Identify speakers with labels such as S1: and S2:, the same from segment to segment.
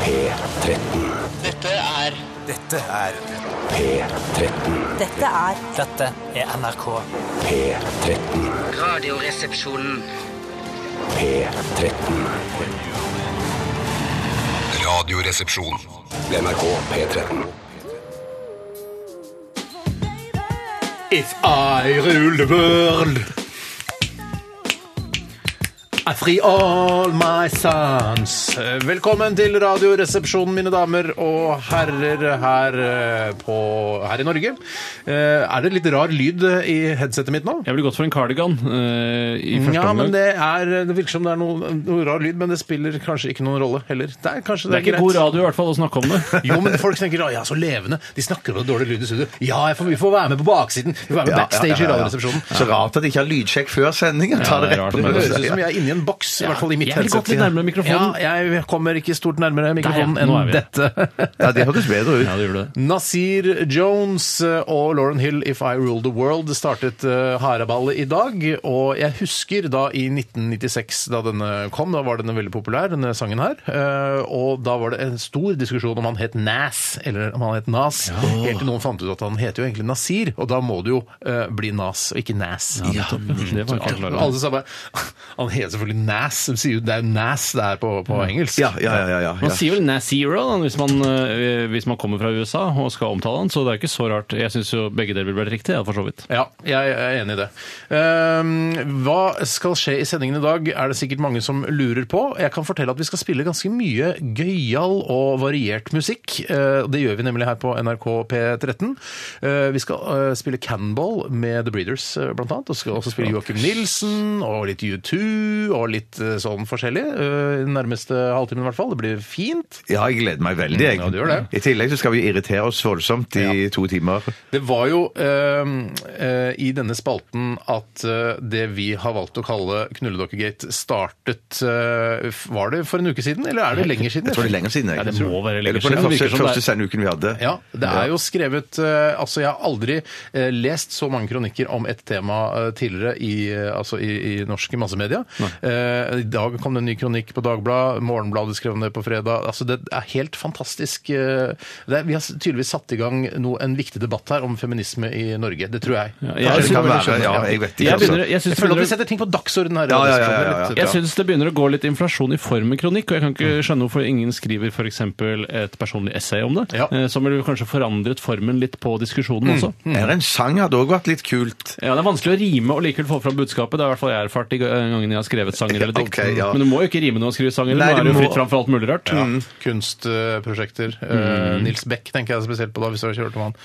S1: P13.
S2: Dette er
S3: Dette er
S1: P13.
S4: Dette er
S5: Dette er NRK.
S1: P13.
S2: Radioresepsjonen.
S1: P13.
S6: Radioresepsjon.
S1: NRK P13.
S7: If I rule the world I free all my sons Velkommen til radioresepsjonen, mine damer og herrer her, eh, på, her i Norge Eh, Er det litt rar lyd eh, i headsetet mitt nå?
S8: Jeg ville gått for en cardigan eh, i første
S7: Ja, men
S8: omgang.
S7: det, er, det virker som det er noe, noe rar lyd, men det spiller kanskje ikke noen rolle heller Det er kanskje
S8: det er ikke
S7: greit.
S8: god radio i hvert fall å snakke om det.
S7: Jo, men folk tenker «Å, ja, så levende. De snakker om dårlig lyd i studio. Ja, jeg får, vi får være med på baksiden. Vi får være med backstage i Radioresepsjonen.
S3: Så rart at de ikke har lydsjekk før sending. Jeg tar
S8: Ja, det
S3: det
S8: er
S3: rett
S8: rart,
S3: på
S8: men-
S7: Det høres
S3: brystet.
S7: ut som jeg er inni en boks, i hvert fall i mitt
S8: Jeg ville gått
S7: headset.
S8: litt nærmere mikrofonen.
S7: Ja, jeg kommer ikke stort nærmere mikrofonen
S8: Der, ja. Nå er
S7: enn
S8: vi
S7: dette.
S3: Ja, det høres bedre ut.
S8: Ja, det gjorde det.
S7: Nasir Jones og Lauren Hill, 'If I Rule The World', startet eh, haraballet i dag. Og jeg husker da i 1996, da denne kom, da var den veldig populær, denne sangen her. Eh, Og da var det en stor diskusjon om han het Nas, eller om han het Nas. Helt til noen fant ut at han heter jo egentlig Nasir, og da må det jo eh, bli Nas, og ikke Nas.
S8: Ja, Mm, det var ikke klar over.
S7: Alle sa bare Han heter selvfølgelig Nas. De sier jo det er jo Nas det er på, på engelsk.
S3: Mm. Ja, ja, ja. ja, ja.
S8: Man sier vel Nazero da, hvis, man, eh, hvis man kommer fra USA og skal omtale han, så det er ikke så rart. Jeg syns jo begge deler ville vært riktig, ja, for så vidt.
S7: Ja, jeg er enig i det. Ehm, hva skal skje i sendingen i dag, er det sikkert mange som lurer på. Jeg kan fortelle at vi skal spille ganske mye gøyal og variert musikk. Eh, Det gjør vi nemlig her på NRK P13. Eh, Vi skal eh, spille Cannonball med The Breeders, eh, blant annet. Og skal også spille Joakim Nilsen og litt U2 og litt eh, sånn forskjellig. Eh, Den nærmeste halvtimen, i hvert fall. Det blir fint.
S3: Ja, jeg gleder meg veldig. Jeg.
S7: Ja, du gjør
S3: I tillegg så skal vi irritere oss voldsomt i to timer.
S7: Det var jo ehm, eh, i denne spalten at eh, det vi har valgt å kalle Knulledokkegate startet eh, f- Var det for en uke siden, eller er det lenger siden?
S3: Jeg tror det er lenger siden. Jeg.
S8: Ja, det må være lenger
S3: Eller på
S8: siden.
S3: den
S8: Det virker
S3: første,
S8: som det er-
S3: første sendeuken vi hadde.
S7: Ja, det er jo skrevet eh, Altså, jeg har aldri eh, lest så mange kronikker om et tema eh, tidligere i, eh, altså i, i norske massemedia. Eh, I dag kom det en ny kronikk på Dagbladet, Morgenbladet skrev om det på fredag. Altså, det er helt fantastisk. eh, Det er, vi har tydeligvis satt i gang noe, en viktig debatt her om feminisme i Norge. Det tror jeg.
S8: Ja,
S3: Ja,
S8: jeg
S3: det
S8: synes-
S3: kan være. Ja, jeg vet ikke.
S8: Jeg
S3: altså.
S8: begynner- jeg synes-
S7: Jeg føler at vi setter ting på dagsorden her. i
S3: Ja, ja, ja,
S7: Radioresepsjonen.
S3: ja, ja.
S7: Litt bra.
S8: Jeg syns det begynner å gå litt inflasjon i form i kronikk, og jeg kan ikke skjønne hvorfor ingen skriver f.eks. et personlig essay om det,
S7: Ja.
S8: eh, som ville kanskje forandret formen litt på diskusjonen også.
S3: Altså, Er det en sang hadde òg vært litt kult.
S8: Ja, Det er vanskelig å rime og likevel få fram budskapet. Det har i hvert fall jeg erfart de gangene jeg har skrevet sanger eller dikt.
S3: Ok, ja.
S8: Men du må jo ikke rime når man skriver sanger. Nå
S3: Nei,
S8: er
S3: du
S8: det jo
S3: må-
S8: fritt fram for alt mulig rart.
S7: Ja.
S3: Mm.
S7: Kunstprosjekter. Eh, Nils Beck tenker jeg spesielt på da, hvis du har ikke hørt om han.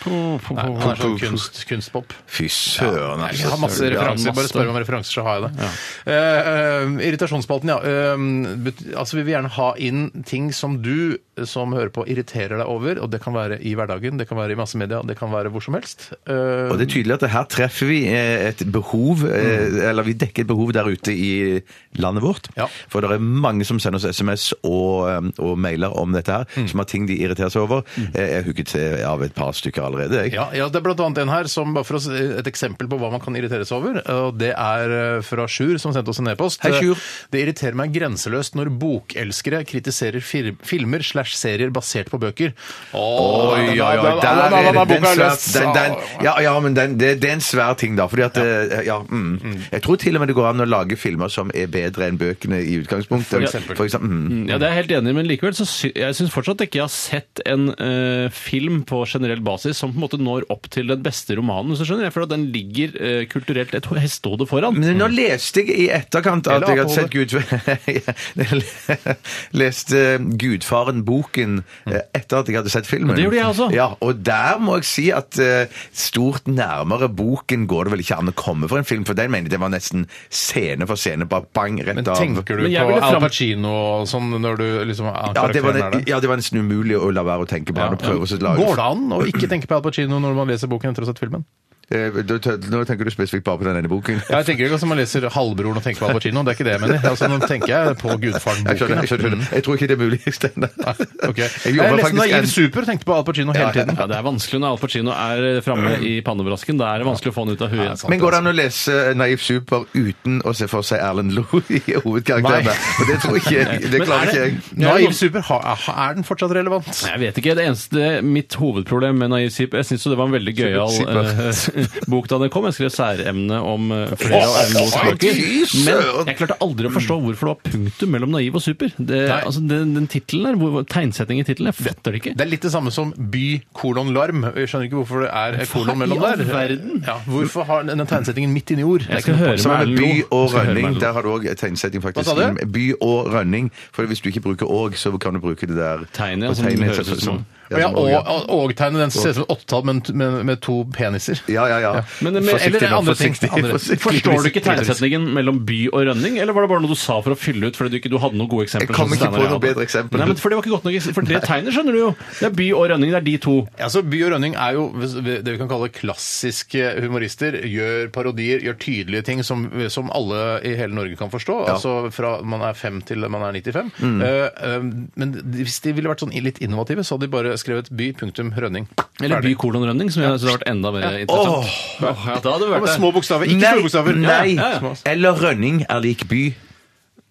S7: Nei, han er sånn kunst, kunstpop.
S3: Fy søren, altså.
S7: Jeg har masse
S8: søren, ja,
S7: referanser. Bare
S8: masse.
S7: spør om referanser, så har jeg det. Eh, eh, irritasjonsspalten, ja. Eh, bet- altså, vi vil gjerne ha inn ting som du eh, som hører på, irriterer deg over. Og det kan være i hverdagen, det kan være i massemedia, det kan være hvor som helst. Eh,
S3: Og det er tydelig at det her treffer vi eh, et behov, eh, eller vi dekker et behov der ute i landet vårt.
S7: Ja.
S3: For det er mange som sender oss SMS og, eh, og mailer om dette her, som har ting de irriterer seg over. Eh, Jeg hooket eh, av et par stykker allerede, jeg.
S7: Ja, ja, det er blant annet en her som bare for å, s- et eksempel på hva man kan irritere seg over. og Det er eh, fra Sjur, som sendte oss en e-post. Eh,
S3: Hei, Sjur.
S7: Det irriterer meg grenseløst når bokelskere kritiserer fir- filmer slash serier basert på bøker.
S3: Oi, oi, oi, der er det den svær, den, den, ja, ja, men den, det, det er en svær ting, da. Fordi at, eh, ja, mm. Jeg tror til og med det går an å lage filmer som er bedre enn bøkene i utgangspunktet. For
S7: eksempel.
S3: eksempel, mm.
S8: Ja, det er jeg helt enig i, men likevel så sy jeg syns fortsatt ikke jeg har sett en eh, film på generell basis som på en måte når opp til den beste romanen, hvis du skjønner. Jeg føler at den ligger eh, kulturelt et hestehode foran.
S7: Mm.
S3: Men nå leste jeg i etterkant at
S7: Eller
S3: jeg hadde sett Gud... leste Gudfaren-boken
S7: Mm.
S3: eh, etter at jeg hadde sett filmen.
S8: Ja, det gjorde jeg også.
S3: Ja, og der må jeg si at eh, stort nærmere boken går det vel ikke an å komme for en film, for den mener jeg det var nesten scene for scene, bare bang, rett
S7: Men
S3: av.
S7: tenker du
S8: Men jeg
S7: på
S8: ville fram-
S7: Al Pacino og sånn når du liksom er
S3: ja det, var,
S7: karakteren er
S3: ne-
S7: der?
S3: ja, det var nesten umulig å la være å tenke på den og prøve å lage
S7: Går det an å ikke tenke på Al Pacino når man leser boken etter å ha sett filmen?
S3: Eh, du tø- Nå tenker du spesifikt bare på den ene boken.
S7: Ja, jeg tenker ikke som man leser 'Halvbroren' og tenker på Al Pacino. Det er ikke det jeg mener. Altså, nå tenker jeg på
S3: Jeg skjønner, jeg,
S7: Gudfaren-boken.
S3: skjønner, jeg tror ikke det er mulig, Steinar.
S7: Ok.
S3: Jeg
S7: Jeg,
S3: jobber
S7: er nesten
S3: faktisk
S7: naiv
S3: en-
S7: super, tenkte på Al Pacino hele tiden.
S8: Ja, Det er vanskelig når Al Pacino er eh, framme i pannebrasken. Da er det vanskelig å få han ut av huet.
S3: Men går Mm. det an å lese Naiv Super uten å se for seg Erlend Loe i hovedkarakterene?
S7: Nei.
S3: Og det tror ikke jeg. Det
S8: Men er
S3: klarer ikke
S8: det-
S3: jeg.
S7: Naiv super, ha- er den fortsatt relevant?
S8: Jeg vet ikke. det eneste, Mitt hovedproblem med Naiv Sip Jeg syns jo det var en veldig gøyal eh, bok da den kom. Jeg skrev særemne om eh, flere av Erlend Moes bøker.
S3: fy søren!
S8: Men jeg klarte aldri å forstå hvorfor det var punktum mellom naiv og super. Det,
S7: Nei.
S8: altså, den, den tittelen der, hvor- tegnsettingen i tittelen, jeg fatter det ikke.
S7: Det er litt det samme som by kolon larm. Jeg skjønner ikke hvorfor det er et kolon mellom
S8: i all
S7: der.
S8: verden?
S7: Ja, hvorfor har den den tegnsettingen midt inni ord?
S8: Jeg skal høre med
S3: Sammen
S8: Erlend
S3: med by
S8: Moe. Jeg
S3: og
S8: skal høre med
S3: rønning.
S8: Erlend Moe.
S3: Der har du òg tegnsetting,
S7: Hva
S3: faktisk.
S7: sa du?
S3: By og rønning. For hvis du ikke bruker åg, så kan du bruke det der
S8: Tegnet,
S3: og
S8: altså, det
S3: tegnet,
S8: høres ut som-
S3: ja,
S7: Ja,
S3: som
S7: og,
S3: åg, ja.
S7: og, og tegnet den ser ut som et åttetall, men med, med to peniser.
S3: Ja, ja, ja.
S8: Men, men,
S3: Forsiktig
S7: eller
S3: nå,
S7: andre ting,
S3: forsiktig,
S7: andre ting.
S3: forsiktig.
S8: Forstår du ikke tegnsetningen mellom by og rønning, eller var det bare noe du sa for å fylle ut fordi du ikke du hadde noen gode eksempler?
S3: Jeg kom
S8: sånn som
S3: ikke på
S8: Steinar
S3: noe
S8: hadde?
S3: bedre eksempel.
S8: Nei, men for det var ikke godt nok. eks- For det tegner skjønner du jo. Det er by og rønning, det er de to.
S7: Altså, By og Rønning er jo det vi kan kalle klassiske humorister. Gjør parodier, gjør tydelige ting som, som alle i hele Norge kan forstå. Altså fra man er fem til man er 95. Eh, eh, men hvis de ville vært sånn litt innovative, så hadde de bare skrevet by, punktum, Rønning.
S8: Eller by
S7: Ferdig.
S8: kolon rønning, som jeg synes hadde vært enda mer interessant. Åh, ja, da hadde det
S7: Ja, men
S8: vært
S7: Små bokstaver, ikke store bokstaver.
S3: Nei,
S7: Ja, ja.
S3: nei. Eller rønning er lik by.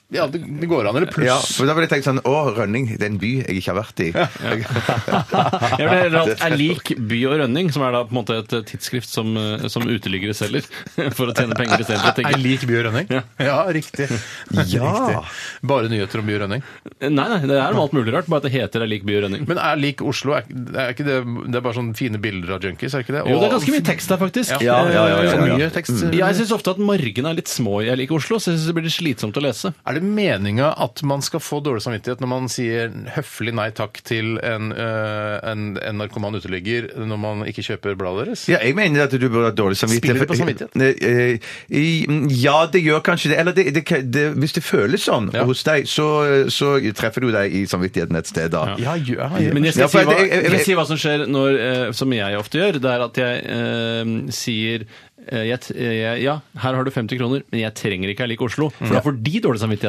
S7: Ja, det, det går an, eller pluss.
S3: Ja, for Da ville jeg tenkt sånn Å, Rønning, det er en by jeg ikke har vært i.
S8: Jeg vil heller at er lik By og Rønning, som er da på en måte et eh, tidsskrift som, eh, som uteliggere selger for å tjene penger istedenfor å
S7: Er
S8: tenke
S7: lik By og Rønning? Ja, riktig. riktig. Bare nyheter om By og Rønning.
S8: Nei, nei, det er om alt mulig rart, bare at det heter er lik By og Rønning.
S7: Men er lik Oslo er, er ikke det, det er bare sånne fine bilder av junkies, er ikke det?
S8: Jo, det er
S7: Og-
S8: ganske mye tekst der, faktisk. Eh,
S7: Ja,
S3: ja, ja, ja,
S7: For
S3: ja.
S7: mye tekst.
S8: Ja, jeg syns ofte at margene er litt små i Jeg liker Oslo, så jeg synes det blir litt slitsomt å lese.
S7: Er det meninga at man skal få dårlig samvittighet når man sier høflig nei takk til en, øh, en, en narkoman uteligger når man ikke kjøper bladet deres?
S3: Ja, jeg mener at du burde ha dårlig samvittighet.
S7: Spiller det på
S3: for-
S7: samvittighet?
S3: Eh, eh, mm, Ja, det gjør kanskje det. Eller det, det, kan- det, hvis det føles sånn
S7: Ja.
S3: hos deg, så, så treffer du deg i samvittigheten et sted da.
S7: Ja, ja,
S8: Men jeg skal,
S3: Ja, for
S8: si, hva,
S3: jeg- jeg- jeg-
S8: jeg skal si hva som skjer når, eh, som jeg ofte gjør, det er at jeg eh, sier eh, jeg, t- jeg, ja, her har du 50 kroner, men jeg trenger ikke jeg liker Oslo. For da får de dårlig samvittighet.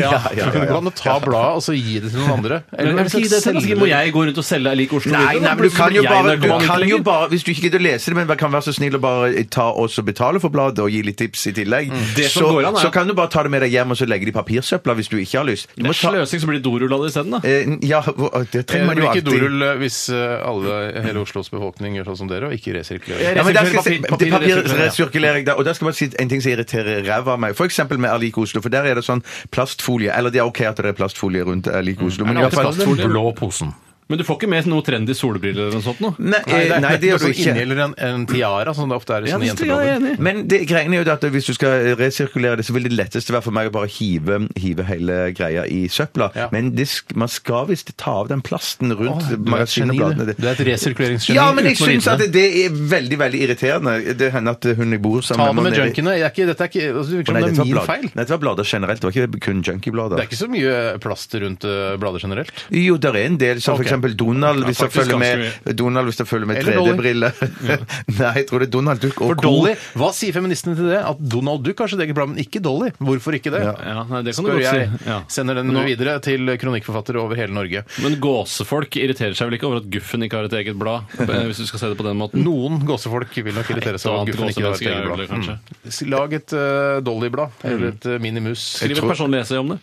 S7: ja, ja, ja. Hvordan å ta bladet og så gi det til noen andre?
S8: Men jeg vil si det til, altså, Må jeg gå rundt og selge jeg liker Oslo?
S3: Nei,
S8: videre,
S3: nei,
S8: da?
S3: men du kan jo
S8: Jeg
S3: bare, du
S8: narkoman
S3: kan jo
S8: utligger.
S3: bare Hvis du ikke gidder å lese det, men kan være så snill å bare eh, ta og så betale for bladet og gi litt tips i tillegg,
S8: Det som
S3: så,
S8: går an, er-
S3: så kan du bare ta det med deg hjem og så legge det i papirsøpla hvis du ikke har lyst. Du
S8: Det
S3: må
S8: er
S3: ta,
S8: sløsing, så blir det dorullader isteden, da.
S3: eh, ja, hvor- det
S7: Det
S3: trenger man jo
S7: blir ikke
S3: alltid.
S7: Eh, dorull øh, hvis øh, alle, hele Oslos befolkning gjør sånn som dere og ikke resirkulerer.
S3: Ja, men der
S8: Resirkulering,
S3: skal jeg si-
S8: papir-
S3: det er
S8: papir-
S3: papirresirkulering, da, og der skal man si en ting som irriterer ræva av meg. For eksempel med Erlik Oslo, for der er det sånn plastfolie. Eller det er ok at det er plastfolie rundt Erlik Oslo, men i hvert fall
S7: blå posen.
S8: Men du får ikke med noe trendy solbriller eller noe sånt noe?
S3: Nei, eh, nei, det gjør du ikke.
S7: Inngjelder altså en, en tiara, som det ofte er i sånne
S3: sånn
S7: jenteblader.
S8: enig.
S3: Men det, greiene er jo det at hvis du skal resirkulere det, så vil det letteste være for meg å bare hive, hive hele greia i søpla.
S7: Ja.
S3: Men det, sk- man skal visst ta av den plasten rundt
S7: Åh, du er et geni,
S3: magasinbladene.
S7: du. Du er et resirkuleringsgeni.
S3: Ja, men jeg
S7: uten å vite
S3: syns at det, det er veldig, veldig irriterende. Det hender at hun jeg bor sammen
S7: Ta det med
S3: nede-
S7: junkiene. Det er ikke, dette er ikke, altså, det virker som
S3: Å, Nei,
S7: det er
S3: dette var
S7: min
S3: blad-
S7: feil.
S3: Nei, dette var blader generelt, det var ikke kun junkieblader.
S7: Det er ikke så mye plast rundt øh, blader generelt.
S3: Jo, der er en del,
S7: Ok.
S3: som for eksempel Donald, hvis det
S8: faktisk
S3: følger med,
S8: ganske
S3: Donald, hvis det følger med
S7: Eller Dolly.
S3: 3D-briller. Nei, jeg tror det er Donald Duck og
S7: For Dolly, Hva sier feministene til det? At Donald Duck har sitt eget blad, men ikke Dolly? Hvorfor ikke det?
S8: Ja, nei, det kan du
S7: Spør
S8: godt
S7: jeg.
S8: si. Ja.
S7: Sender den videre til kronikkforfattere over hele Norge.
S8: Men gåsefolk irriterer seg vel ikke over at Guffen ikke har et eget blad? eh, Hvis du skal se det på den måten.
S7: Noen gåsefolk vil nok irritere
S8: Et
S7: seg
S8: og
S7: over
S8: annet
S7: at guffen ikke har et
S8: gåsemenneske
S7: eget
S8: gjør det,
S7: blad.
S8: kanskje.
S7: Mm. Lag et øh, Dolly-blad, eller et øh, Minimus.
S8: Skriv et personlig essay om det.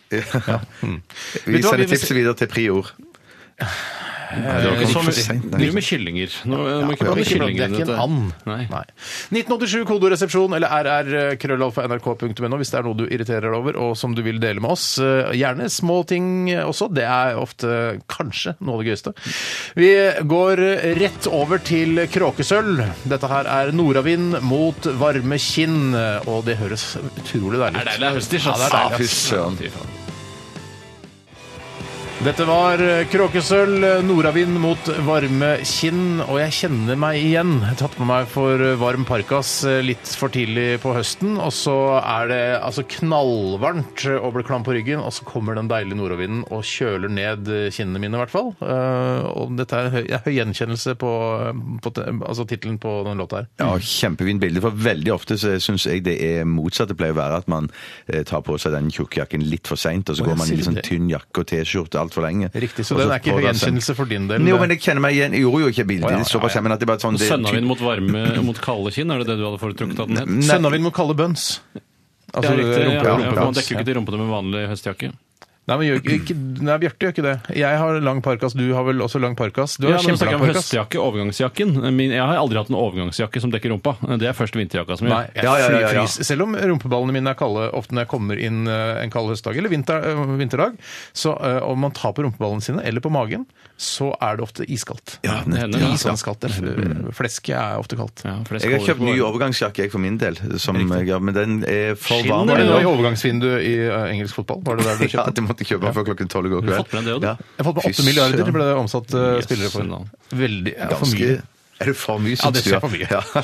S3: Mm. Vi
S7: du hva,
S3: sender
S7: vi-
S3: tipset videre til Prior. Nei, det var
S8: Ikke
S3: kanskje
S8: sånn-
S3: for sent, nei.
S8: Driver med kyllinger. Nå, eh, må ikke prate
S7: Ja, men ikke blant-
S8: kyllinger
S7: det er ikke en
S8: dette.
S7: and.
S8: Nei.
S7: 1987 kodoresepsjon eller rr-krøllalfa.nrk.no hvis det er noe du irriterer deg over og som du vil dele med oss. Eh, Gjerne små ting også. Det er ofte kanskje noe av det gøyeste. Vi går eh, rett over til kråkesølv. Dette her er nordavind mot varme kinn, og det høres utrolig deilig
S8: Det er
S7: ut.
S8: deilig, det er høstig, ass.
S7: Ja, det er deilig,
S3: ass.
S8: Fy faen.
S7: Dette var eh, Kråkesølv, nordavind mot varme kinn, og jeg kjenner meg igjen. Jeg har tatt med meg for eh, varm parkas eh, litt for tidlig på høsten, og så er det altså knallvarmt eh, og blir klam på ryggen, og så kommer den deilige nordavinden og kjøler ned kinnene mine, i hvert fall. Eh, Og dette er en høy, høy gjenkjennelse på, på te- altså tittelen på den låta her.
S3: Ja, kjempefint bilde. For veldig ofte så syns jeg det er motsatt. Det pleier å være at man eh, tar på seg den tjukkjakken litt for seint, og så
S7: Å, ja,
S3: går man i
S7: sier
S3: litt
S7: du
S3: sånn
S7: det?
S3: tynn jakke og T-skjorte altfor lenge.
S7: Riktig, så
S3: Og
S7: den er ikke
S3: prøver
S7: høy
S3: å sende-
S7: gjenkjennelse for din del.
S3: Jo, men jeg kjenner meg igjen. Jeg gjorde jo ikke
S7: Å, ja,
S3: bildet
S7: ja,
S3: ditt såpass,
S7: ja.
S3: men at det bare sånn det er
S8: Sønnavind mot varme mot kalde kinn, er det det du hadde foretrukket at den het?
S3: Nei.
S7: Sønnavind må kalle bøns.
S8: Ja,
S7: Altså,
S8: riktig, ja,
S7: rumpe-
S8: ja,
S7: rumpebøns.
S8: for man dekker jo ikke til rumpene med vanlig høstjakke.
S7: Nei, men gjør ikke, ikke, nei, Bjarte gjør ikke det. Jeg har lang parkas, du har vel også lang parkas? Du
S8: Ja,
S7: har
S8: men nå snakker jeg
S7: kjempelang
S8: om
S7: parkas.
S8: høstjakke, overgangsjakken. Min, jeg har aldri hatt en overgangsjakke som dekker rumpa. Det er først vinterjakka som
S7: Nei,
S8: gjør.
S7: jeg
S3: Ja, ja, ja, ja.
S7: flyfrys. Selv om rumpeballene mine er kalde ofte når jeg kommer inn eh, en kald høstdag eller vinter, eh, vinterdag, så eh, om man tar på rumpeballene sine eller på magen, så er det ofte iskaldt.
S3: Ja,
S8: Det
S3: nettopp.
S8: hender, ja.
S7: Iskaldt. eller, eh, Fleske er ofte kaldt.
S8: Ja, for det
S3: Jeg har
S8: skal over
S3: kjøpt
S8: på
S3: ny
S8: varme.
S3: overgangsjakke jeg for min del, som jeg, har- men den er for
S7: Skinn
S3: varm.
S7: var det nå i
S3: ennå.
S7: overgangsvinduet i eh, engelsk fotball? Var det der du
S3: Ja,
S7: kjøpte?
S3: det måtte jeg kjøpe før klokken tolv i går
S8: Du har
S3: kveld.
S8: fått med deg det også, du.
S3: Ja.
S7: Jeg fant på
S3: Fy
S7: 8 milliarder
S3: søren.
S7: ble det omsatt eh,
S8: Yes,
S7: spillere for.
S8: søndag.
S7: Veldig, ja, for
S3: Ganske
S7: mye.
S3: Er det for mye,
S7: Ja, det
S3: syns
S7: ser
S3: du?
S7: for mye.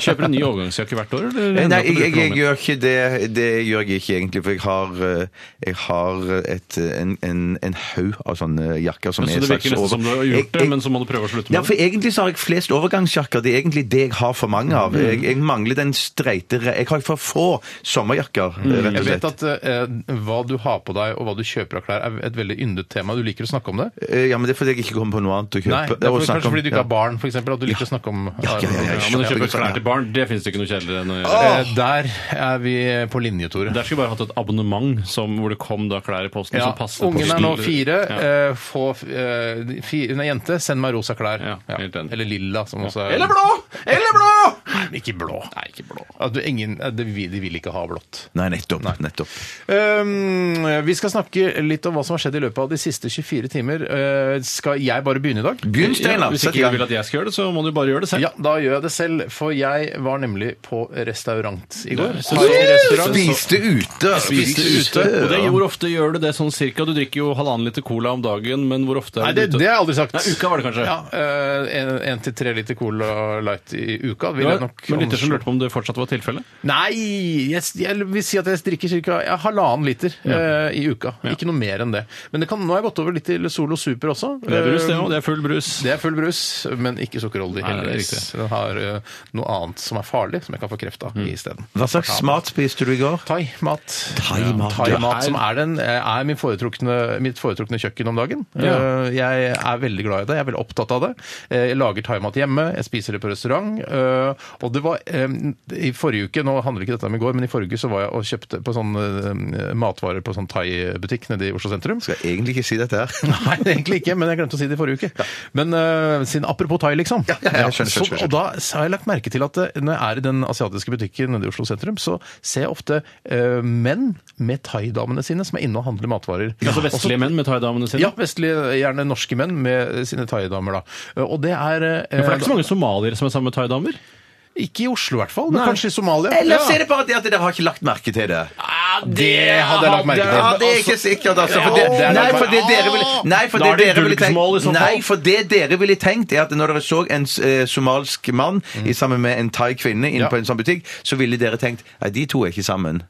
S8: Kjøper en ny overgangsjakke hvert år? Eller?
S3: Eh,
S8: hender
S3: Nei,
S8: det at du
S3: jeg,
S8: bruker noe
S3: jeg,
S8: mer?
S3: gjør ikke det. Det gjør jeg ikke egentlig, for jeg har, eh, jeg har eh, et, en, en, en haug av sånne jakker som
S8: Men Så
S3: er
S8: det virker nesten som du har gjort det, men så må du prøve å slutte
S3: ja,
S8: med
S3: for
S8: det.
S3: Egentlig så har jeg flest overgangsjakker. Det er egentlig det jeg har for mange av.
S8: Mm.
S3: Jeg, jeg mangler den streite re- Jeg har for få sommerjakker,
S8: Mm.
S3: rett og
S7: Jeg vet at
S3: slett.
S7: eh, hva du har på deg og hva du kjøper av klær er et veldig yndet tema. Du liker å snakke om det?
S3: Eh, Ja, men Det er fordi jeg ikke kommer på noe annet å kjøpe.
S7: Nei, det er
S3: å
S7: fordi,
S3: snakke
S7: kanskje
S3: om.
S7: fordi du ikke har
S3: Ja.
S7: barn, for eksempel, at du liker å snakke om
S3: Ja, ja, ja, ja.
S8: Ja, men å kjøpe
S3: Jeg skjønner.
S8: klær til barn, det finnes det ikke noe kjedeligere enn å gjøre.
S7: Eh, Der er vi eh, på linje, Tore.
S8: Der skulle jeg bare hatt et abonnement som, hvor det kom da klær i posten
S7: Ja,
S8: som passet
S7: ungen er
S8: posten.
S7: nå fire.
S8: Ja.
S7: eh, Få eh, fi- Nei, jente, send meg rosa klær.
S8: Ja, helt enig.
S7: Eller lilla, som også er
S8: Eller blå! Eller blå!
S7: Nei, men ikke blå.
S8: Nei, ikke blå.
S7: At du, ingen, eh, de, vil- de vil ikke ha blått.
S3: Nei, nettopp. nettopp.
S7: Um, vi skal snakke litt om hva som har skjedd i løpet av de siste 24 timer. Eh, skal jeg bare begynne i dag?
S3: Begynn,
S8: Ja,
S3: Steinar.
S8: hvis
S3: Sett i
S8: ikke du
S3: gang.
S8: vil at jeg skal gjøre det, så må du bare gjøre det selv.
S7: Ja, da gjør jeg det selv, for jeg var nemlig på restaurant i går.
S8: Ja, så-
S7: Thai-restaurant.
S3: Spiste ute!
S8: Spiste ute. Og det, hvor ofte gjør du det sånn cirka? Du drikker jo halvannen liter cola om dagen, men hvor ofte
S7: Nei,
S8: er
S7: det,
S8: du ute?
S7: det har jeg aldri sagt.
S8: Nei, uka var det kanskje.
S7: Ja, eh, en, en til tre liter Cola Light i uka. Vil
S8: Det
S7: jeg
S8: var
S7: nok
S8: noen lytter som
S7: anslå.
S8: lurte på om det fortsatt var tilfellet.
S7: Nei, jeg, jeg vil si at jeg drikker ca. halvannen liter eh, i uka. Ikke noe mer enn det. Men det kan, nå har jeg gått over litt til Solo Super også.
S8: Det er brus, det
S7: Eh,
S8: òg. Det er full brus.
S7: det er full brus, men ikke sukkerholdig.
S8: Nei, det er
S7: heldigvis.
S8: riktig.
S7: Den har eh, noe annet som er farlig, som jeg kan få kreft av
S8: Mm.
S7: isteden.
S3: Hva slags mat spiste du i går?
S7: Thai-mat.
S3: Thai-mat,
S7: Thai
S3: ja.
S7: som er, den, eh, er min foretrukne, mitt foretrukne kjøkken om dagen.
S8: Ja.
S7: Eh, Jeg er veldig glad i det. Jeg er veldig opptatt av det. Eh, Jeg lager thaimat hjemme, jeg spiser det på restaurant. eh, Og det var eh, I forrige uke, nå handler ikke dette om i går, men i forrige uke så var jeg og kjøpte på sånn eh, matvarer på sånn thai-butikk nede i Oslo sentrum.
S3: Skal jeg egentlig ikke si dette her.
S7: Nei, egentlig ikke, men jeg glemte å si det i forrige uke. Men eh, siden apropos thai, liksom.
S3: Ja, ja, ja, jeg skjønner,
S7: så,
S3: skjønner, skjønner.
S7: Og da har jeg lagt merke til at eh, når jeg er i den asiatiske butikken nede i Oslo sentrum, så ser jeg ofte eh, menn med thaidamene sine som er inne og handler matvarer.
S8: Altså
S7: Også-
S8: vestlige menn med thaidamene sine.
S7: Ja, vestlige, gjerne norske menn med sine thaidamer, da. Og det er eh,
S8: For det er ikke så mange somaliere som er sammen med thaidamer.
S7: Ikke i Oslo, i hvert fall, men
S8: Nei.
S7: kanskje i Somalia.
S3: Eller så
S7: Ja.
S3: er det bare det at dere har ikke lagt merke til det.
S7: Det hadde jeg lagt merke til.
S3: Ja, det er ikke sikkert, altså. For det,
S7: Ja, det er
S3: nei,
S7: nok-
S3: for det dere ville, nei, for
S8: Da
S3: det
S8: er det
S3: dere ville
S8: dulgsmål i så
S3: tenkt
S8: fall.
S3: Nei, for det dere ville tenkt, er at når dere så en eh, somalsk mann i sammen med en thai kvinne inne
S7: Ja.
S3: på en sånn butikk, så ville dere tenkt nei, de to er ikke sammen.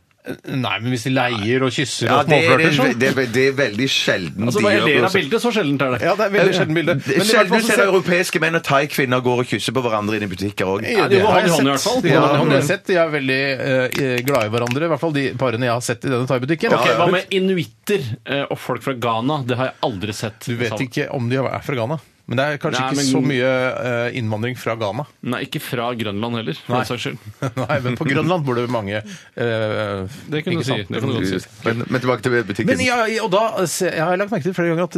S7: Nei, men hvis de leier og kysser
S3: Ja,
S7: og
S3: det, er,
S7: småflørter, så
S3: det, er, det er veldig sjelden
S8: Altså,
S3: de
S8: Når jeg ler av
S3: sånn.
S8: bildet, så sjeldent er det.
S7: Ja, det er sånn veldig sjelden bilde. Men i hvert fall
S3: Sjelden
S7: så
S3: ser
S7: ser-
S3: europeiske menn og thai-kvinner går og kysser på hverandre inne i butikker òg.
S8: Ja, de går hånd i hånd i hvert fall.
S7: De,
S3: Ja,
S7: har, de har
S3: men-
S7: sett, de er veldig eh, glade i hverandre, i hvert fall de parene jeg har sett i denne thaibutikken.
S8: Ok,
S7: Ja, ja.
S8: Hva med inuitter eh, og folk fra Ghana? Det har jeg aldri sett.
S7: Du vet
S8: sammen.
S7: ikke om de er fra Ghana. Men det er kanskje
S8: Nei,
S7: ikke
S8: men-
S7: så mye eh, innvandring fra Ghana.
S8: Nei, ikke fra Grønland heller, for
S7: Nei.
S8: den saks skyld.
S7: Nei, men på Grønland bor det mange eh,
S8: Det kan du
S7: ikke
S8: si.
S7: sant?
S8: Det kan du godt si.
S3: Men, men tilbake til butikken.
S7: Men ja, og da se- jeg har lagt merke til flere ganger at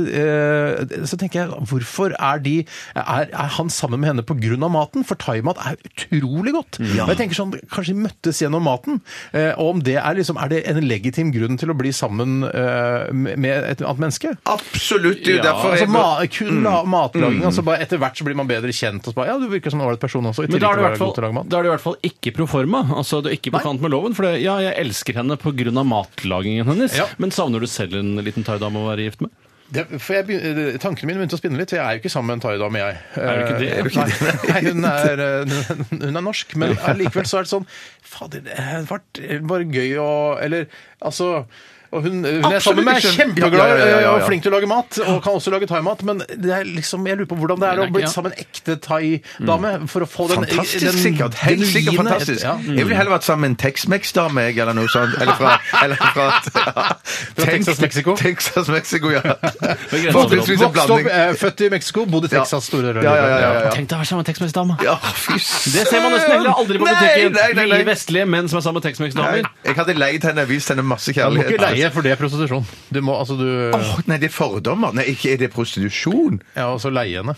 S7: eh, så tenker jeg, hvorfor er de er, er han sammen med henne pga. maten? For thaimat er utrolig godt. Og jeg tenker sånn, Kanskje de møttes gjennom maten? eh, og om det er liksom, er det en legitim grunn til å bli sammen eh, med med et annet menneske?
S3: Absolutt. Det er jo
S8: Ja, Mm.
S3: derfor
S7: Altså,
S3: jeg-
S7: ma kun la- matlaging. Altså, bare etter hvert så blir man bedre kjent. Og så bare, ja, du virker som en ålreit person også. I
S8: Men
S7: tillegg
S8: da er, det
S7: til å
S8: i hvert
S7: være god til å lage
S8: fall,
S7: mat.
S8: da er det i hvert fall ikke proforma. Altså, du er ikke på kant med loven. For det, ja, jeg elsker henne pga. matlagingen hennes,
S7: Ja.
S8: men savner du selv en liten thaidame å være gift med?
S7: det, for jeg begyn- eh, Tankene mine begynte å spinne litt, for jeg er jo ikke sammen med en thaidame, jeg.
S8: Er du ikke det?
S7: Eh,
S8: Er du ikke
S7: Nei, nei, hun, er, eh, hun er norsk, men allikevel så er det sånn Fader, det hadde vært eh, bare gøy å Eller altså og hun, hun er sammen med er
S3: Absolutt, jeg skjønner.
S7: kjempeglad
S3: Ja, ja, ja, ja, ja.
S7: og flink til å lage mat, og kan også lage thaimat, men det er liksom, jeg lurer på hvordan det er å
S8: Nei,
S7: bli
S8: ja.
S7: sammen med en ekte thaidame for å få den
S3: Mm. Fantastisk
S7: den
S3: sikkert. Helt sikkert
S7: genuine-
S3: fantastisk. Mm.
S7: Ja.
S3: Jeg ville heller vært sammen med en Tex-Mex-dame, jeg, eller noe sånt. Eller fra, eller fra, ja.
S7: Texas, Mexico?
S3: Texas, Mexico, ja.
S8: grenseovergang.
S3: Fortrinnsvis en
S7: Vokst opp,
S3: blanding.
S7: eh, født i Mexico, bodd i
S3: Ja.
S7: Texas, store
S3: Ja, ja, ja, ja, ja.
S8: Tenk deg å være sammen med en Tex-Mex-dame.
S3: Ja, fy søren!
S8: Det ser man nesten heller aldri på butikken.
S3: Nei, nei, nei,
S8: Lille
S3: nei.
S8: vestlige menn som er sammen med Tex-Mex-damer.
S3: Nei, Jeg hadde leid henne, vist henne masse
S7: Du må
S3: kjærlighet.
S7: ikke leie, for det er prostitusjon. Du må, altså, du
S3: Åh, nei, det er fordommer. Nei, ikke er det prostitusjon.
S7: Ja, altså leie henne.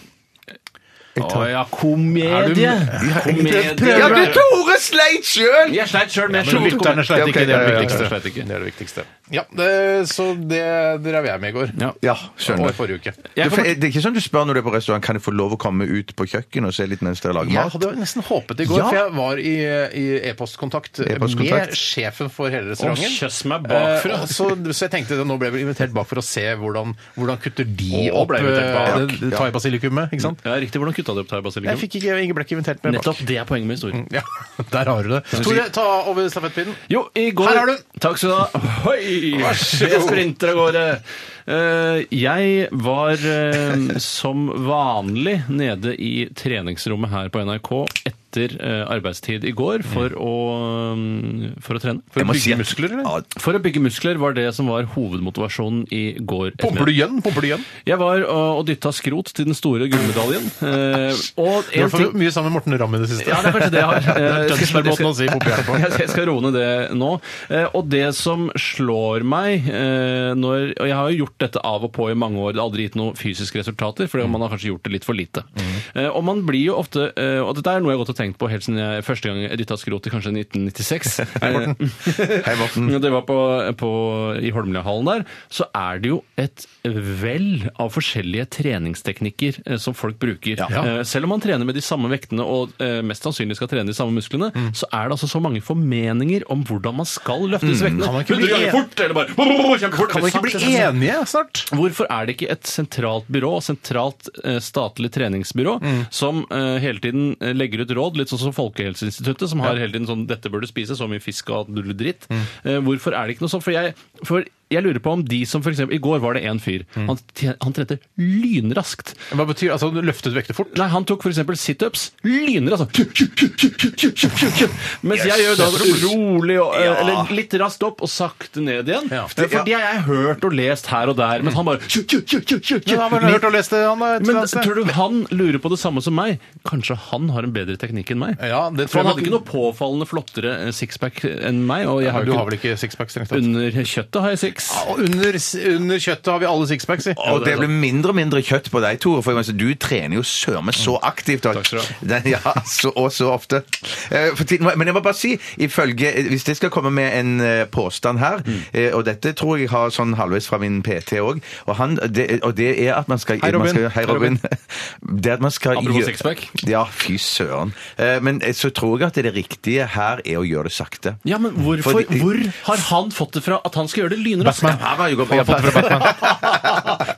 S8: Å ja, komedie. Komedie.
S3: Ja, du Tore sleit sjøl!
S8: Jeg sleit sjøl, men jeg
S7: Men
S8: tror
S7: lytterne
S8: komedie.
S7: sleit
S3: Ja, ok,
S7: ikke, det er
S3: ja, ja,
S7: det
S3: ja.
S7: viktigste.
S8: Sleit ikke.
S7: Det er det viktigste. Ja, det, så det drev jeg med i går.
S8: Ja.
S3: Ja,
S7: Og i
S3: skjønner.
S7: forrige uke.
S3: Du,
S8: Jeg
S3: for,
S8: kommer
S3: det er ikke sånn du spør når du er på restaurant Kan jeg få lov å komme ut på kjøkkenet og se litt mens dere lager
S7: Jeg
S3: mat?
S7: hadde nesten håpet i går,
S3: Ja.
S7: for jeg var i, i e-postkontakt
S3: E-postkontakt.
S7: med sjefen for hele
S8: til å
S7: restauranten.
S8: kjøss meg
S7: Eh,
S8: bakfra.
S7: og så, så jeg tenkte at nå ble jeg vel invitert bak for å se hvordan, hvordan kutter de
S8: Å,
S7: opp
S8: ble jeg invitert
S7: eh,
S8: bak.
S7: det- det thai-basilikummet, ikke sant?
S8: Ja, riktig. Hvordan kutta du opp
S7: Jeg
S8: thai-basilikum?
S7: fikk Mm. ikke Inge Blekk invitert med bak.
S8: Nettopp det er poenget med historien.
S7: Ja, der har du det. Tore, ta over stafettpinnen.
S8: Jo, i går
S7: Her har du den.
S8: Takk skal du ha. Hoi! Jeg sprinter av gårde. Eh, Jeg var eh, som vanlig nede i treningsrommet her på NRK etter eh, arbeidstid i går for å, mm, for å trene. For
S3: Jeg
S8: å,
S3: må
S8: bygge,
S3: si at-
S7: muskler, eller?
S3: Ja,
S8: for å bygge muskler var det som var hovedmotivasjonen i går. ettermiddag.
S7: Pumper du igjen? Pumper du igjen?
S8: Jeg var eh, og, og dytta skrot til den store gullmedaljen. Eh, og
S7: Du
S8: en
S7: har fått
S8: ting
S7: mye sammen med Morten Ramm i det siste.
S8: ja, det er kanskje det jeg har.
S7: Det
S8: Eh, jeg
S7: er
S8: skal-
S7: Tønsberg-måten å si pumper jeg på.
S8: jeg skal- jeg skal roe ned det nå. Eh, Og det som slår meg eh, når, Og jeg har jo gjort dette av og på i mange år. Det har aldri gitt noen fysiske resultater, for man har kanskje gjort det litt for lite. Eh, Og man blir jo ofte eh, Og dette er noe jeg har gått og tenkt på helt siden jeg første gang dytta skrot i kanskje 1996. Eh,
S3: Hei,
S7: Mm.
S3: Morten.
S8: Når det var på, på, i Holmlia-hallen der, så er det jo et vell av forskjellige treningsteknikker eh, som folk bruker. Eh, selv om man trener med de samme vektene og eh, mest sannsynlig skal trene de samme musklene,
S7: Mm.
S8: så er det altså så mange formeninger om hvordan man skal løfte disse vektene.
S7: Mm. Kan man ikke bli
S8: 100 ganger
S7: en-
S8: fort, eller bare bo, bo, bo, kjempefort.
S7: Kan vi ikke bli
S8: Sakte, sakte, sakte.
S7: enige snart?
S8: Hvorfor er det ikke et sentralt byrå, sentralt eh, statlig treningsbyrå, som eh, hele tiden eh, legger ut råd, litt sånn som Folkehelseinstituttet, som har hele tiden sånn 'dette bør du spise', så mye fisk og alt mulig dritt. Eh, hvorfor er det ikke noe sånt? For jeg, for jeg lurer på om de som f.eks. I går var det en fyr. Han, tje- han trente lynraskt.
S7: Hva betyr altså du løftet vekter fort?
S8: Nei, han tok f.eks. situps. Lyner, altså. Mens jeg gjør da rolig og eh, eller litt raskt opp og sakte ned igjen. Eh,
S7: Ja.
S8: For for det har jeg hørt og lest her og der, mens han bare
S7: Men han har vel hørt og lest det, han da, et eller
S8: Men
S7: annet sted?
S8: tror du han lurer på det samme som meg? Kanskje han har en bedre teknikk enn meg?
S7: Ja, det
S8: For
S7: tror jeg
S8: han hadde
S7: nok-
S8: ikke noe påfallende flottere eh, sixpack enn meg, og jeg har
S7: Du
S8: jo
S7: har vel
S8: ikke
S7: ikke sixpack strengt tatt?
S8: Under kjøttet har jeg six.
S7: Og under, under kjøttet har vi alle sixpacks i.
S3: Og det blir mindre og mindre kjøtt på deg, Tore. For jeg mener, du trener jo søren meg så aktivt. Og,
S8: Takk skal du
S3: Den, ja, så, og så ofte. Eh, for tiden, men jeg må bare si, ifølge, hvis jeg skal komme med en eh, påstand her,
S8: Mm.
S3: eh, og dette tror jeg har sånn halvveis fra min PT òg, og, han- det- og det er at man skal
S7: Hei, Robin.
S3: Man skal, hei,
S7: Hei, Robin.
S3: Robin. Det at man skal
S8: Apropos
S3: gjø-
S8: sixpack.
S3: Ja, fy søren. Eh, men eh, så tror jeg at det riktige her er å gjøre det sakte.
S8: Ja, men hvorfor,
S3: Fordi-
S8: hvor har han fått det fra at han skal gjøre det lynraskt?
S7: Batman.
S3: Han har jo gått
S7: Jeg har fått det fra Batman.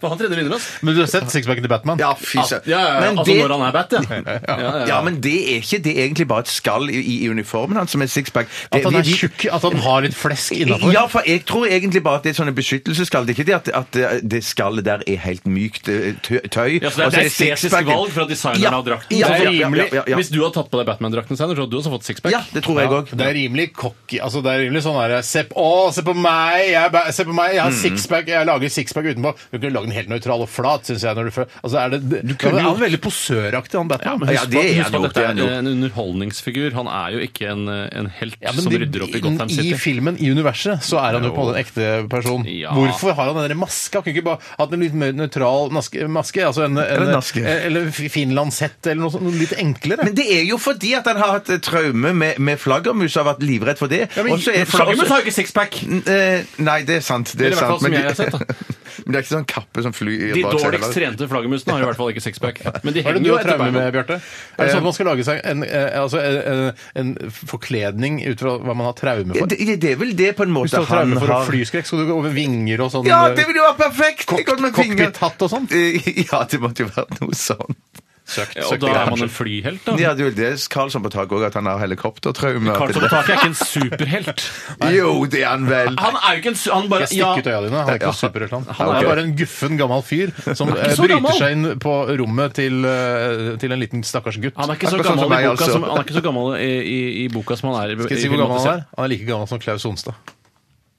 S8: For han trener lynraskt.
S7: Men du har sett sixpacken til Batman?
S3: Ja, fy søren.
S8: Ja, ja, ja.
S3: Men
S8: altså
S3: det-
S8: når han er bat, ja. ja, ja, ja.
S3: Ja, men det er ikke det er egentlig bare et skall i, i uniformen hans som er sixpack. Det-
S7: At han altså,
S3: vi-
S7: er
S3: vi-
S7: tjukk, at han har litt flesk innafor?
S3: Ja, for jeg tror egentlig bare at det er sånne beskyttelsesskall. Det er ikke det at, at det- det skallet der er helt mykt eh, tø- tøy.
S8: Ja, så det
S3: og
S8: er et estetisk
S3: sixpacken.
S8: valg fra designeren
S3: Ja,
S8: av drakten.
S3: Ja,
S8: det er
S3: ja, ja,
S8: rimelig.
S3: ja, ja.
S8: Hvis du hadde tatt på deg Batman-drakten, Steiner, så hadde du også fått sixpack.
S3: ja, det tror jeg òg.
S7: Det er rimelig cocky. Altså, det er rimelig sånn her Se, på- å, se på meg! Jeg, er ba- se på meg, jeg har sixpack, jeg lager sixpack utenpå. Du kunne lage den helt nøytral og flat, syns jeg. når du fø- altså, er det, du
S8: kunne
S7: Han er
S8: gjort-
S7: veldig posøraktig, han Batman.
S3: men Ja, husk det på- er
S8: Husk
S3: han
S8: at
S3: jo,
S8: dette
S3: det er
S8: er
S3: han jo.
S8: en underholdningsfigur. Han er jo ikke en, en helt
S7: Ja, men
S8: som
S7: de-
S8: rydder opp i Gotham
S7: I
S8: City.
S7: filmen, i universet, så er han jo på en måte en ekte person.
S8: Ja.
S7: Hvorfor har han den der maska? Han Kunne ikke bare hatt en litt mer nøytral naske, maske? Altså en, en,
S3: Eller naske.
S7: Eller finlandshett, eller noe sånt. Noe litt enklere.
S3: Men det er jo fordi at han har hatt eh, traume med, med flaggermus og har vært livredd for det.
S7: men-
S3: Og så er-
S8: Flaggermus har ikke sixpack!
S3: Eh, Nei, det er sant. Det er
S8: Eller i hvert
S3: sant.
S8: fall som
S3: men-
S8: jeg har sett. da.
S3: Men det er ikke sånn kappe som flyr
S8: De
S3: bak seg,
S8: dårligst
S3: eller?
S8: trente flaggermusene har i hvert fall ikke sixpack. Men de
S7: Hva er det
S8: henger
S7: du
S8: jo
S7: har
S8: etter
S7: traume med,
S8: beina.
S7: Bjarte? Er det sånn at man skal lage seg en, eh, altså, en, en forkledning ut fra hva man har traume for?
S3: det, det, det er vel det på en
S7: Hvis du
S3: måte
S7: har traume for
S3: har.
S7: flyskrekk, skal du gå over vinger og sånn?
S3: Ja, det ville jo vært perfekt! Jeg kan med
S7: Cock-
S3: fingeren-
S7: cockpit-hatt og sånt?
S3: Eh, Ja, det måtte jo vært noe sånn. sånt.
S8: Ja, Og da er man en flyhelt, da.
S3: Ja, det er jo det Karlsson på taket òg, at han har helikoptertraume. at
S8: Karlsson
S3: det-
S8: på taket er ikke en superhelt.
S3: Jo, det er han vel.
S8: Han er jo ikke en su- Han bare
S7: Jeg
S8: ja,
S7: stikker ut øya dine. Han er ikke noe superhelt, han. Han
S3: ok.
S7: er bare en guffen gammel fyr som eh,
S8: så
S7: bryter
S8: gammel.
S7: seg inn på rommet til, eh, til en liten stakkars gutt.
S8: han er ikke så
S3: Akkurat som
S8: gammel, i
S3: meg,
S8: boka,
S3: altså.
S8: som, han er ikke så gammel i, i, i boka som han er i
S7: Skal jeg si hvor gammel han er? Han er like gammel som Klaus Sonstad.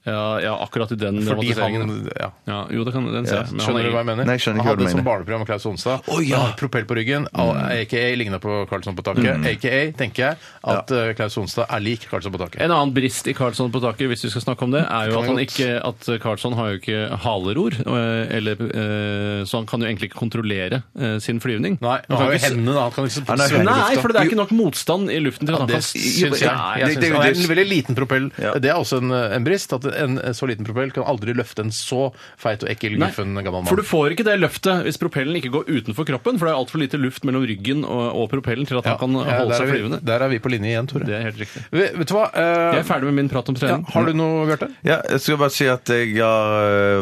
S8: Ja, ja, akkurat i den
S7: Fordi han
S8: dramatiseringen.
S7: ja.
S8: Ja, jo, det kan den se. Men han
S7: Skjønner du
S8: er-
S7: hva jeg mener?
S3: Nei, jeg skjønner
S7: han
S3: ikke hva du
S7: hadde som
S3: mener.
S7: barneprogram med Klaus Sonstad.
S3: Å, ja.
S7: Han har Propell på ryggen, og
S8: Mm.
S7: aka ligna på Karlsson på taket. Aka tenker jeg at eh, Klaus Sonstad er lik Karlsson på taket.
S8: En annen brist i Karlsson på taket, hvis vi skal snakke om det, er jo at
S7: Kan vi
S8: han
S7: godt.
S8: ikke at Karlsson har jo ikke haleror, eh, eller, eh, så han kan jo egentlig ikke kontrollere eh, sin flyvning.
S7: Nei, han har jo
S8: ikke-
S7: hendene, da. Han kan liksom
S3: Han har
S7: svømme i
S3: hendene.
S8: Nei,
S7: lufta.
S8: for det er ikke nok motstand i luften til at han
S7: Det
S8: kan
S7: syns
S8: Nei,
S7: jeg. jeg syns
S3: det- det-
S7: det, er
S3: det-
S7: en veldig liten propell.
S3: Ja.
S7: Det er også en, eh, en brist. At en så liten propell kan aldri løfte en så feit og ekkel,
S8: Nei,
S7: guffen gammel mann.
S8: For du får ikke det løftet hvis propellen ikke går utenfor kroppen, for det er altfor lite luft mellom ryggen og, og propellen til at han
S7: Ja,
S8: kan
S7: ja,
S8: holde
S7: der
S8: seg
S7: er vi-
S8: flyvende.
S7: Der er vi på linje igjen, Tore.
S8: Det er helt riktig.
S7: Vet, vet du hva? eh,
S8: Jeg er ferdig med min prat om
S7: ja,
S8: trening.
S7: har du noe, Bjarte?
S3: Ja, jeg skal bare si at jeg har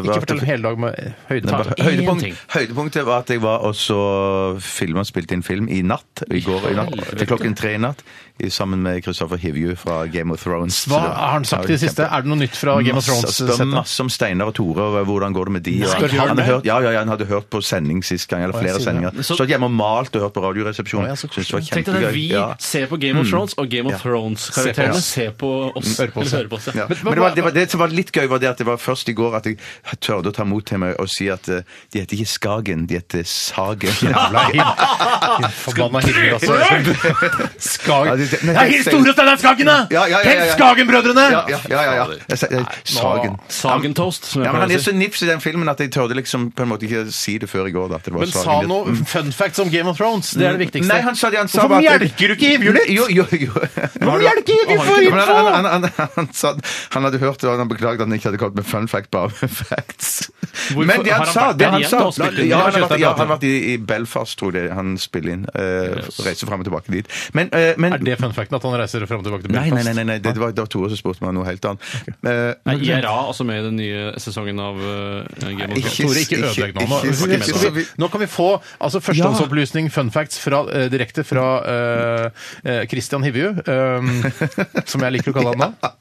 S7: Ikke fortell Altså, en hel dag med høyde.
S3: Nei, bare
S8: Én
S3: høydepunkt,
S8: ting.
S3: høydepunktet var at jeg var og så film og spilte inn film i natt. I går i natt,
S8: Helvete.
S3: til klokken tre i natt. i- Sammen med Christopher Hivju fra Game of Thrones.
S7: Hva har han sagt i det siste? Er det noe nytt fra Game of
S3: Masse, spør
S7: Thrones-settet?
S3: masse om Steinar og Tore og hvordan går det med de. Og
S7: Skal du
S3: han,
S7: gjøre
S3: han, har
S7: det?
S3: hørt, ja, ja, ja, han hadde hørt på sending sist gang, eller
S7: jeg
S3: flere
S7: sier det.
S3: sendinger. Så hjemme og malt og hørt på
S7: Å, ja,
S3: Radioresepsjonen.
S7: så
S3: Synes det var
S8: Tenk deg det,
S3: kjempegøy.
S8: vi
S3: Ja. Mm.
S8: ser på Game of Thrones, og Game of Thrones-karakterene ser på oss.
S7: Hører på oss,
S8: Eller hører på oss, ja.
S3: Ja. Men, det, var, det, var, det som var litt gøy, var det at det var først i går at jeg tørde å ta mot til meg og si at eh, de heter ikke Skagen, de heter Sagen.
S7: Jævla him- Forbanna himmel, altså. Skag...
S3: Ja, det- nei,
S7: Ja, hils Tore og Steinar Skagen, da!
S3: Ja, ja, ja, ja, ja.
S7: Hils Skagen-brødrene!
S3: Ja, ja, ja, ja, ja. Jeg sa- jeg- Sagen.
S8: Sagentoast, som jeg
S3: Ja, men Han
S8: pleier
S3: er
S8: å si.
S3: så nips i den filmen at jeg tørde liksom på en måte ikke si det før i går. Da, at det var
S7: Men
S3: Sagen
S7: sa
S3: litt.
S7: noe fun facts om Game of Thrones. Det er det viktigste.
S3: mm. Nei, han sa det han sa
S7: Hvorfor
S3: var at-
S7: mjelker du ikke Hivju litt?
S3: Jo, jo, jo. Hvorfor
S7: mjelker du ikke for
S3: han,
S7: info?
S3: han, han, han, han, sa, han hadde hørt det, og han beklaget at han ikke hadde kommet med fun fact, bare med facts. Men det
S8: har han
S3: han sa
S8: vært
S3: det
S8: der
S3: han
S8: igjen
S3: sa,
S8: da og spilt inn?
S3: Ja, han
S7: Kjøttet
S3: har vært,
S7: er
S3: ja,
S7: bra.
S3: han har vært i, i Belfast, tror jeg det han spiller inn. eh, reiser frem og tilbake dit. Men, eh, men
S7: Er det fun facten at han reiser fram og tilbake til
S3: Nei,
S7: Belfast?
S3: nei, nei, nei, nei. Det, det var, det var Tore som spurte meg om noe helt annet. Eh,
S8: Nei, IRA, altså med i den nye sesongen av eh, Game of Thrones.
S3: Ikke-
S7: Tore, ikke
S3: ikke-
S7: ødelegg nå. Nå,
S3: ikke-
S7: skal vi- skal vi, nå kan vi få altså, førstehåndsopplysning, fun facts, fra, eh, direkte fra eh, eh, Christian Hivju, eh, som jeg liker å kalle han da.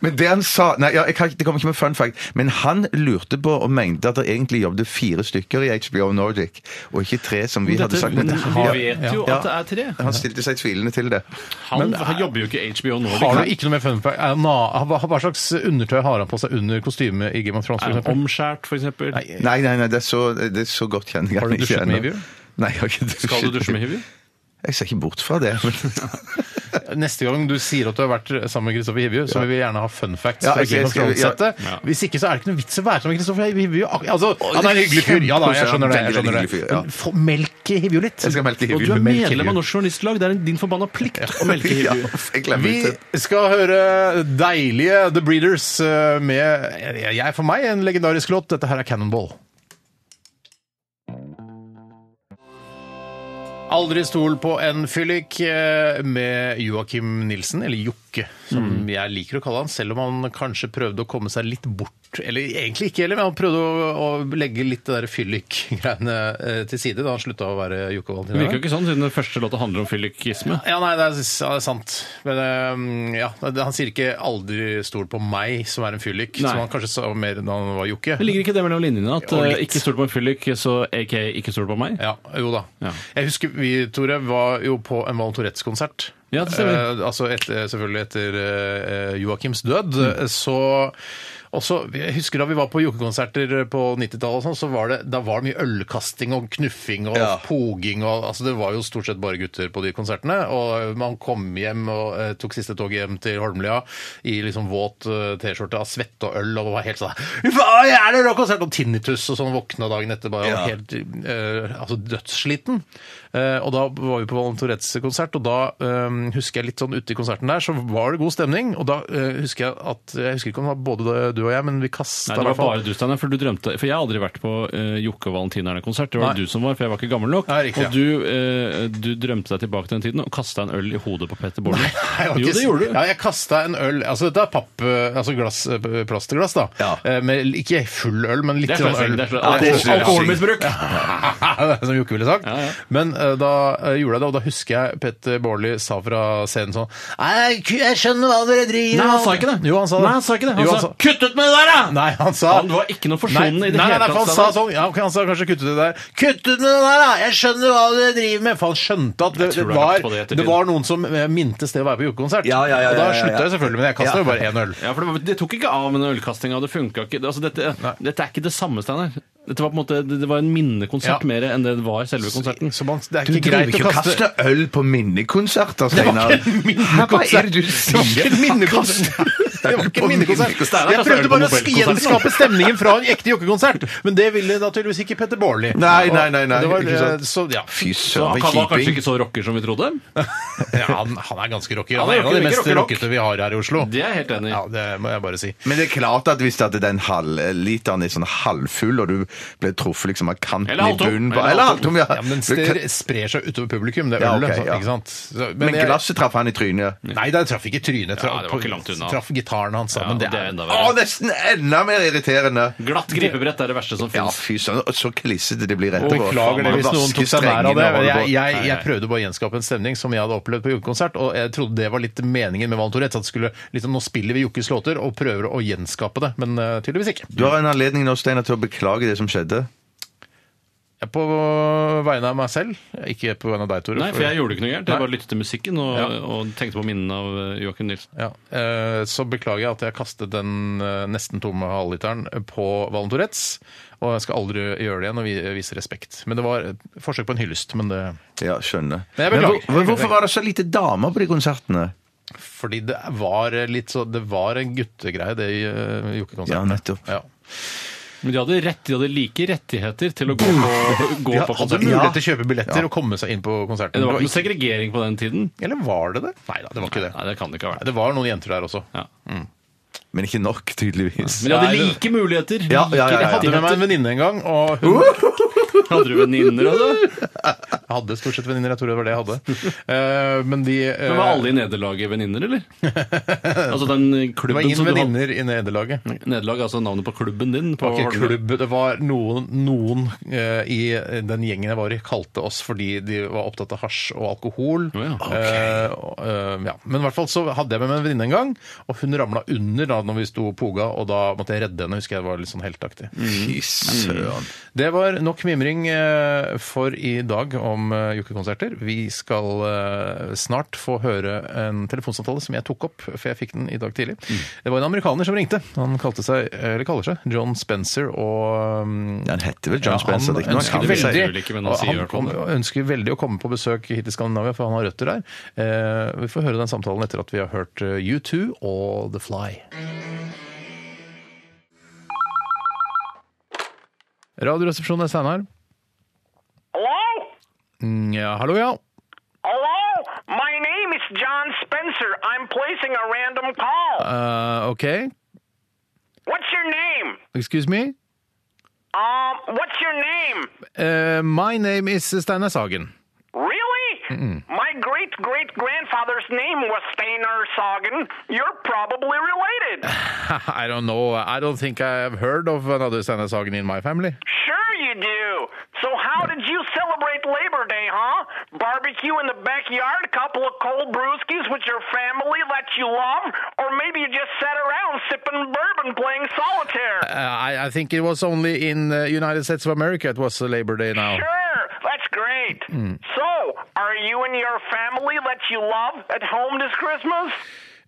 S3: Men det han sa Nei, ja, jeg kan, ikke- det kommer ikke med fun fact. Men han lurte på og mente at det egentlig jobbet fire stykker i HBO Nordic, og ikke tre, som vi hadde sagt. Men det-
S8: vi vet jo
S3: Ja.
S8: at det er tre.
S3: Han stilte seg tvilende til det.
S8: Han, han jobber jo ikke i HBO Nordic.
S7: Har du ikke noe mer fun fact? Er han na- Hva hva slags undertøy har han på seg under kostymet i Game of Thrones? for
S8: Er han
S7: eksempel?
S8: omskjært, for eksempel?
S3: Nei, nei, nei, det er så, det er så godt kjenner jeg
S7: Har du
S3: han ikke
S7: dusjet med
S3: ennå.
S7: Hivju?
S3: Nei, jeg har ikke dusjet.
S8: Skal du dusje med Hivju?
S3: Jeg ser ikke bort fra det. men-
S7: Neste gang du sier at du har vært sammen med Kristoffer Hivju, så vil vi gjerne ha fun facts
S3: Ja,
S7: fra
S3: jeg- jeg
S7: Game of
S3: skal- ja.
S7: Thrones-settet.
S8: Ja.
S7: Hvis ikke så er det ikke noe vits å være sammen med Kristoffer Hivju. Ak- Altså, han er en hyggelig fyr. Ja da, jeg skjønner det. Jeg
S3: Veldig, veldig
S7: skjønner det.
S3: hyggelig fyr, ja.
S7: Men få melk i Hivju litt.
S3: Jeg skal melke Hivju.
S8: Og du er
S3: Melke
S8: medlem
S3: Hivju.
S8: av Norsk Journalistlag. Det er en- din forbanna plikt å melke
S3: Ja,
S8: Hivju.
S3: jeg glemmer
S7: Vi
S3: det.
S7: skal høre deilige The Breeders eh, med jeg, jeg- For meg en legendarisk låt. Dette her er Cannonball. Aldri stol på en fyllik eh, med Joakim Nilsen, eller Jokke, som
S8: Mm.
S7: jeg liker å kalle han, selv om han kanskje prøvde å komme seg litt bort. Eller egentlig ikke heller, men han prøvde å, å legge litt det der fyllik-greiene eh, til side da han slutta å være Jokke
S8: Det virker
S7: Valentina.
S8: jo ikke sånn, siden den første låta handler om fyllikisme.
S7: Ja, nei, det er, ja, det er sant. Men ehm, ja, det- han sier ikke 'aldri stol på meg', som er en fyllik.
S8: Nei.
S7: Som han kanskje sa mer da han var jokke.
S8: Men ligger ikke det mellom linjene? At
S7: Jo,
S8: eh,
S7: litt.
S8: ikke stol på en fyllik, så aka ikke stol på meg?
S7: Ja, jo da.
S8: Ja.
S7: Jeg husker vi, Tore, var jo på en Valen Tourettes-konsert.
S8: Ja, det stemmer.
S7: Eh, altså etter, selvfølgelig etter eh, Joakims død.
S8: Mm.
S7: Så også, jeg husker da vi var på jokkekonserter på 90-tallet, og sånn, så var det, da var det mye ølkasting og knuffing og
S3: Ja.
S7: poging. Og, altså det var jo stort sett bare gutter på de konsertene. Og man kom hjem og eh, tok siste toget hjem til Holmlia i liksom våt eh, T-skjorte av svette og øl og var helt sånn Hva er det rå konsert? Og tinnitus og sånn våkna dagen etter bare
S3: Ja.
S7: helt eh, altså dødssliten. Eh, og da var vi på Valen Tourettes konsert, og da eh, husker jeg litt sånn ute i konserten der, så var det god stemning. Og da eh, husker jeg at Jeg husker ikke om det var både du og jeg, men vi kasta
S8: Nei, det var bare du, Steinar, for du drømte For jeg har aldri vært på eh, Jokke og Valentinerne-konsert. Det var
S7: Nei.
S8: det du som var, for jeg var ikke gammel nok.
S7: Nei, riktig, ja.
S8: og du, eh, du drømte deg tilbake til den tiden og kasta en øl i hodet på Petter Bordner.
S7: Nei, jeg var
S8: Jo,
S7: ikke-
S8: det gjorde du.
S7: Ja, jeg kasta en øl Altså, dette er papp, eh, altså glass, eh, plastglass, da.
S3: Ja.
S7: Eh, Med, ikke full øl, men litt
S8: Det er
S7: sånn
S8: sløsing.
S7: øl.
S8: det er sløsing.
S3: Ja, det er sløsing.
S8: Alkoholmisbruk!
S7: Ja, som Jokke ville sagt.
S8: Ja, ja.
S7: Men eh, da eh, gjorde jeg det, og da husker jeg Petter Baarli sa fra scenen sånn Nei, ku- jeg skjønner hva dere driver
S8: Nei, han sa ikke det.
S7: Jo, han sa det.
S8: Nei, han sa ikke det. Han
S7: Jo,
S8: sa 'kutt ut med det der', da!
S7: Nei, han sa
S8: Han var ikke noe forsonende
S7: Nei,
S8: i det
S7: nei,
S8: hele
S7: nei, for
S8: tatt,
S7: Han sa
S8: Steinar.
S7: sånn, ja, ok, han sa kanskje kutt ut det der. Kutt ut med det der, da! Jeg skjønner hva dere driver med! For han skjønte at det,
S8: Jeg tror
S7: det,
S8: du har lagt på det
S7: var,
S8: i
S7: det,
S8: ettertid.
S7: var noen som eh, mintes det å være på jordkonsert.
S3: Ja, ja, ja,
S7: og da
S3: ja, ja, ja.
S7: slutta jeg selvfølgelig, men jeg kasta jo bare én øl.
S8: Ja, for det, var, det tok ikke av med den ølkastinga. Det funka ikke. Altså, dette, dette er ikke det samme, Steinar. Dette var på en måte, det det var en minnekonsert
S7: Ja.
S8: mer enn det var selve konserten.
S7: Så man, det er
S3: Du
S7: ikke
S3: driver
S7: greit å
S3: ikke og
S7: kaste
S3: kaster øl på minnekonserter, Steinar. Hæ, Hva er det du
S7: Det
S3: sier?
S7: var ikke en minnekonsert. Det var ikke en minnekonsert.
S8: Steinar, altså,
S7: Jeg
S8: øl
S7: prøvde
S8: på
S7: bare å
S8: Nobelkonsert.
S7: gjenskape stemningen fra en ekte jokkekonsert, men det ville naturligvis ikke Petter Baarli.
S3: Nei, nei, nei, nei,
S7: Og Det var,
S3: ikke sant.
S7: eh, så, ja.
S3: Fy
S8: Så
S3: søren,
S8: han
S3: for
S8: var kanskje
S3: keeping.
S8: ikke så rocker som vi trodde?
S7: Ja, han, han er ganske rocker.
S8: Han
S7: Han
S8: er
S7: er en av de
S8: rocker,
S7: mest
S8: rocker, rock.
S7: rockete vi har her i Oslo.
S8: Det er jeg helt enig i.
S7: Ja, det må jeg bare si.
S3: Men det er klart at hvis at den halvliteren er sånn halvfull, og du ble truffet liksom av kanten
S8: Eller
S3: i
S8: halvtom.
S3: bunnen på-
S8: Eller
S3: Eller
S8: halvtom.
S3: halvtom, ja.
S7: Ja, men den
S3: Du
S7: ster,
S3: kan-
S7: sprer seg utover publikum, det ølet.
S3: Ja, ok,
S7: så-
S3: ja.
S7: Ikke sant? Så,
S3: Men
S7: jeg-
S3: glasset traff han i trynet.
S7: Nei, det traff ikke trynet. Traff,
S8: Ja, det var ikke langt unna.
S7: Traff gitaren hans sammen.
S8: Ja, det er
S7: det er,
S8: enda
S3: Å,
S8: verre.
S3: nesten enda mer irriterende!
S8: Glatt gripebrett er det verste som
S3: Ja,
S8: fins.
S3: fy søren, og så klissete det blir etterpå.
S7: Beklager det
S3: Og
S7: hvis noen
S3: vaske
S7: tok seg nær av
S3: strengene
S7: det.
S3: og holde
S7: Jeg,
S3: på.
S7: jeg, jeg prøvde bare å gjenskape en stemning som jeg hadde opplevd på Jokke-konsert, og jeg trodde det var litt meningen med Van Tourettes, at det skulle, liksom, nå spiller vi Jokkes låter og prøver å gjenskape det, men eh, tydeligvis ikke.
S3: Du har en anledning nå, Steinar, til å beklage det som skjedde.
S7: Jeg er på vegne av meg selv, ikke på vegne av deg, Tore.
S8: Nei, for jeg gjorde ikke noe gærent. Jeg
S7: Nei.
S8: bare lyttet til musikken og, og tenkte på minnene av eh, Joakim Nilsen.
S7: Ja, eh, Så beklager jeg at jeg kastet den eh, nesten tomme halvliteren på Valen Tourettes. Og jeg skal aldri gjøre det igjen og vi- vise respekt. Men det var et forsøk på en hyllest. Men det,
S3: Ja, skjønner.
S7: Men jeg beklager.
S3: hvor, hvorfor var det så lite damer på de konsertene?
S7: fordi det var litt så Det var en guttegreie, det i eh,
S3: Ja,
S7: jokkekonserten.
S3: nettopp.
S7: Ja.
S8: Men de hadde rett, de hadde like rettigheter til å gå på, gå på
S7: De hadde
S8: konsert.
S7: mulighet til å kjøpe billetter og komme seg inn på konserten.
S8: Det var
S7: Det var
S8: ikke noe segregering på den tiden.
S7: ikke- Eller var det det? Nei da, det var ikke det.
S8: Nei, det kan det ikke ha
S7: Nei,
S8: vært.
S7: Det var noen jenter der også.
S8: Ja.
S3: Men ikke nok, tydeligvis.
S8: Men de
S7: Nei,
S8: hadde
S7: det-
S8: like muligheter.
S3: Ja, ja, ja,
S8: like
S7: Jeg hadde med meg en
S8: rettigheter.
S7: venninne en gang, og hun
S8: Uh! Hadde du venninner, altså?
S7: jeg hadde stort sett venninner. Jeg tror det var det jeg hadde. Eh, men de eh,
S8: Men var alle i nederlaget venninner, eller? Altså den
S7: Det var
S8: klubben
S7: ingen
S8: som du hadde
S7: venninner i nederlaget.
S8: Nederlag, altså navnet på klubben din? På
S7: Det var ikke klubb, det var noen, noen eh, i den gjengen jeg var i, kalte oss fordi de var opptatt av hasj og alkohol.
S8: Å, ja.
S7: Eh, og, eh, ja. Men i hvert fall så hadde jeg med meg en venninne en gang, og hun ramla under da når vi sto og poga, og da måtte jeg redde henne. Husker jeg det var litt sånn heltaktig.
S8: Mm.
S3: Fy søren.
S7: Mm. Det var nok mimring eh, for i dag om eh, jokkekonserter. Vi skal eh, snart få høre en telefonsamtale som jeg tok opp, for jeg fikk den i dag tidlig.
S3: Mm.
S7: Det var en amerikaner som ringte. Han kalte seg, eller kaller seg John Spencer og um,
S3: Ja, han heter vel John Spencer. det er ikke noe
S7: ønsker
S8: veldig-
S3: han kan si.
S8: sier vel ikke, men han
S7: og
S8: sier i
S7: han
S8: hvert fall
S7: kom, ønsker veldig å komme på besøk hit til Skandinavia, for han har røtter der. Eh, vi får høre den samtalen etter at vi har hørt eh, U2 og The Fly. Radioresepsjonen er Steinar.
S4: Hello?
S7: Mm, Ja, hallo, ja.
S4: Hello? My name is John Spencer. I'm placing a random call.
S7: Eh, ok.
S4: What's your name?
S7: Excuse me.
S4: Um, what's your name?
S7: Eh, my name is Steinar Sagen.
S4: Really? My great great grandfather's name was Steinar Sagen. You're probably related.
S7: I don't know. I don't think I have heard of another Steinar Sagen in my family.
S4: sure you do. So, how did you celebrate Labor Day, huh? Barbecue in the backyard, couple of cold brewskis with your family that you love, or maybe you just sat around sipping bourbon playing solitaire?
S7: Uh, I, I think it was only in uh, United States of America it was uh, Labor Day now.
S4: Sure, that's great. So, are you and your family that you love at home this Christmas?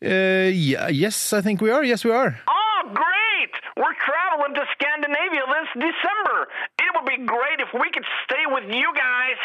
S7: Uh, yeah, yes, I think we are. Yes, we are.
S4: Oh, great! We're traveling to Scandinavia this December. It would be great if we could stay with you guys.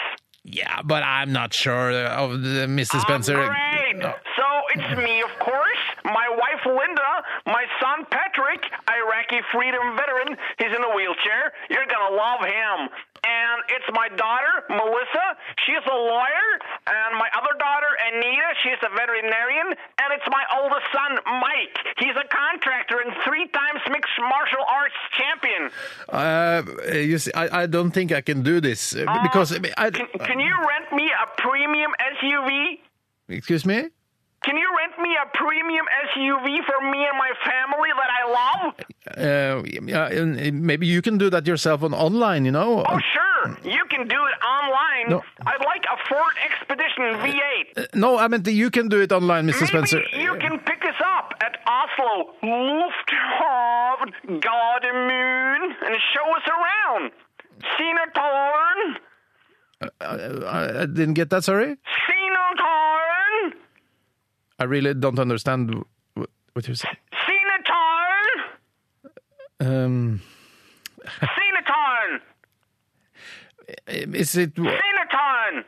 S7: Yeah, but I'm not sure uh, of the, Mr. Spencer.
S4: Oh, great!
S7: No.
S4: So, it's me, of course, my wife Linda, my son Patrick, Iraqi freedom veteran. He's in a wheelchair. You're gonna love him. And it's my daughter, Melissa. She's a lawyer. And my other daughter, Anita, she's a veterinarian. And it's my oldest son, Mike. He's a contractor and three times Mr. martial arts champion.
S7: Uh, you see, I, I don't think I can do this uh, because I,
S4: Can, can you rent me a premium SUV?
S7: uh, Excuse me?
S4: Can you rent me a premium SUV for me and my family that I love?
S7: Uh, yeah, and maybe you can do that yourself on online, you know? Uh,
S4: Oh, sure. You can do it online.
S7: No.
S4: I'd like a Ford Expedition V8.
S7: No, I meant that you can do it online, Mr. Spencer. uh,
S4: Maybe you can pick us up at Oslo Lufthavn Gardermoen and show us around. Sinatåren,
S7: Uh, I, I didn't get that, sorry?
S4: Sinatåren,
S7: I really don't understand wh- what you're saying.
S4: Sinatåren,
S7: Um,
S4: Sinatåren,
S7: is it
S4: Sinatåren.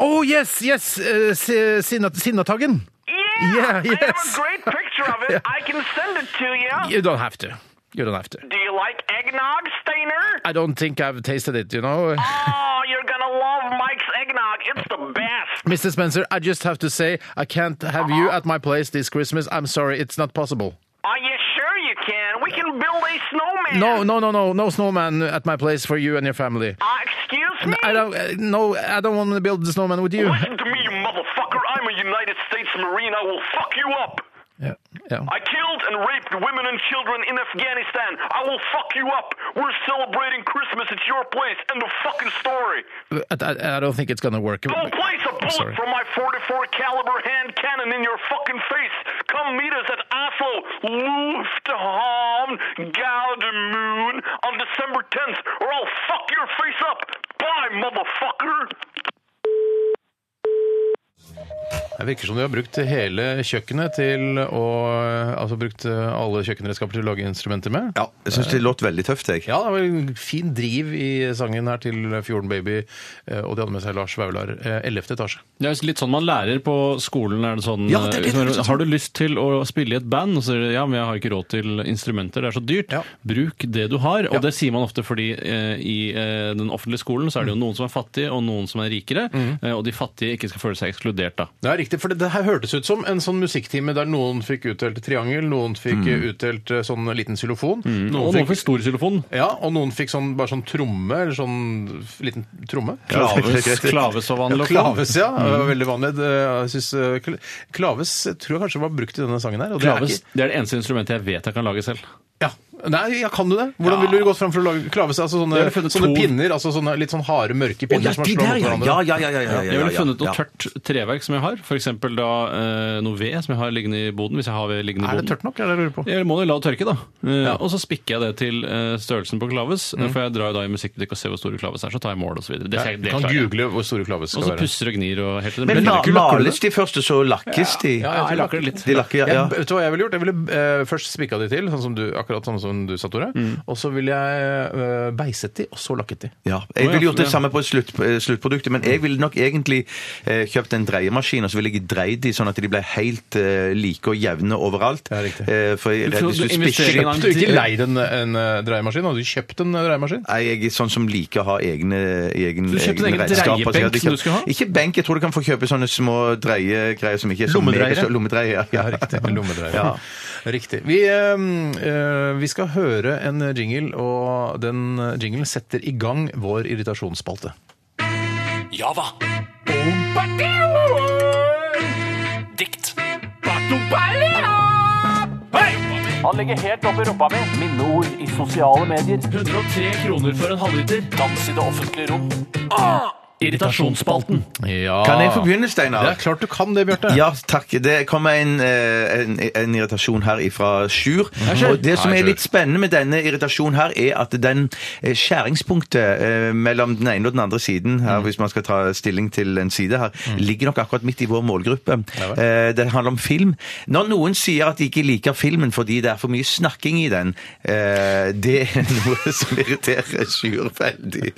S7: Oh, yes, yes! Uh, Si- Sinna- Sinnataggen!
S4: Yeah,
S7: Yeah,
S4: I have
S7: yes.
S4: a great picture of it.
S7: Yeah.
S4: I can send it to you.
S7: You don't have to. You don't have to.
S4: Do you like eggnog, Steiner?
S7: I don't think I've tasted it, you know?
S4: Oh, you're gonna love Mike's eggnog. It's the best.
S7: Mr. Spencer, I just have to say I can't have you at my place this Christmas. I'm sorry, it's not possible.
S4: Are you sure you can? We can build a snowman.
S7: No, no, no, no, no snowman at my place for you and your family.
S4: Uh, excuse me.
S7: I don't. uh, No, I don't want to build the snowman with you.
S4: Listen to me, you motherfucker. I'm a United States Marine. I will fuck you up.
S7: Yeah, yeah.
S4: I killed and raped women and children in Afghanistan. I will fuck you up. We're celebrating Christmas at your place. End of fucking story.
S7: I, I, I don't think it's gonna work.
S4: I'll place a bullet
S7: sorry.
S4: from my 44 caliber hand cannon in your fucking face. Come meet us at Oslo Lufthavn Gardermoen on December 10th, or I'll fuck your face up. Bye, motherfucker.
S7: Det virker som du har brukt hele kjøkkenet til å Altså brukt alle kjøkkenredskaper til å lage instrumenter med.
S3: Ja, jeg syns det låt veldig tøft, jeg.
S7: Ja, det var en fin driv i sangen her til Fjorden Baby, eh, og de hadde med seg Lars Vaular. eh, 11. etasje.
S8: Det er jo litt sånn man lærer på skolen. er det sånn,
S3: Ja, det er det, det er det.
S8: Har du lyst til å spille i et band? Og så sier du ja, men jeg har ikke råd til instrumenter, det er så dyrt.
S7: Ja.
S8: Bruk det du har. Og
S7: Ja.
S8: det sier man ofte fordi eh, i eh, den offentlige skolen så er det jo noen som er fattige, og noen som er rikere. Eh, og de fattige ikke skal føle seg ekskludert, da.
S7: Ja, riktig, for det, det her hørtes ut som en sånn musikktime der noen fikk utdelt triangel, noen fikk eh, utdelt eh, sånn liten xylofon,
S8: Og noen fikk stortelefon.
S7: ja, og noen fikk sånn, bare sånn tromme, eller sånn f- liten tromme.
S8: Klaves, klaves var vanlig. å få.
S7: Klaves, ja. Det var Veldig vanlig. Det- Jeg synes, eh, kl- klaves tror jeg kanskje var brukt i denne sangen her. Og det er
S8: Klaves,
S7: ikke-
S8: det er det eneste instrumentet jeg vet jeg kan lage selv.
S7: Ja. Nei, ja, kan du det? Hvordan ville du gått fram for å lage klaves? Altså
S8: Jeg
S7: sånne,
S8: ville funnet to-
S7: sånne pinner, altså sånne litt sånn harde, mørke
S3: Å,
S7: pinner
S3: ja,
S7: som man
S3: de
S7: slår
S3: der,
S7: mot
S3: ja!
S7: hverandre.
S3: Ja, ja, ja. ja, ja,
S8: Jeg ville
S3: ja,
S8: funnet noe
S3: ja.
S8: tørt treverk som jeg har, f.eks. da eh, noe ved som jeg har liggende i boden. hvis jeg har ved liggende i
S7: Er
S8: boden.
S7: det tørt nok? Er det jeg lurer på?
S8: Jeg må jo la det tørke, da. Eh, Og så spikker jeg det til eh, størrelsen på klaves. eh, For jeg drar jo da i musikkbutikk og ser hvor store klaves er, så tar jeg mål osv. Det, det,
S7: Du
S8: det klarer
S7: kan
S8: jeg.
S7: google hvor store klaves
S8: Og så
S7: skal være.
S8: pusser og gnir og helt til det
S3: Men
S8: blir
S3: la,
S8: lakker.
S3: males de først, og så lakkes de?
S8: Ja, jeg, jeg lakker det litt.
S3: De lakker, ja.
S7: Jeg, vet du hva jeg ville gjort? Jeg ville eh, først spikka de til, sånn som du, akkurat sånn som du sa, Tore.
S8: Mm.
S7: Og så ville jeg eh, beiset de, og så lakket de.
S3: Ja, jeg
S8: Å,
S3: ville
S8: ja,
S3: gjort det
S8: ja.
S3: samme på slutt, eh, sluttproduktet, men jeg ville nok egentlig eh, kjøpt en dreiemaskin, og så ville jeg dreid de sånn at de ble helt eh, like og jevne overalt.
S7: Ja, riktig.
S3: Eh, for jeg er redd
S8: Du-
S3: hvis du
S8: du
S3: spisser
S8: investerer i en-
S3: opp
S7: Du har ikke leid en, en eh, dreiemaskin? Hadde du kjøpt en eh, dreiemaskin?
S3: Nei, jeg er sånn som liker å ha egne, egne
S8: Du kjøpte en egen
S3: egne redskaper, så jeg hadde
S8: dreiebenk som du skulle ha?
S3: Ikke benk, jeg tror du kan få kjøpe sånne små dreiegreier som ikke er så
S7: Lommedreiere?
S3: mega- Lommedreier, ja.
S7: Ja, riktig. En lommedreier.
S3: Ja.
S7: Riktig. Vi, eh, eh, vi skal høre en jingle, og den eh, jinglen setter i gang vår irritasjonsspalte.
S5: Java. Dikt. Han ligger helt oppi rumpa mi. Minneord i sosiale medier. 103 kroner for en halvliter. Dans i det offentlige rom. Irritasjonsspalten.
S7: Ja.
S3: Kan jeg få begynne, Steinar?
S7: Det er klart du kan det, Bjarte.
S3: Ja, takk. Det kommer en, eh, en, en irritasjon her fra Sjur. Og det som
S7: Hei,
S3: er
S7: Sjur.
S3: litt spennende med denne irritasjonen her, er at den eh, skjæringspunktet eh, mellom den ene og den andre siden
S7: Mm.
S3: her, hvis man skal ta stilling til en side her, ligger nok akkurat midt i vår målgruppe. Eh, Det handler om film. Når noen sier at de ikke liker filmen fordi det er for mye snakking i den, eh, det er noe som irriterer Sjur veldig.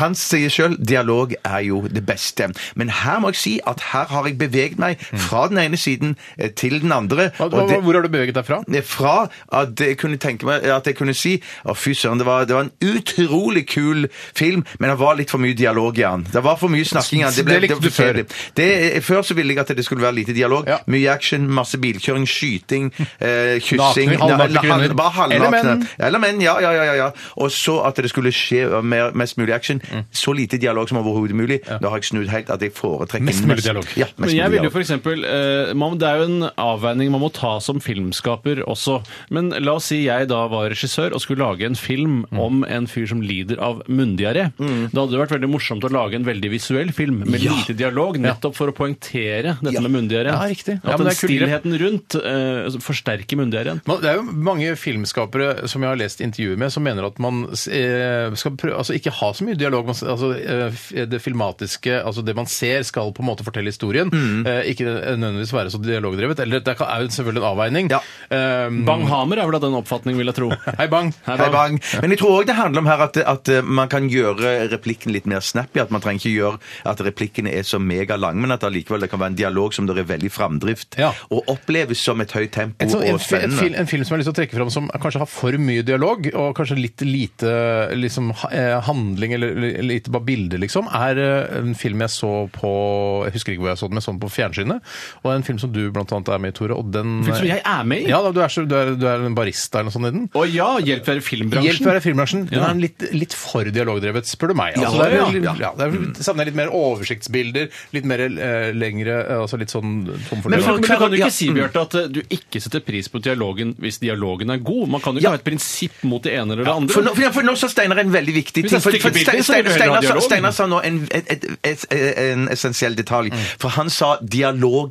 S3: Han sier sjøl dialog er jo det beste. Men her må jeg si at her har jeg beveget meg fra den ene siden eh, til den andre.
S7: Mm. Hva,
S3: og det-
S7: hva- hvor har du beveget deg fra?
S3: det er fra at jeg kunne tenke meg at jeg kunne si å fy søren, det var, det var en utrolig kul film, men det var litt for mye dialog i den. Det var for mye snakking i den.
S7: Så det likte
S3: var
S7: du
S3: for
S7: før?
S3: kjedelig. Det, før så ville jeg at det skulle være lite dialog.
S7: Ja.
S3: Mye action, masse bilkjøring, skyting, eh, kyssing
S7: Nakne, halvnakne
S3: Nei, hal-
S7: kvinner.
S3: Bare
S7: Eller
S3: halvnakne.
S7: menn.
S3: Eller menn, ja, ja, ja, ja, ja. Og så at det skulle skje eh, mer, mest mulig action.
S7: Mm.
S3: Så lite dialog som overhodet mulig. Da har jeg snudd helt at jeg foretrekker
S7: Mest mulig dialog.
S3: Ja,
S8: Men
S3: mest
S8: jeg
S3: mulig
S8: vil jo
S3: dialog.
S8: for eksempel, eh, man, Det er jo en avveining man må ta som filmskaper også. Men la oss si jeg da var regissør og skulle lage en film
S7: Mm.
S8: om en fyr som lider av munndiaré. Da hadde det vært veldig morsomt å lage en veldig visuell film med lite dialog, nettopp for å poengtere dette med munndiaré.
S7: Ja, riktig. Ja,
S8: At
S7: men
S8: den
S7: det er kulere. Mm.
S8: stillheten rundt eh, forsterker munndiareen.
S7: Man, det er jo mange filmskapere som jeg har lest intervjuer med, som mener at man eh, skal prøve, altså ikke ha så mye dialog. Man, s- altså, eh, f- det filmatiske, altså det man ser, skal på en måte fortelle historien. Eh, ikke nødvendigvis være så dialogdrevet. Eller det kan- er jo selvfølgelig en avveining.
S3: Ja.
S7: Eh,
S8: Banghamer er vel av den oppfatning, vil jeg tro.
S7: Hei, Bang.
S3: Hei, bang. Men jeg tror òg det handler om her at, at eh, man kan gjøre replikken litt mer snappy. At man trenger ikke gjøre at replikkene er så megalange, men at det allikevel det kan være en dialog som det er veldig framdrift.
S7: Ja.
S3: Og oppleves som et høyt tempo
S7: En, sånn, en,
S3: og
S7: fi- en, fil,
S3: spennende.
S7: en film som jeg har lyst til å trekke fram som kanskje har for mye dialog, og kanskje litt lite liksom, ha- eh, handling eller li- lite bare bilder, liksom, er eh, en film jeg så på Jeg husker ikke hvor jeg så den, men jeg så den på fjernsynet. Og en film som du blant annet er med i, Tore. Og den
S8: Film som jeg er med i?
S7: Ja, da, du, er så, du, er, du er en barista eller noe sånt i den.
S8: Å ja, hjelp være
S7: Hjelp
S8: filmbransjen.
S7: være filmbransjen. Den
S8: Ja.
S7: er litt, litt for dialogdrevet, spør du meg.
S8: Ja,
S7: Altså, det er,
S8: ja,
S7: ja, det er, savner litt mer oversiktsbilder, litt mer eh, lengre eh, Altså litt sånn tom for
S8: Men,
S7: dialog.
S8: for, men du kan jo
S3: ja,
S8: ikke si Bjørte, at eh, du ikke setter pris på dialogen hvis dialogen er god. Man kan jo ikke
S3: Ja.
S8: ha et prinsipp mot det ene eller det andre.
S3: For nå, for, ja, for nå sa Steinar en veldig viktig
S8: Hvis
S3: ting.
S8: det er
S3: For, for
S8: stykkebilder,
S3: Ste-
S8: så vil du
S3: Steinar
S8: heller ha
S3: Steinar
S8: dialog.
S3: sa- Steinar sa nå en, et, et, et, en essensiell detalj.
S8: Mm.
S3: For han sa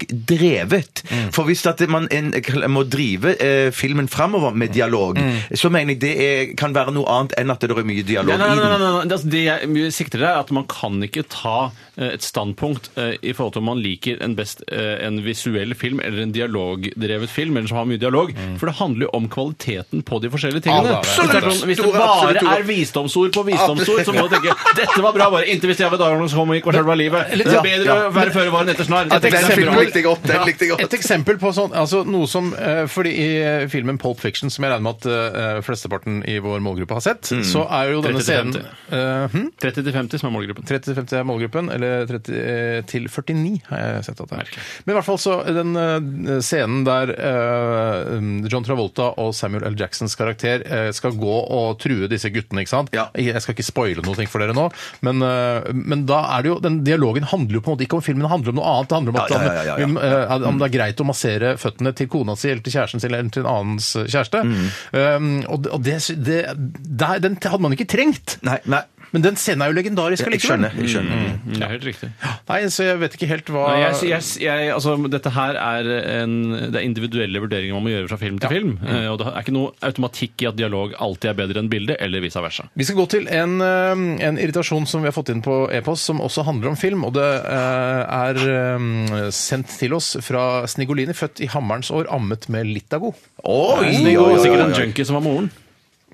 S3: 'dialogdrevet'. For hvis at man en, må drive eh, filmen framover med dialog,
S8: Mm.
S3: så mener jeg det er, kan være noe annet enn at det er mye dialog
S8: Nei, nei, nei,
S3: i den.
S8: nei, nei, nei. Altså, Det jeg sikter til, er at man kan ikke ta eh, et standpunkt eh, i forhold til om man liker en best eh, en visuell film eller en dialogdrevet film, eller som har mye dialog. For det handler jo om kvaliteten på de forskjellige tingene.
S7: Alle er det.
S8: Hvis det, er sånn, hvis det
S3: Store, absolutt
S8: bare
S3: store.
S8: er visdomsord på visdomsord, så må du tenke dette var bra, bare inntil hvis jeg var dagen som kom og gikk og skjelva livet. Det
S7: Ja,
S8: er bedre
S3: ja.
S8: å være føre var enn etter snar.
S7: At
S8: Dette er
S7: den
S8: kjempebra.
S7: filmen-
S3: jeg godt. Den likte jeg
S7: Et eksempel på sånn, altså noe som eh, Fordi i filmen Pulp Fiction, som jeg regner med at eh, flesteparten i vår målgruppe har sett,
S3: Mm.
S7: så er jo denne
S8: 30
S7: scenen
S8: til
S7: eh, hm?
S8: 30 til 50 som er målgruppen.
S7: 30-50 er målgruppen, eller 30 eh, til 49 har jeg sett at det er. Men i hvert fall så den eh, scenen der eh, um, John Travolta og Samuel L. Jacksons karakter eh, skal gå og true disse guttene, ikke sant?
S3: Ja.
S7: Jeg skal ikke spoile noe ting for dere nå, men, eh, men da er det jo, den dialogen handler jo på en måte ikke om filmen, den handler om noe annet. Det handler om at
S3: Ja, ja, ja, ja, ja.
S7: om, eh, om det er greit å massere føttene til kona si eller til kjæresten sin eller til en annens eh, kjæreste.
S3: Mm.
S7: Um, og det, og det, det, der- den hadde man ikke trengt.
S3: Nei, nei.
S7: Men den scenen er jo legendarisk
S3: Jeg
S7: allikevel.
S3: skjønner. Jeg skjønner.
S8: Mm, Det er helt riktig.
S7: Nei, så jeg vet ikke helt hva
S8: Nei, jeg, jeg, jeg, altså, dette her er, en, det er individuelle vurderinger man må gjøre fra film til film. eh, Og det er ikke noe automatikk i at dialog alltid er bedre enn bilde, eller vice versa.
S7: Vi skal gå til en, eh, en irritasjon som vi har fått inn på e-post, som også handler om film. Og det eh, er eh, sendt til oss fra Snigolini, født i Hammerens år, ammet med Litago.
S3: Oi,
S8: Det
S3: oi,
S8: var
S3: oi,
S8: Mm. sikkert en
S3: oi, oi.
S8: junkie som var moren.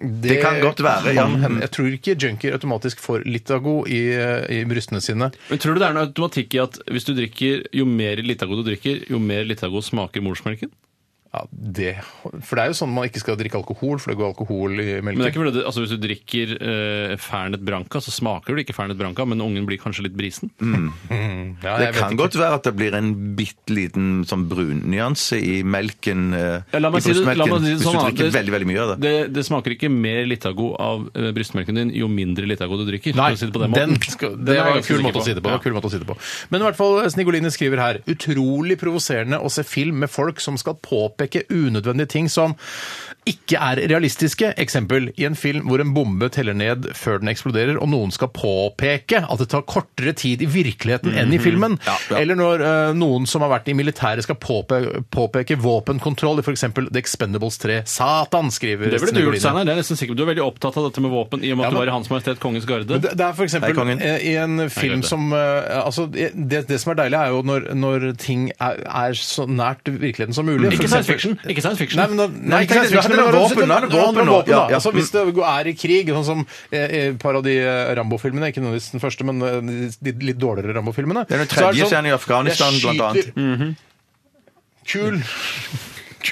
S7: Det,
S3: kan godt være, ja.
S7: kan hende. Jeg tror ikke junkier automatisk får Litago i, eh, i brystene sine.
S8: Men tror du det er noe automatikk i at hvis du drikker, jo mer Litago du drikker, jo mer Litago smaker morsmelken?
S7: Ja, det, for det er jo sånn man ikke skal drikke alkohol, for det går alkohol
S8: Men det
S7: i
S8: er
S7: melken.
S8: ikke fordi, det- altså Hvis du drikker eh, Fernet Branca, så smaker det ikke Fernet Branca, men ungen blir kanskje litt brisen.
S7: Ja,
S3: Det
S7: jeg vet
S3: kan
S7: ikke.
S3: godt være at det blir en bitte liten sånn brunnyanse i melken. eh,
S8: Ja, la meg
S3: i
S8: si det- la meg
S3: brystmelken,
S8: si det sånn,
S3: Hvis
S8: da.
S3: du drikker
S8: Det-
S3: veldig, veldig mye av det.
S8: Det, det smaker ikke mer Litago av eh, brystmelken din jo mindre Litago du drikker.
S7: Nei,
S8: for å si det på den
S7: den
S8: måten.
S7: skal,
S8: Den
S7: det
S8: er jeg
S7: var en
S8: ganske
S7: kul
S8: sikker
S7: måte å si det på. det var
S8: Ja.
S7: en kul måte å si det på. Men i hvert fall, eh, Snigolini skriver her utrolig provoserende å se film med folk som skal påpeke unødvendige ting som ikke er realistiske. Eksempel i en film hvor en bombe teller ned før den eksploderer, og noen skal påpeke at det tar kortere tid i virkeligheten enn
S8: Mhm.
S7: i filmen. Eller når eh, noen som har vært i militæret skal påpe påpeke våpenkontroll i f.eks. The Expendables 3. Satan, skriver
S8: Det ville du gjort,
S7: Snigolini.
S8: Steinar. Det er jeg nesten sikker på. Du er veldig opptatt av dette med våpen i og med at
S7: Ja, men-
S8: du var i Hans Majestet Kongens Garde.
S7: Men Det, det er for
S3: Hei,
S7: eksempel
S3: kongen.
S7: eh, i en film
S8: Grete.
S7: som eh, altså, det, det som er deilig, er jo når, når ting er, er så nært virkeligheten som mulig. For
S8: Ikke science fiction. Ikke science fiction.
S7: Nei, men da,
S3: Nei, ikke science fiction,
S7: da
S3: men
S7: handler det om
S3: våpen, da handler det om
S7: handler om
S3: våpen,
S7: våpen, da.
S3: ja, ja.
S7: Altså, hvis det er i krig, sånn som eh, eh, par av de eh, Rambo-filmene, ikke nødvendigvis den første, men eh, de litt dårligere Rambo-filmene
S3: Det er den tredje
S7: sånn-
S3: scenen i Afghanistan, blant annet.
S7: Mhm. Kul.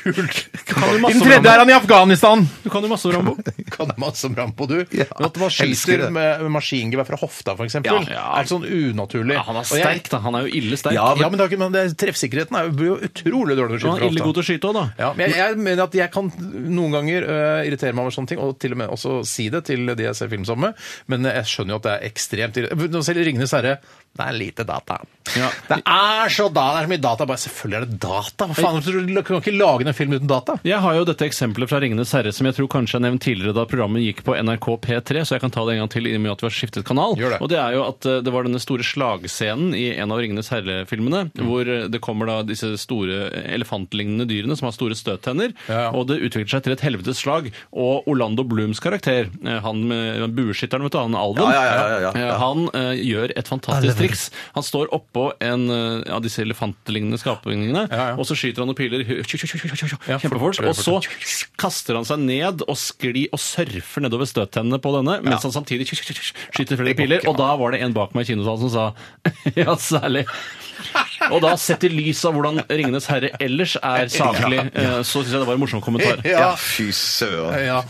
S7: Kult.
S8: Kan du masse
S7: Den
S8: om
S7: tredje
S8: Rambo?
S7: er han i Afghanistan!
S8: Du kan jo masse om Rambo.
S7: Kan masse om Rambo, du.
S3: Ja,
S7: men at man
S3: elsker
S7: skyter
S3: det.
S7: med med maskingevær fra hofta, for eksempel,
S8: Ja, ja.
S7: er sånn unaturlig.
S8: Ja, han er
S7: Og jeg-
S8: sterk, da. Han er jo ille sterk.
S7: Ja, men, det er ikke, men det er, treffsikkerheten er jo, blir jo utrolig
S8: han
S7: dårlig å skyte
S8: er ille
S7: fra
S8: god
S7: hofta.
S8: til å skyte òg, da.
S7: Ja, men jeg, jeg mener at jeg kan noen ganger øh, irritere meg over sånne ting, og til og med også si det til de jeg ser film sammen med, men jeg skjønner jo at det er ekstremt irriterende. Nå Selv i 'Ringenes herre' det er lite data.
S8: Ja.
S7: Det er så da, det er så mye data. Bare, selvfølgelig er det data! Hva faen, du kan ikke lage en film uten data.
S8: Jeg har jo dette eksempelet fra 'Ringenes herre' som jeg tror kanskje jeg nevnte tidligere da programmet gikk på NRK P3, så jeg kan ta det en gang til i og med at vi har skiftet kanal.
S7: Gjør det.
S8: Og det er jo at eh, det var denne store slagscenen i en av 'Ringenes herre'-filmene,
S7: Mm.
S8: hvor eh, det kommer da disse store eh, elefantlignende dyrene som har store støttenner,
S7: Ja, ja.
S8: og det utvikler seg til et helvetes slag. Og Orlando Blooms karakter, eh, han med bueskytteren, vet du, han alven,
S3: Ja, ja, ja, ja, ja, ja.
S8: eh, han eh, gjør et fantastisk triks. Han står oppå en eh, av disse elefantlignende skapningene,
S7: Ja, ja.
S8: og så skyter han noen piler
S7: Ja, fort,
S8: kjempefort,
S7: veldig
S8: og så kaster han seg ned og skli og surfer nedover støttennene på denne, mens han samtidig skyter flere piler. Og da var det en bak meg i kinosalen som sa ja, særlig. Og da sett i lys av hvordan 'Ringenes herre' ellers er saklig, eh, så syns jeg det var en morsom kommentar.
S3: Ja, fy søren.
S7: Ja.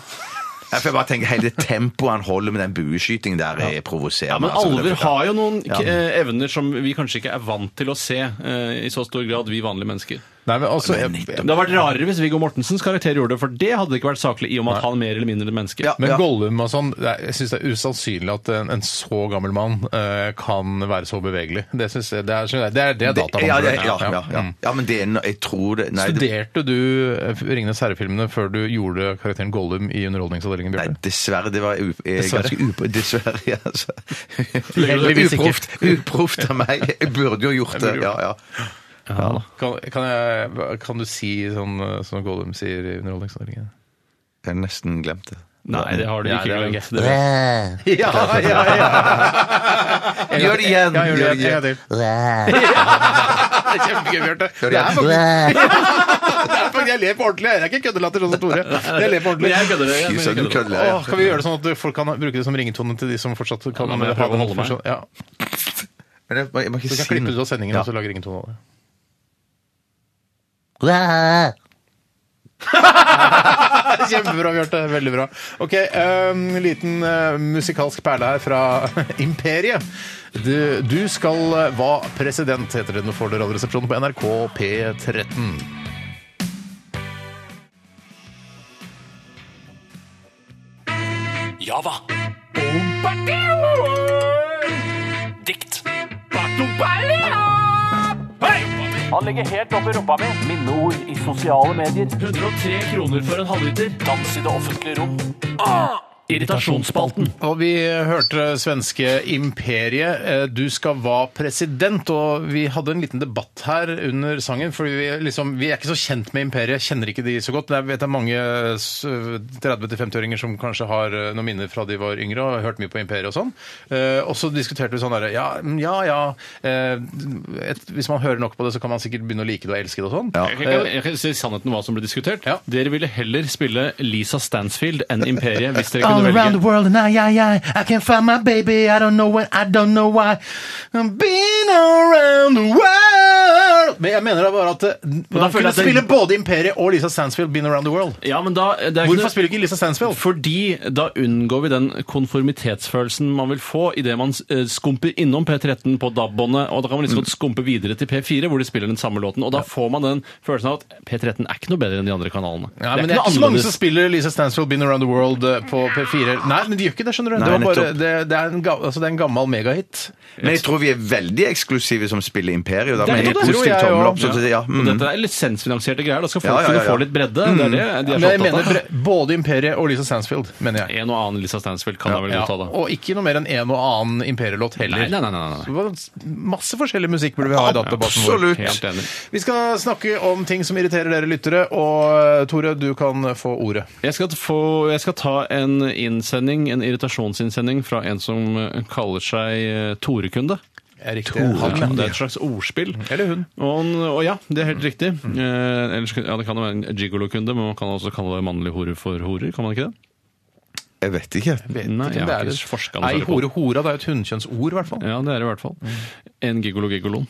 S3: Jeg får bare tenke, Hele tempoet han holder med den bueskytingen der, er provoserende.
S8: Ja, men
S3: altså.
S8: alver har jo noen
S3: Ja.
S8: k- eh, evner som vi kanskje ikke er vant til å se eh, i så stor grad, vi vanlige mennesker.
S7: Nei, men altså, jeg,
S8: Det hadde vært rarere hvis Viggo Mortensens karakter gjorde det, for det hadde ikke vært saklig i og med at han mer eller mindre er menneske.
S3: Ja.
S7: Men Gollum og sånn, det er- jeg syns det er usannsynlig at en, en så gammel mann eh, kan være så bevegelig. Det synes jeg, det er, det er, det er dataen.
S3: ja, ja, ja, ja,
S8: Mm.
S3: ja. ja, men det er no- Jeg tror det Nei, det,
S7: Studerte du eh, Ringenes herre-filmene før du gjorde karakteren Gollum i Underholdningsavdelingen?
S3: nei
S7: Bjørte?
S3: dessverre. Det var u, eh,
S7: Dessverre.
S3: ganske upro... Dessverre, ja, altså.
S7: Heldigvis ikke.
S3: Uproft, uproft av meg. Jeg burde jo gjort det. Ja, ja.
S7: Kan, kan, jeg, kan du si sånn eh, som Gollum sier i Underholdningsavdelingen?
S3: Jeg har nesten glemt det.
S8: Nei, det har du
S7: Nei,
S8: ikke
S7: det har jeg
S8: glemt. Det vet jeg.
S7: Ja, ja, ja!
S3: Gjør det igjen!
S7: Ja, gjør det igjen. En gang til. Det er kjempegøy, Bjarte. Det er faktisk Det er faktisk- Jeg ler på ordentlig. Det er ikke køddelatter sånn som Tore. Jeg ler på ordentlig.
S8: Men jeg kødder. jeg-
S3: Fy
S8: men jeg
S3: søren, du
S8: kødder.
S3: kødder. ja.
S7: Åh, kan vi gjøre det sånn at folk kan bruke det som ringetone til de som fortsatt kan
S8: Ja, da må jeg
S7: ha
S8: prøve å
S7: den
S8: holde meg.
S7: funksjonen? Ja.
S3: Men jeg, jeg må
S7: Du
S3: ikke
S7: kan
S3: si
S7: klippe
S3: noe.
S7: ut av sendingen altså.
S3: Ja.
S7: og så lage ringetone av det. Kjempebra, Bjarte. Veldig bra. Ok, En liten eh, musikalsk perle her fra Imperiet. Du, du skal eh, hva president, heter det nå for Radioresepsjonen på NRK P13.
S5: Java. Dikt. Han legger helt opp i rumpa mi. Minneord i sosiale medier. 103 kroner for en halvliter. Dans i det offentlige rom. Irritasjonsspalten.
S7: Og vi hørte svenske Imperiet. eh, Du skal hva president. Og vi hadde en liten debatt her under sangen, for vi, er liksom, vi er ikke så kjent med Imperiet. Kjenner ikke de så godt. Men jeg vet det er mange eh, s- 30-50-åringer som kanskje har eh, noen minner fra de var yngre og har hørt mye på Imperiet og sånn. Eh, Og så diskuterte vi sånn derre Ja, mm, ja. ja eh, et, hvis man hører nok på det, så kan man sikkert begynne å like det og elske det og sånn.
S8: Jeg kan, ikke- jeg kan si sannheten om hva som ble diskutert.
S7: Ja.
S8: Dere ville heller spille Lisa Stansfield enn Imperiet hvis dere
S7: All
S8: kunne
S7: around the
S8: velge.
S7: world and I, I, I, I can't find my baby. I don't know when, I don't know why. I've been around the world. Men jeg mener da bare at eh,
S8: føler
S7: man
S8: jeg
S7: kunne
S8: at det-
S7: spille både Imperiet og Lisa Stansfield Been Around the World.
S8: Ja, men da, det er ikke
S7: Hvorfor
S8: noe-
S7: spiller ikke Lisa Stansfield?
S8: Fordi da unngår vi den konformitetsfølelsen man vil få idet man eh, skumper innom P13 på DAB-båndet, og da kan man
S7: Mm.
S8: liksom godt skumpe videre til P4, hvor de spiller den samme låten. Og da får man den følelsen av at P13 er ikke noe bedre enn de andre kanalene.
S7: Ja, men det er
S8: ikke
S7: ikke så
S8: noe
S7: mange som
S8: annerledes.
S7: spiller Lisa Stansfield Been Around the World eh, på P4. Nei, men de gjør ikke det, skjønner du.
S3: Nei,
S7: det, var bare,
S3: nettopp.
S7: det, det, er en, ga- altså, det er en gammel megahit.
S3: Men jeg tror vi er veldig eksklusive som spiller Imperiet. Da,
S8: Det er
S3: med
S8: nettopp det.
S3: positiv
S7: Tror jeg
S3: tommel
S7: også.
S3: opp. Så, det- ja.
S8: Og
S3: mm.
S8: dette er lisensfinansierte greier. Da skal folk
S3: Ja, ja, ja,
S8: kunne
S3: ja.
S8: få litt bredde. Det er det de er
S7: Mm. Men
S8: så
S7: jeg mener
S8: opptatt av.
S7: bre- både Imperiet og Lisa Stansfield, mener jeg.
S8: En og annen Lisa Stansfield kan da vel
S7: Ja,
S8: godta det.
S7: og ikke noe mer enn en og annen Imperiet-låt heller.
S8: Nei, nei, nei, nei, nei.
S7: Det var Masse forskjellig musikk burde vi ha i databasen vår.
S3: Absolutt.
S8: Helt enig.
S7: Vi skal snakke om ting som irriterer dere lyttere, og eh, Tore, du kan få ordet.
S8: Jeg skal, få, jeg skal ta en innsending, en irritasjonsinnsending fra en som eh, kaller seg eh, Torekunde.
S7: er riktig.
S3: Tore.
S7: Han,
S8: Ja,
S7: ja.
S8: det er et slags ordspill.
S7: Eller hun.
S8: Og, han- og ja, det er helt riktig. Eh, ellers, ja, det kan jo være en gigolo-kunde, men man kan også kalle mannlige horer for horer. Kan man ikke det?
S3: Jeg vet ikke.
S8: Nei,
S7: Vet ikke
S8: jeg
S7: om
S8: har
S7: det
S8: ikke forsket
S7: er
S8: noe
S7: Ei
S8: særlig på
S7: hore hora, det er jo et hunnkjønnsord, i hvert fall.
S8: Ja, det er det i hvert fall. En gigolo-gigolon.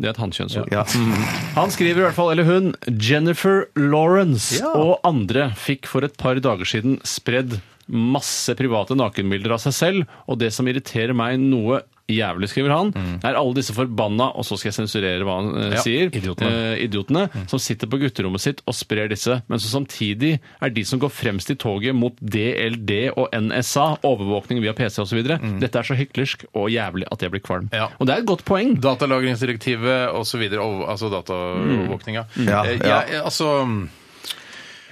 S8: Det er et hannkjønnsord.
S3: mm. Ja.
S7: Mm.
S8: Han skriver i hvert fall, eller hun, Jennifer Lawrence
S7: Ja.
S8: og andre fikk for et par dager siden spredd masse private nakenbilder av seg selv, og det som irriterer meg noe jævlig, skriver han, er alle disse forbanna, og så skal jeg sensurere hva han eh,
S7: Mm. Ja,
S8: sier,
S7: idiotene. Mm.
S8: eh, idiotene som sitter på gutterommet sitt og sprer disse, men som samtidig er de som går fremst i toget mot DLD og NSA, overvåkning via PC osv. videre Dette er så hyklersk og jævlig at jeg blir kvalm.
S7: Mm. Ja.
S8: Og det er et godt poeng.
S7: Datalagringsdirektivet osv., altså dataovervåkninga.
S3: Mm. Ja,
S7: Eh,
S3: ja.
S7: jeg- altså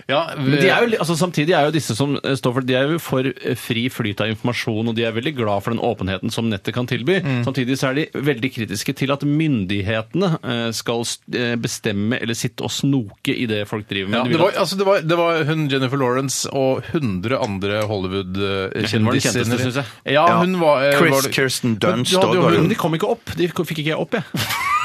S7: ja,
S8: Men de er jo, li- altså samtidig er jo disse som eh, står for De er jo for eh, fri flyt av informasjon, og de er veldig glad for den åpenheten som nettet kan tilby.
S7: Mm.
S8: Samtidig så er de veldig kritiske til at myndighetene eh, skal s- eh, bestemme eller sitte og snoke i det folk driver med.
S7: Ja,
S8: De
S7: det,
S8: vil
S7: var,
S8: at-
S7: altså, det, var, det var hun Jennifer Lawrence og 100 andre
S8: Hun var den
S7: Hollywood-kjendiser.
S8: kjenteste, synes jeg.
S7: Ja, hun var, eh,
S3: Chris
S7: var det-
S3: Kirsten Dunst
S7: Men du hadde jo
S3: og-
S7: hun-
S8: men de kom ikke opp. De ko- fikk ikke jeg opp, jeg.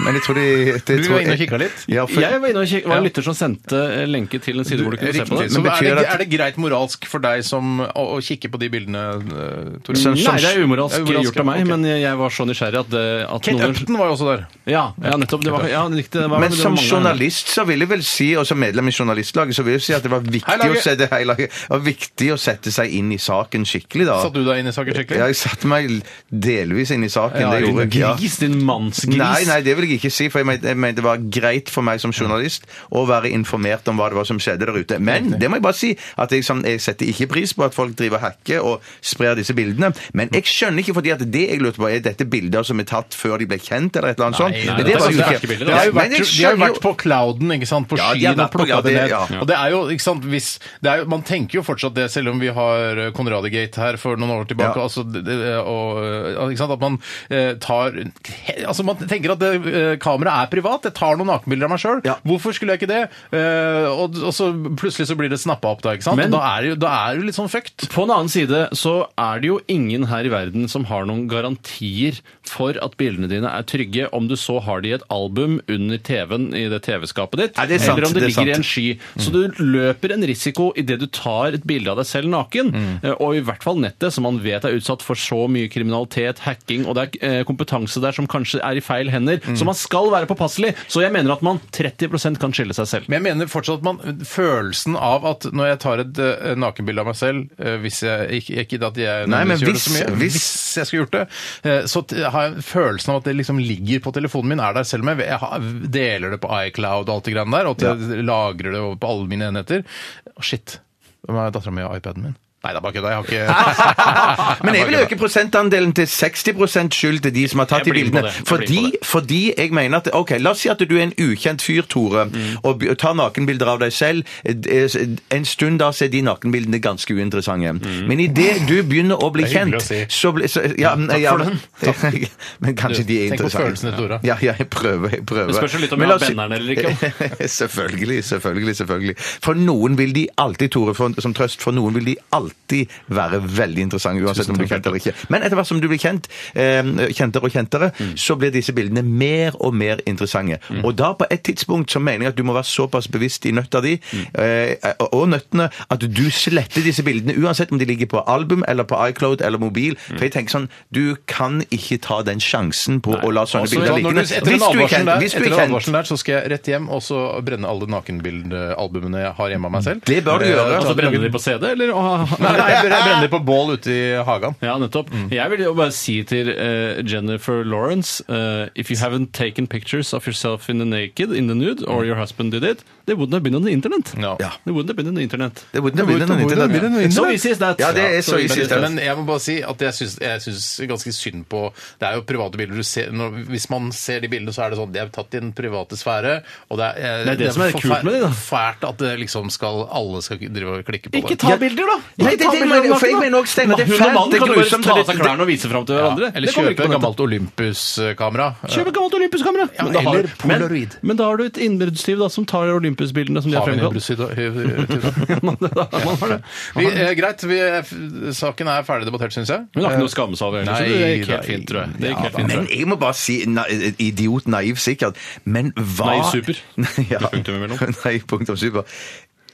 S3: Men jeg tror de det
S7: Du
S3: tror
S7: var inne og
S3: jeg-
S7: kikket litt?
S3: Ja, for,
S8: Jeg var inne og kikket, var en
S7: Ja.
S8: lytter som sendte eh, lenke til en side hvor du kunne se på det.
S7: Riktig. Så
S3: Men
S7: er
S3: betyr
S7: det,
S3: at-
S7: er det greit moralsk for deg som, å, å kikke på de bildene, eh, Tore?
S3: Som- som-
S8: Nei, det er
S7: Det er
S8: umoralsk
S7: umoralsk,
S8: gjort av meg,
S7: ok.
S8: men jeg- jeg var så nysgjerrig at, det- at
S7: Kate
S8: noen-
S7: Upton var jo også der.
S8: Ja, ja, nettopp. Det var, ja, riktig, det var,
S3: men
S8: det var
S3: som
S8: mange-
S3: journalist så vil jeg vel si, og som medlem i journalistlaget, så vil jeg si at det var
S7: Hei,
S3: viktig,
S7: laget!
S3: å, sette, hei, laget, det var viktig å sette seg inn i saken skikkelig, da.
S7: Satt du deg inn i saken skikkelig?
S3: Ja, jeg satte meg delvis inn i saken.
S8: Ja,
S3: det
S8: din
S3: gjorde jeg. ja.
S8: Gris, din mannsgris.
S3: Nei, nei, det vil jeg ikke si, for jeg mente, jeg mente det var greit for meg som journalist å være informert om hva det var som skjedde der ute. Men det må jeg bare si, at jeg, som, jeg setter ikke pris på at folk driver og hacker og sprer disse bildene. Men jeg skjønner ikke, fordi at det jeg lurte på, er dette bilder som er tatt før de ble kjent, eller et eller annet sånt?
S8: nei,
S3: Men
S8: det er altså
S3: var jo
S8: sånne
S3: ikke-
S8: hackerbilder,
S7: De har jo
S3: Ja,
S7: vært,
S3: men jeg
S7: de har jo
S3: skjønner
S7: vært på clouden, ikke sant? på
S3: Ja, de har
S7: skyen og
S3: vært på- ja,
S7: plukka det
S3: det-
S7: ned.
S3: ja.
S7: Og det er jo, ikke sant, hvis, det er jo, Man tenker jo fortsatt det, selv om vi har eh, Konradegate her for noen år tilbake.
S3: Ja.
S7: Altså, det, det- og, eh, ikke sant, At man eh, tar he- altså Man tenker at det, eh, kameraet er privat. Jeg tar noen nakenbilder av meg sjøl.
S3: Ja.
S7: Hvorfor skulle jeg ikke det? Eh, og, og så plutselig så blir det snappa opp, da. ikke sant?
S8: Men-
S7: da er det jo, da er det jo litt sånn fucked.
S8: På en annen side så er det jo ingen her i verden som har noen garantier for at bildene dine er trygge, om du så har de i et album under TV-en i det TV-skapet ditt,
S3: Nei, det er sant,
S8: eller om det,
S3: det er
S8: ligger i
S3: sant.
S8: en sky. Så du løper en risiko idet du tar et bilde av deg selv naken, eh, og i hvert fall nettet, som man vet er utsatt for så mye kriminalitet, hacking, og det er eh, kompetanse der som kanskje er i feil hender, så man skal være påpasselig. Så jeg mener at man 30 kan skille seg selv.
S7: Men jeg mener fortsatt at man, følelsen av at når jeg tar et eh, nakenbilde av meg selv eh, hvis jeg, ikke, ikke at jeg
S3: Nei, men
S7: nødvendigvis gjør det så
S3: hvis-
S7: mye,
S3: hvis-
S7: hvis jeg skulle gjort det, eh, så t- har jeg følelsen av at det liksom ligger på telefonen min, er der selv om jeg, jeg har, deler det på iCloud og alt det greiene der, og at jeg lagrer det over på alle mine enheter. Å, shit, hvem er dattera mi og iPaden min? Nei, det er bare kødda. Jeg har ikke
S3: Men jeg vil
S7: bare kødda.
S3: øke prosentandelen til 60 skyld til de som har tatt de
S8: Jeg blir med på
S3: bildene.
S8: det. Jeg blir med
S3: Fordi,
S8: på
S3: fordi jeg mener at Ok, la oss si at du er en ukjent fyr,
S7: Mm.
S3: Tore, og b- tar nakenbilder av deg selv. Eh, En stund da så er de nakenbildene ganske uinteressante. Men idet du begynner å bli
S7: Mm. Det er hyggelig
S3: kjent,
S7: å
S3: så blir så, ja, men-
S7: takk
S3: ja,
S7: for
S3: men- Men kanskje de
S7: Tenk
S3: er
S7: på
S3: interessante.
S7: følelsene til Tore.
S3: Ja, ja, jeg prøver. jeg prøver.
S8: Det spørs jo litt om
S3: Men
S8: vi
S3: la
S8: har
S3: oss si-
S8: benderen eller ikke.
S3: selvfølgelig, selvfølgelig, selvfølgelig. For noen vil de alltid, Tore, for, som trøst, for noen vil de alltid være veldig interessante, uansett om du blir kjent eller ikke. Men etter hvert som du blir kjent, eh, kjentere og kjentere,
S8: Mm.
S3: så blir disse bildene mer og mer interessante. Og da på et tidspunkt så mener jeg at du må være såpass bevisst i nøtta di,
S8: Mm.
S3: eh, og- og nøttene, at du sletter disse bildene, uansett om de ligger på album, eller på iCloud, eller mobil.
S8: Mm.
S3: For jeg tenker sånn, du kan ikke ta den sjansen på å la sånne
S8: Også-
S3: bilder
S7: Så når du,
S3: ligge.
S7: etter den
S3: er
S7: advarselen
S3: kjent-
S7: der,
S3: hvis du er
S7: etter den
S3: kjent-
S7: advarselen der, så skal jeg rett hjem og så brenne alle nakenbildealbumene jeg har hjemme av meg selv.
S3: Det bør du
S7: Eh,
S3: gjøre.
S8: Altså brenne de på CD, eller?
S7: Nei, nei, jeg brenner på bål ute i hagen.
S8: Ja, nettopp. Jeg vil jo bare si til eh, Jennifer Lawrence eh, If you haven't taken pictures of yourself in the naked, in the nude, or your husband did it, they wouldn't have been on the internet.
S7: Ja.
S3: Ja.
S8: They wouldn't have been on the internet.
S3: Det wouldn't have
S7: Det
S3: been
S7: wouldn't
S3: an
S7: have
S3: internet.
S7: been an internet.
S8: So easy is that.
S3: Ja, det er så easy is that.
S7: Men jeg må bare si at jeg syns, jeg syns ganske synd på Det er jo private bilder du ser når, Hvis man ser de bildene, så er det sånn De er tatt i den private sfære, og det er, eh,
S8: Det er det som er kult med de, da.
S7: Fælt at det liksom skal alle skal drive og klikke på
S8: Ikke
S7: det.
S8: ta bilder, da!
S3: Nei, Nei, det- det- men- for jeg mener også, Steinar, det er
S8: Hun og
S3: fælt,
S8: mannen
S3: det
S8: kan
S3: er
S8: jo bare
S3: grusomt,
S8: ta av
S3: det-
S8: seg klærne og vise fram til hverandre.
S7: Eller
S8: Det kommer
S7: kjøpe
S8: ikke på
S7: et
S8: nettet.
S7: gammelt Olympus-kamera.
S8: Kjøp et gammelt Olympus-kamera!
S7: Ja,
S8: Men da har-
S7: eller
S8: men-
S7: Polaroid.
S8: Men da har du et innbruddstyv da, som tar Olympus-bildene som de har
S7: Har vi en
S8: fremkalt.
S7: Olympus i dag?
S8: Man har det.
S7: Vi, eh, greit, vi, er f- saken er ferdig debattert, syns jeg.
S8: Hun har
S3: Eh,
S8: ikke noe å skamme seg over heller, så det gikk helt
S7: Nei,
S8: fint, tror jeg. Det
S7: ja
S8: gikk helt
S7: da.
S8: fint, tror
S3: Men
S8: jeg.
S3: jeg må bare si na, idiot naiv sikkert, men hva
S8: Naiv super.
S3: Nei, ja.
S8: Med punktum imellom.
S3: Naiv punktum super.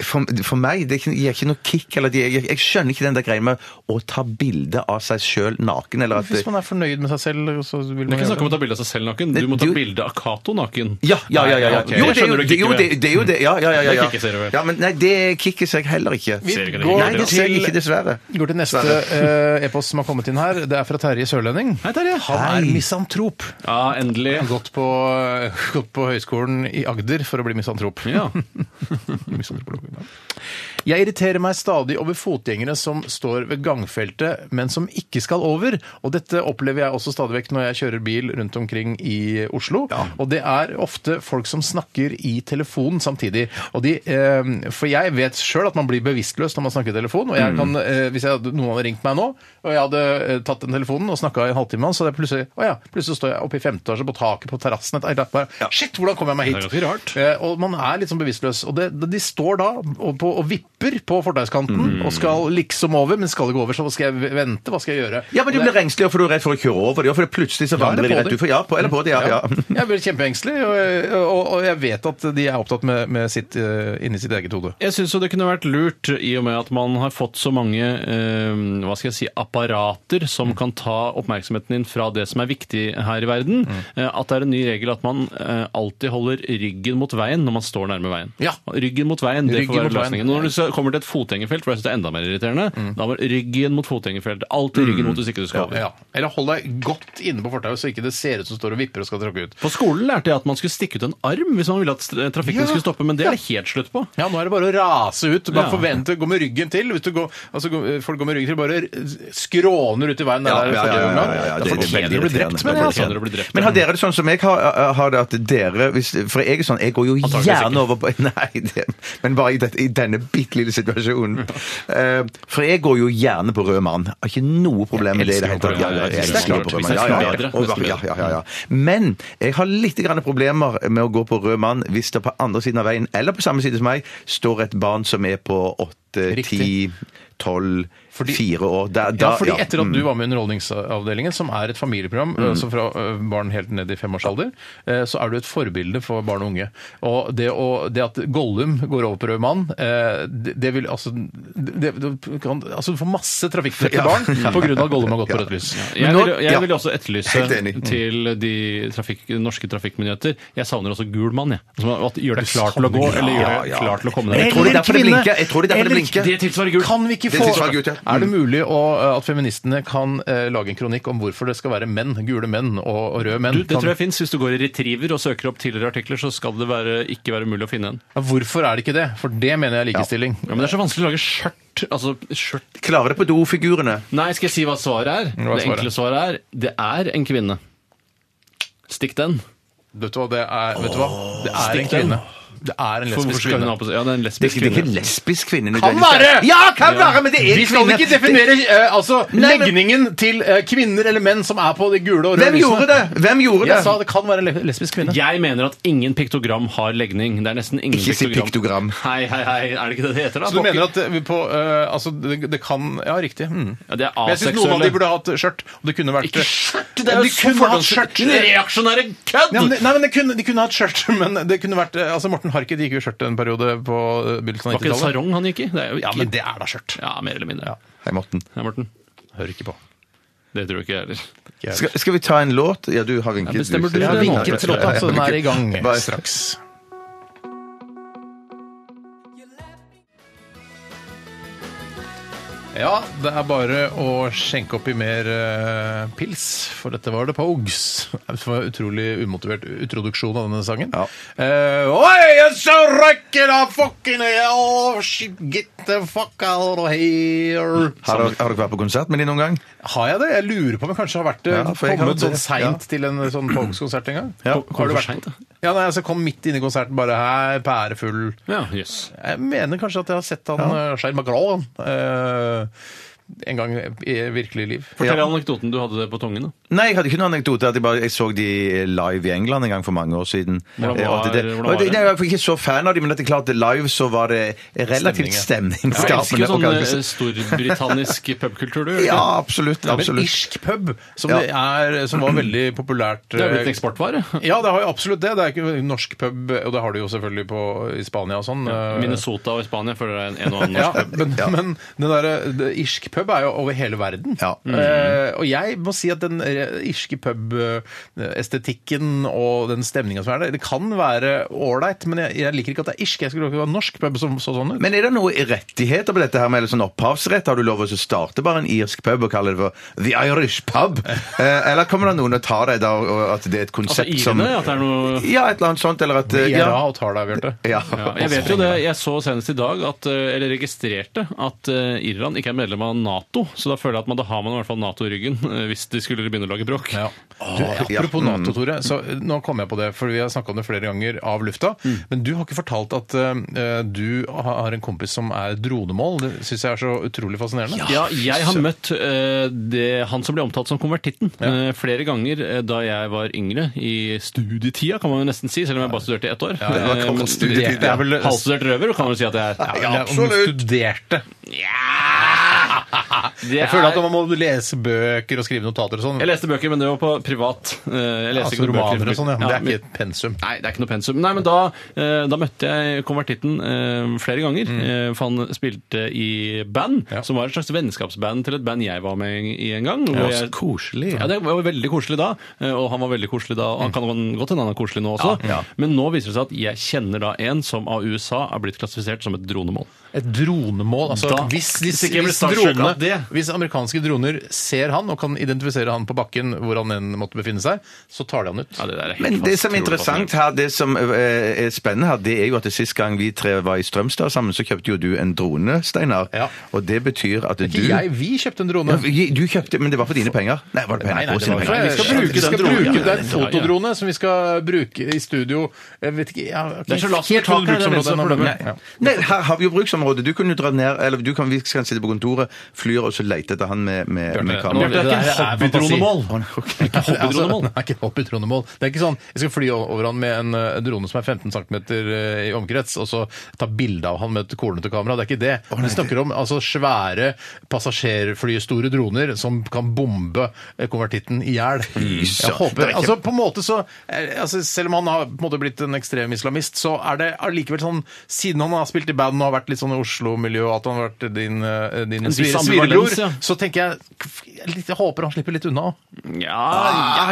S3: For, for meg det er ikke- gir ikke noe kick. Eller, det- jeg, jeg skjønner ikke den der greia med å ta bilde av seg sjøl naken. Eller at,
S7: Hvis man er fornøyd med seg selv, så vil
S8: Det er ikke
S7: man gjøre
S8: snakk om å ta bilde av seg selv naken. Du må ta
S3: Du-
S8: bilde av Cato naken.
S3: ja, ja, ja. ja, ja.
S8: Nei, ok.
S3: Jo,
S8: Jeg
S3: det er jo
S8: skjønner du
S3: det,
S8: kicket
S3: jo,
S8: vel.
S3: det, det er jo det. Ja, ja, ja. ja,
S8: Det
S3: ja.
S8: kicket ser du vel.
S3: ja men nei, det kicket ser jeg heller ikke.
S8: Ser ikke det
S7: går
S8: kicket,
S3: Nei, det ser jeg
S7: til-
S3: ikke, dessverre.
S7: Vi går til neste eh, e-post som har kommet inn her. Det er fra Terje Sørlending.
S8: Hei, Terje.
S7: Han er
S3: Hei.
S7: misantrop.
S8: Ja, endelig.
S7: Han har gått på, eh, gått på høyskolen i Agder for å bli misantrop.
S8: Ja.
S7: Misantropolog, ja. Jeg irriterer meg stadig over fotgjengere som står ved gangfeltet, men som ikke skal over. Og dette opplever jeg også stadig vekk når jeg kjører bil rundt omkring i Oslo. Og det er ofte folk som snakker i telefonen samtidig. Og de, eh, for jeg vet sjøl at man blir bevisstløs når man snakker i telefon. Og
S8: Mm.
S7: jeg kan, eh, hvis jeg, hadde- noen hadde ringt meg nå, og jeg hadde eh, tatt den telefonen og snakka i en halvtime, med han, så hadde jeg plutselig, å ja, plutselig står jeg oppe i femte etasje på taket på terrassen. et- et- bare, Shit, hvordan kom jeg meg hit?
S8: Det er ganske rart.
S7: Eh, Og man er litt sånn bevisstløs. Og det, de står da og, på, og vipper på fortauskanten
S3: Mm.
S7: og skal liksom over, men skal ikke over. Så hva skal jeg vente? Hva skal jeg gjøre?
S3: Ja, men du
S7: Og
S3: blir
S7: det-
S3: engstelig, og for du er redd for å kjøre over dem. For det plutselig så
S7: Ja, eller
S3: vandrer de
S7: på
S3: rett
S7: dem.
S3: utfor. Ja, på, eller på dem. Ja, ja.
S7: Jeg blir kjempeengstelig, og, og, og jeg vet at de er opptatt med, med sitt eh, inni sitt eget hode.
S8: Jeg syns jo det kunne vært lurt, i og med at man har fått så mange eh, hva skal jeg si, apparater som kan ta oppmerksomheten din fra det som er viktig her i verden, eh, at det er en ny regel at man eh, alltid holder ryggen mot veien når man står nærme veien.
S7: Ja.
S8: Ryggen mot veien, det
S7: Ryggen
S8: får være
S7: mot veien.
S8: løsningen. Når du så kommer til et fotgjengerfelt, for jeg syns det er enda mer irriterende, da må ryggen mot fotgjengerfelt. Alltid ryggen mot hvis ikke du skal over.
S7: Ja. Eller hold deg godt inne på fortauet, så ikke det ser ut som du står og vipper og skal tråkke ut.
S8: På skolen lærte jeg at man skulle stikke ut en arm hvis man ville at eh, trafikken
S7: Ja.
S8: skulle stoppe, men det er det helt slutt på.
S7: Ja, nå er det bare å rase ut. Bare
S8: Ja.
S7: forvente, gå med ryggen til. Hvis du går, altså, gå- folk går med ryggen til, bare skråner ut i veien. Der,
S3: Ja,
S7: det er
S3: ja, ja, ja, ja, ja,
S7: Da
S3: ja, det- det er
S7: fortjener
S3: veldig
S7: du å bli
S3: irriterende.
S7: drept, men jeg. Altså.
S8: Fortjener å bli drept.
S3: Men har dere det sånn som jeg har, har det, at dere hvis, For jeg er sånn, jeg går jo
S8: Antageligvis
S3: gjerne
S8: ikke.
S3: over på Nei, det, men bare i, dette, i denne bitte lille situasjonen. Eh, for jeg går jo gjerne på rød mann. Har ikke noe problem med det. i det
S8: Jeg elsker
S3: hele tatt. Ja, ja, jeg elsker å gå på rød mann. Ja, ja, ja. Og- ja, ja, ja, ja. Men jeg har litt grann problemer med å gå på rød mann hvis det på andre siden av veien, eller på samme side som meg, står et barn som er på åtte,
S7: Riktig.
S3: ti, tolv, fire år. Da-
S7: Ja,
S3: da-
S7: fordi
S3: ja,
S7: etter at
S3: mm.
S7: du var med i Underholdningsavdelingen, som er et familieprogram altså fra ø, barn helt ned i femårsalder, eh, så er du et forbilde for barn og unge. Og det, å, det at Gollum går over på rød mann, eh, det, det vil altså det, det kan, Altså, du får masse trafikkdrepte
S3: Ja.
S7: barn på grunn av at Gollum har gått på rødt lys.
S8: Jeg,
S3: Men nå-
S8: vil, jeg
S3: ja.
S8: vil også etterlyse Mm.
S3: Helt enig.
S8: til de trafikk, norske trafikkmyndigheter Jeg savner også gul mann, jeg. Altså, at gjør deg klar til å gå, eller gjør deg klar til å komme deg
S3: Jeg tror det er derfor det
S7: kvinne,
S3: blinker. Jeg tror det er derfor det blinker.
S8: Det tilsvarer gul.
S7: Kan vi ikke
S3: Det
S7: få
S3: synes jeg var gutt, ja.
S7: Er det mulig å, at feministene kan eh, lage en kronikk om hvorfor det skal være menn, gule menn og, og røde menn?
S8: Du, det
S7: Kan-
S8: tror jeg fins. Hvis du går i Retriever og søker opp tidligere artikler, så skal det være, ikke være mulig å finne en.
S7: ja, hvorfor er det ikke det? For det mener jeg er likestilling.
S8: Ja, men det er så vanskelig å lage skjørt. Altså, skjørt
S3: Klarer det på dofigurene.
S8: Nei, skal jeg si hva svaret er?
S7: Hva er
S8: det enkle svaret er det er en kvinne. Stikk den.
S7: Vet du hva, det er, vet du hva? Det er en
S8: Stikk den.
S7: kvinne. Det er en
S8: For hvorfor
S7: lesbisk
S8: skulle hun
S7: kvinne.
S8: ha på seg Ja, det er en
S3: Det er,
S8: lesbisk
S3: ikke- det er ikke en
S8: kvinne.
S3: lesbisk kvinne.
S7: Kan
S3: nødvendigvis.
S7: være!
S3: Ja, kan være, men det er
S7: Vi skal
S3: kvinne.
S7: ikke definere eh, altså,
S3: Nei, men-
S7: legningen til eh, kvinner eller menn som er på de gule og røde
S3: Hvem gjorde det? Hvem gjorde det?
S7: Jeg sa det kan være en le- lesbisk kvinne.
S8: Jeg mener at ingen piktogram har legning. Det er nesten ingen
S3: Ikke si piktogram.
S8: Hei, hei, hei. Er det ikke det det heter, da?
S7: Så du
S8: Pokker.
S7: mener at eh, vi på, eh, altså, det, det kan Ja, riktig. Mm.
S8: Ja, det er
S7: Men jeg syns noen av
S8: aseksuelle.
S7: de burde hatt skjørt. Og det kunne vært
S8: Ikke skjørt! Det er
S7: Ja,
S8: jo
S7: de
S8: så
S7: kunne hatt skjørt.
S8: fordomsfullt! Reaksjonære kødd!
S7: Nei, men, det, nei, men det kunne, De kunne hatt skjørt, men det kunne vært eh, Altså, Morten Harket gikk jo i skjørt en periode på eh, begynnelsen
S8: Var
S7: av
S8: ikke det
S7: 90-tallet.
S8: sarong han gikk i? Det er jo ikke...
S7: Ja, men det er da skjørt.
S8: Ja, mer eller mindre.
S3: Hei, Morten.
S8: Ja, Morten.
S7: Hører ikke på.
S8: Det tror jeg ikke jeg heller.
S3: Skal, skal vi ta en låt? Ja, du har vinket.
S8: Ja, bestemmer du
S3: ser.
S8: det
S7: Jeg
S8: nå?
S3: Ja,
S7: vinket til låta, så den er i gang
S3: Bare-
S7: straks. Ja, det er bare å skjenke opp i mer eh, pils, for dette var det på Ogs. Det var en utrolig umotivert introduksjon av denne sangen.
S3: Ja.
S7: Eh, Oi, jeg så røkken av fucking Oh, shit, get the fuck out of here.
S3: Har dere, har dere vært på konsert med de noen gang?
S7: Har jeg det? Jeg lurer på om jeg kanskje har vært det
S3: Ja, for jeg har
S7: kommet
S3: det.
S7: sånn seint til en sånn Pogues-konsert en gang.
S3: Ja.
S7: Har
S8: Kom
S7: du
S8: for
S7: vært-
S8: sent, da.
S7: Ja, nei, altså kom midt inne i konserten, bare her, pærefull.
S8: Ja, jøss.
S7: Jeg mener kanskje at jeg har sett han ja. Shire McGraw eh, en gang i virkelig liv.
S8: Fortell
S3: Ja.
S8: anekdoten du hadde det på tungen. da.
S3: Nei, jeg hadde ikke noen anekdote. At jeg, bare, jeg så de live i England en gang for mange år siden.
S8: Hvordan var-
S3: Eh, og det-
S8: hvordan
S3: og
S8: var det?
S3: Nei, jeg var ikke så fan av de, men at det klart live så var det relativt
S8: Jeg
S3: stemningsskapende.
S8: elsker sånn
S3: og
S8: eh,
S3: kanskje-
S8: storbritannisk pubkultur, du. gjør du
S3: ja,
S8: ikke?
S3: absolutt.
S7: Det er en
S3: absolutt.
S7: irsk pub som,
S3: Ja.
S7: det er, som var veldig populært.
S8: Det er jo blitt en
S7: eh,
S8: eksportvare.
S7: Ja, det har jo absolutt det. Det er ikke norsk pub, og det har du jo selvfølgelig på, i Spania og sånn.
S8: Minnesota og Spania føler jeg er en og annen
S7: Ja,
S8: norsk pub.
S7: men, men den der, det, irsk pub er jo over hele verden.
S3: Ja.
S8: Mm.
S7: Eh, og jeg må si at den eh, irske pub-estetikken og den stemninga som er der, det kan være ålreit, men jeg, jeg liker ikke at det er irsk. Jeg skulle ikke ha en norsk pub som så sånn ut.
S3: Men er det noen rettigheter på dette her med eller sånn opphavsrett? Har du lov å så starte bare en irsk pub og kalle det for The Irish Pub? Eh, eller kommer det noen og tar deg da, og- og at det er et
S8: Altså
S3: konsept som
S8: irene, at det er noe
S3: Ja, et eller annet sånt, eller at eh,
S7: Jeg er
S3: ja,
S7: rar og tar deg, Bjarte.
S3: ja.
S8: Ja, jeg vet jo det. Jeg så senest i dag, at, eh, eller registrerte, at eh, Irland ikke er medlem av Nato. Så da føler jeg at man, da har man i hvert fall Nato i ryggen, eh, hvis de skulle begynne å lage bråk.
S7: Ja. Du,
S3: ja.
S7: apropos Nato, Tore. Så eh, nå kom jeg på det, for vi har snakka om det flere ganger av lufta. Men du har ikke fortalt at eh, du har en kompis som er dronemål. Det syns jeg er så utrolig fascinerende.
S8: Ja, jeg har møtt eh, det, han som ble omtalt som konvertitten eh, flere ganger eh, da jeg var yngre. I studietida, kan man jo nesten si, selv om jeg bare studerte i ett år.
S3: det var
S8: Eh,
S3: kort
S8: men-
S3: studietid,
S8: det er vel
S7: ja.
S8: Halvstudert røver, kan man vel si at jeg er.
S7: Ja, men det er om du
S3: absolutt.
S7: Studerte.
S8: Det
S7: Jeg føler at
S8: er-
S7: man må lese bøker og skrive notater og sånn.
S8: jeg leste bøker, men det var på privat. Eh, Jeg leste
S7: altså,
S8: ikke noen
S7: romaner
S8: bøker.
S7: og sånn, ja. Men det er
S8: men-
S7: ikke et pensum.
S8: Nei, det er ikke noe pensum. Nei, men da, eh, da møtte jeg konvertitten eh, flere ganger.
S3: Mm.
S8: Eh, for han spilte i band,
S7: Ja.
S8: som var et slags vennskapsband til et band jeg var med i en gang. hvor jeg-
S3: koselig. Mm.
S8: Ja, det var jo veldig koselig da, eh, og han var veldig koselig da. og Han kan godt hende han er koselig nå også.
S7: Ja, ja.
S8: Men nå viser det seg at jeg kjenner da en som av USA er blitt klassifisert som et dronemål.
S7: Et dronemål altså,
S8: Da-
S7: hvis, hvis,
S8: Hvis ikke jeg blir
S7: hvis
S8: starstruck
S7: dronene-
S8: av det.
S7: hvis amerikanske droner ser han og kan identifisere han på bakken hvor han enn måtte befinne seg, så tar de han ut.
S8: Ja, det der er helt
S3: Men det som er
S8: fast-
S3: interessant her, det som eh, er spennende her, det er jo at det sist gang vi tre var i Strømstad sammen, så kjøpte jo du en drone, Steinar.
S7: Ja.
S3: Og det betyr at
S7: Ikke
S3: du
S7: jeg, vi kjøpte en drone.
S3: Ja, Du kjøpte, men det var for dine penger? Nei, var det på
S7: Nei, nei,
S3: NRK
S7: det
S3: sine
S7: var-
S3: penger?
S8: vi skal bruke
S7: vi skal
S8: den dronen.
S7: bruke- Det
S8: Ja,
S7: er en
S8: ja, ja.
S7: fotodrone som vi skal bruke i studio. Jeg vet ikke ja, ok.
S8: Det er så lavt på taket,
S7: Helt taket,
S8: det er det som er
S7: nå, men-
S8: problemet.
S7: Ja.
S3: Nei, her har vi jo bruksområdet. Du kan jo dra ned, eller du kan, vi kan sitte på kontoret, flyr og så lete etter han med, med, med
S8: Nå, det er
S3: kamera.
S8: ikke en
S7: Det der er fantasi.
S8: hobbydronemål. Det er ikke
S7: Altså,
S8: hobbydronemål.
S7: nei, ikke hoppytronemål. Det er ikke sånn jeg skal fly over han med en eh, drone som er 15 cm i omkrets, og så ta bilde av han med et kornete kamera. Det er ikke det. Vi snakker om altså, svære passasjerfly, store droner som kan bombe eh, konvertitten i hjel. Jeg
S3: søren. Det
S7: håper
S3: er ikke-
S7: Altså, på en måte så eh, altså, Selv om han har på en måte blitt en ekstrem islamist, så er det allikevel sånn Siden han har spilt i band og har vært litt sånn i Oslo-miljø, og at han har vært din, eh, din
S8: viss
S7: svire-
S8: ambivalens,
S7: svirebror,
S8: ja.
S7: så tenker jeg kf- jeg litt- Jeg håper han slipper litt unna.
S3: Ah,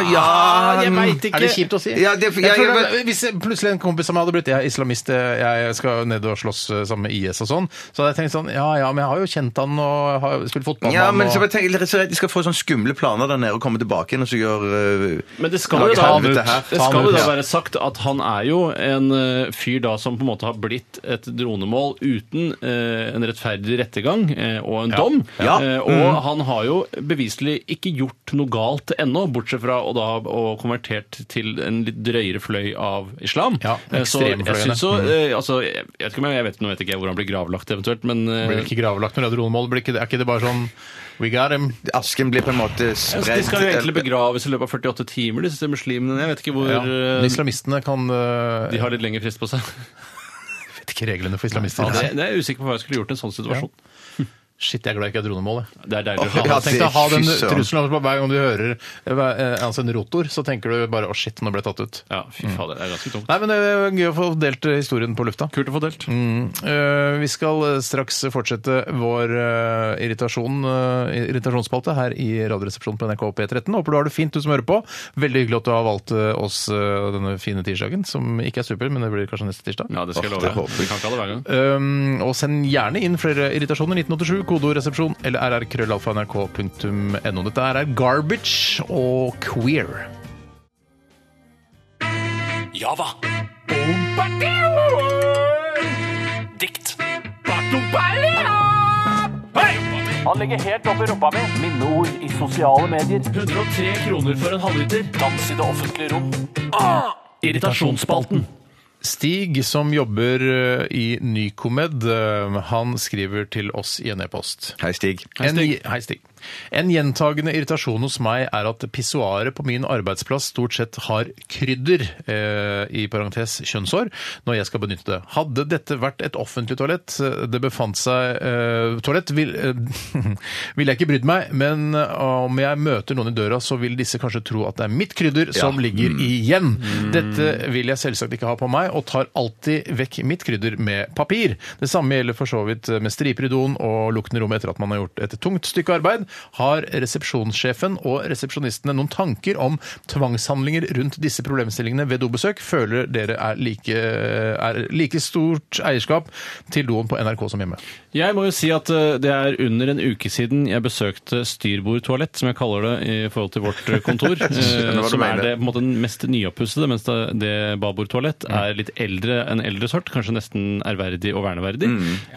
S8: Ja, ja, jeg veit ikke.
S7: Mm. Er det kjipt å si?
S3: Ja, det-
S7: jeg,
S3: jeg-
S7: tror
S3: jeg-
S7: det- hvis jeg, plutselig en kompis av meg hadde blitt jeg er islamist, eh, jeg skal ned og slåss eh, sammen med IS og sånn, så hadde jeg tenkt sånn Ja ja, men jeg har jo kjent han og har spilt fotball
S3: Ja, men
S7: med
S3: så
S7: han.
S3: bare tenk, jeg er så redd de skal få sånne skumle planer der nede og komme tilbake igjen og så gjør eh,
S8: Men det skal,
S3: lage
S8: jo da,
S3: helvete her.
S8: det
S7: Ta han
S8: skal jo
S7: ut,
S8: da
S7: ja.
S8: være sagt at han er jo en eh, fyr da som på en måte har blitt et dronemål uten eh, en rettferdig rettergang eh, og en dom.
S3: Ja.
S8: Eh,
S7: Mm.
S8: og han har jo beviselig ikke gjort noe galt ennå, bortsett fra å da å konvertert til en litt drøyere fløy av islam.
S7: Ja, Mm.
S8: Eh, så jeg
S7: ekstremfløyene.
S8: synes så, eh, altså, jeg vet ikke, men jeg vet, nå vet ikke jeg hvor han blir gravlagt eventuelt, men eh,
S7: Blir det ikke gravlagt når det er dronemål? Blir ikke det- Er ikke det bare sånn We got him.
S3: Asken blir på en måte
S8: ja,
S3: spredt
S8: de skal jo egentlig begraves i løpet av 48 timer, disse muslimene. Jeg vet ikke hvor
S7: Ja. Men
S8: eh,
S7: Islamistene kan eh,
S8: de har litt lengre frist på seg.
S7: Jeg vet ikke reglene for islamister.
S8: Ja, det, det er jeg usikker på hva jeg skulle gjort i en sånn situasjon.
S7: Shit, jeg er glad jeg ikke er dronemål, jeg.
S8: Det er deilig å
S3: Ja,
S8: høre.
S7: Jeg har tenkt å
S3: det-
S7: ha den
S3: fy søren.
S7: trusselen altså, hver gang du hører eh, altså en rotor, så tenker du bare å shit, nå ble jeg tatt ut.
S8: Ja, fy fader, det er ganske tungt.
S7: Nei, men det er gøy å få delt eh, historien på lufta.
S8: Kult å få delt.
S7: Eh, Vi skal eh, straks fortsette vår eh, irritasjon, eh, irritasjonsspalte her i Radioresepsjonen på NRK P13. Håper du har det fint, du som hører på. Veldig hyggelig at du har valgt eh, oss eh, denne fine tirsdagen, som ikke er super, men det blir kanskje neste tirsdag.
S8: Ja, det skal jeg love.
S3: Åh, det håper
S8: Vi kan ikke ha det hver gang.
S7: Um, og send gjerne inn flere irritasjoner. 1987, kodoresepsjon eller rrkrøllalfa.nrk.no. Dette her er Garbage og Queer.
S5: Java. Dikt. Hei! Han ligger helt oppi rumpa mi. Minneord i sosiale medier. 103 kroner for en halvliter. Dans i det offentlige rom. Irritasjonsspalten.
S7: Stig, som jobber eh, i Nycomed, eh, han skriver til oss i en e-post.
S3: Hei, Stig.
S7: En, hei, Stig. En gjentagende irritasjon hos meg er at pissoaret på min arbeidsplass stort sett har krydder, eh, i parentes kjønnsår, når jeg skal benytte det. Hadde dette vært et offentlig toalett, eh, det befant seg eh, toalett, vil, eh, ville jeg ikke brydd meg, men eh, om jeg møter noen i døra, så vil disse kanskje tro at det er mitt krydder som ligger
S3: Mm.
S7: igjen. Mm. Dette vil jeg selvsagt ikke ha på meg, og tar alltid vekk mitt krydder med papir. Det samme gjelder for så vidt med striper i doen og lukten i rommet etter at man har gjort et tungt stykke arbeid. Har resepsjonssjefen og resepsjonistene noen tanker om tvangshandlinger rundt disse problemstillingene ved dobesøk? Føler dere er like, er like stort eierskap til doen på NRK som hjemme?
S8: Jeg må jo si at eh, det er under en uke siden jeg besøkte styrbordtoalett, som jeg kaller det i forhold til vårt eh, kontor. eh,
S3: skjønner hva du
S8: som er
S3: mener.
S8: det på en måte, den mest nyoppussede, mens det, det babordtoalett er litt eldre enn eldre sort. Kanskje nesten ærverdig og verneverdig.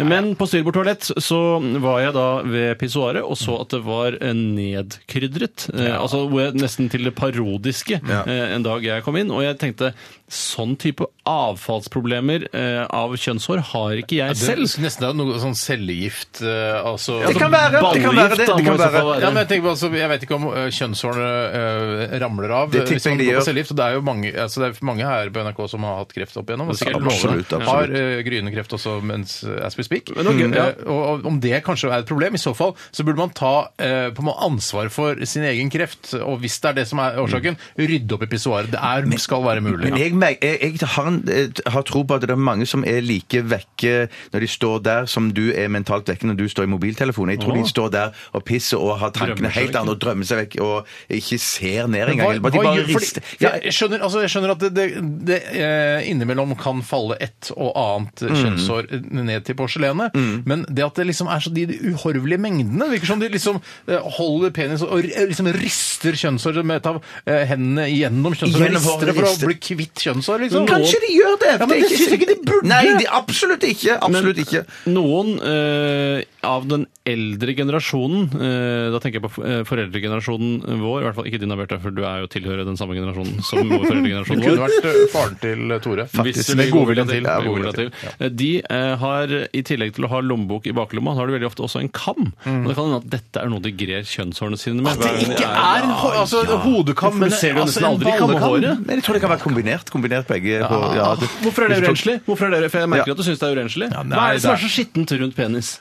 S8: Men på styrbordtoalett så var jeg da ved pissoaret og så at det var eh, nedkrydret. eh, Altså hvor jeg- nesten til det parodiske
S3: Ja.
S8: eh, en dag jeg kom inn, og jeg tenkte Sånn type avfallsproblemer eh, av kjønnshår har ikke jeg selv.
S7: Det er nesten det er noe sånn cellegift eh, altså,
S3: Det kan være det. kan være det,
S8: Ballegift, da,
S3: det
S8: må
S3: kan
S8: i så fall
S3: være.
S7: Ja, men jeg, tenker på, altså, jeg vet ikke om eh, kjønnshårene eh, ramler av.
S3: Det tipper
S7: hvis man
S3: jeg de
S7: går på
S3: gjør.
S7: cellegift, og Det er jo mange, altså, det er mange her på NRK som har hatt kreft opp
S8: Det er
S7: igjennom. og
S8: sikkert
S7: sikkert
S3: mange.
S7: mange Har eh, gryende kreft også mens eh, as we speak.
S8: Men ok,
S7: Mm,
S8: ja.
S7: eh, og, og om det kanskje er et problem, i så fall så burde man ta eh, på en måte ansvar for sin egen kreft. Og hvis det er det som er årsaken, rydde opp i pissoaret. Det er, skal være mulig.
S3: Men jeg, mer- jeg, jeg har, en- eh, har tro på at det er mange som er like vekke når de står der, som du er mentalt vekke når du står i mobiltelefonen. Jeg tror de står der og pisser og har tankene
S8: Drømmer seg
S3: helt
S8: vekk.
S3: andre og drømmer seg vekk og ikke ser ned
S7: Men
S3: engang.
S7: hva-
S3: Bare- De
S7: hva
S3: bare
S7: gjør- fordi-
S3: rister.
S7: for
S3: Ja,
S7: Jeg skjønner, altså, jeg skjønner at det, det, det eh, innimellom kan falle et og annet
S8: Mm.
S7: kjønnshår ned til porselenet, men det at det liksom er så de uhorvelige mengdene det virker som de liksom eh, holder penis og r- liksom rister kjønnshår med et av eh, hendene gjennom kjønnshåret.
S3: Gjennom håret,
S7: Rister det for
S3: rister.
S7: å bli kvitt kjønnshår, liksom.
S3: Kanskje de gjør det!
S7: Ja, men det synes jeg ikke de burde.
S3: Nei, de, absolutt ikke. Absolutt ikke.
S8: Noen eh, av den eldre generasjonen, eh, da tenker jeg på eh, foreldregenerasjonen vår, i hvert fall ikke din, Bjarte, for du er jo tilhører den samme generasjonen som vår
S7: Du
S8: foreldregenerasjon
S7: kunne
S8: vår.
S7: vært eh, faren til Tore.
S8: Hvis du
S7: Med
S8: legger godviljen
S7: godviljen
S8: til.
S7: Ja,
S8: med
S7: godviljen
S8: godviljen til. Eh, De eh, har, i tillegg til å ha lommebok i baklomma, så har de veldig ofte også en kam. Og det kan hende at dette er noe de grer kjønnshårene sine med. hver gang de
S7: Ikke er en hår, altså, hodekam,
S8: For du ser det jo
S7: altså,
S8: nesten
S7: en
S8: aldri i kam med
S7: ballekam.
S8: håret.
S3: Men jeg tror det kan være kombinert. Kombinert begge. På, ja, det,
S8: Hvorfor er det urenslig? Hvorfor er det, for jeg merker
S3: Ja.
S8: at du syns det er urenslig.
S7: nei,
S8: Hva er det som
S7: det
S8: er så skittent rundt penis?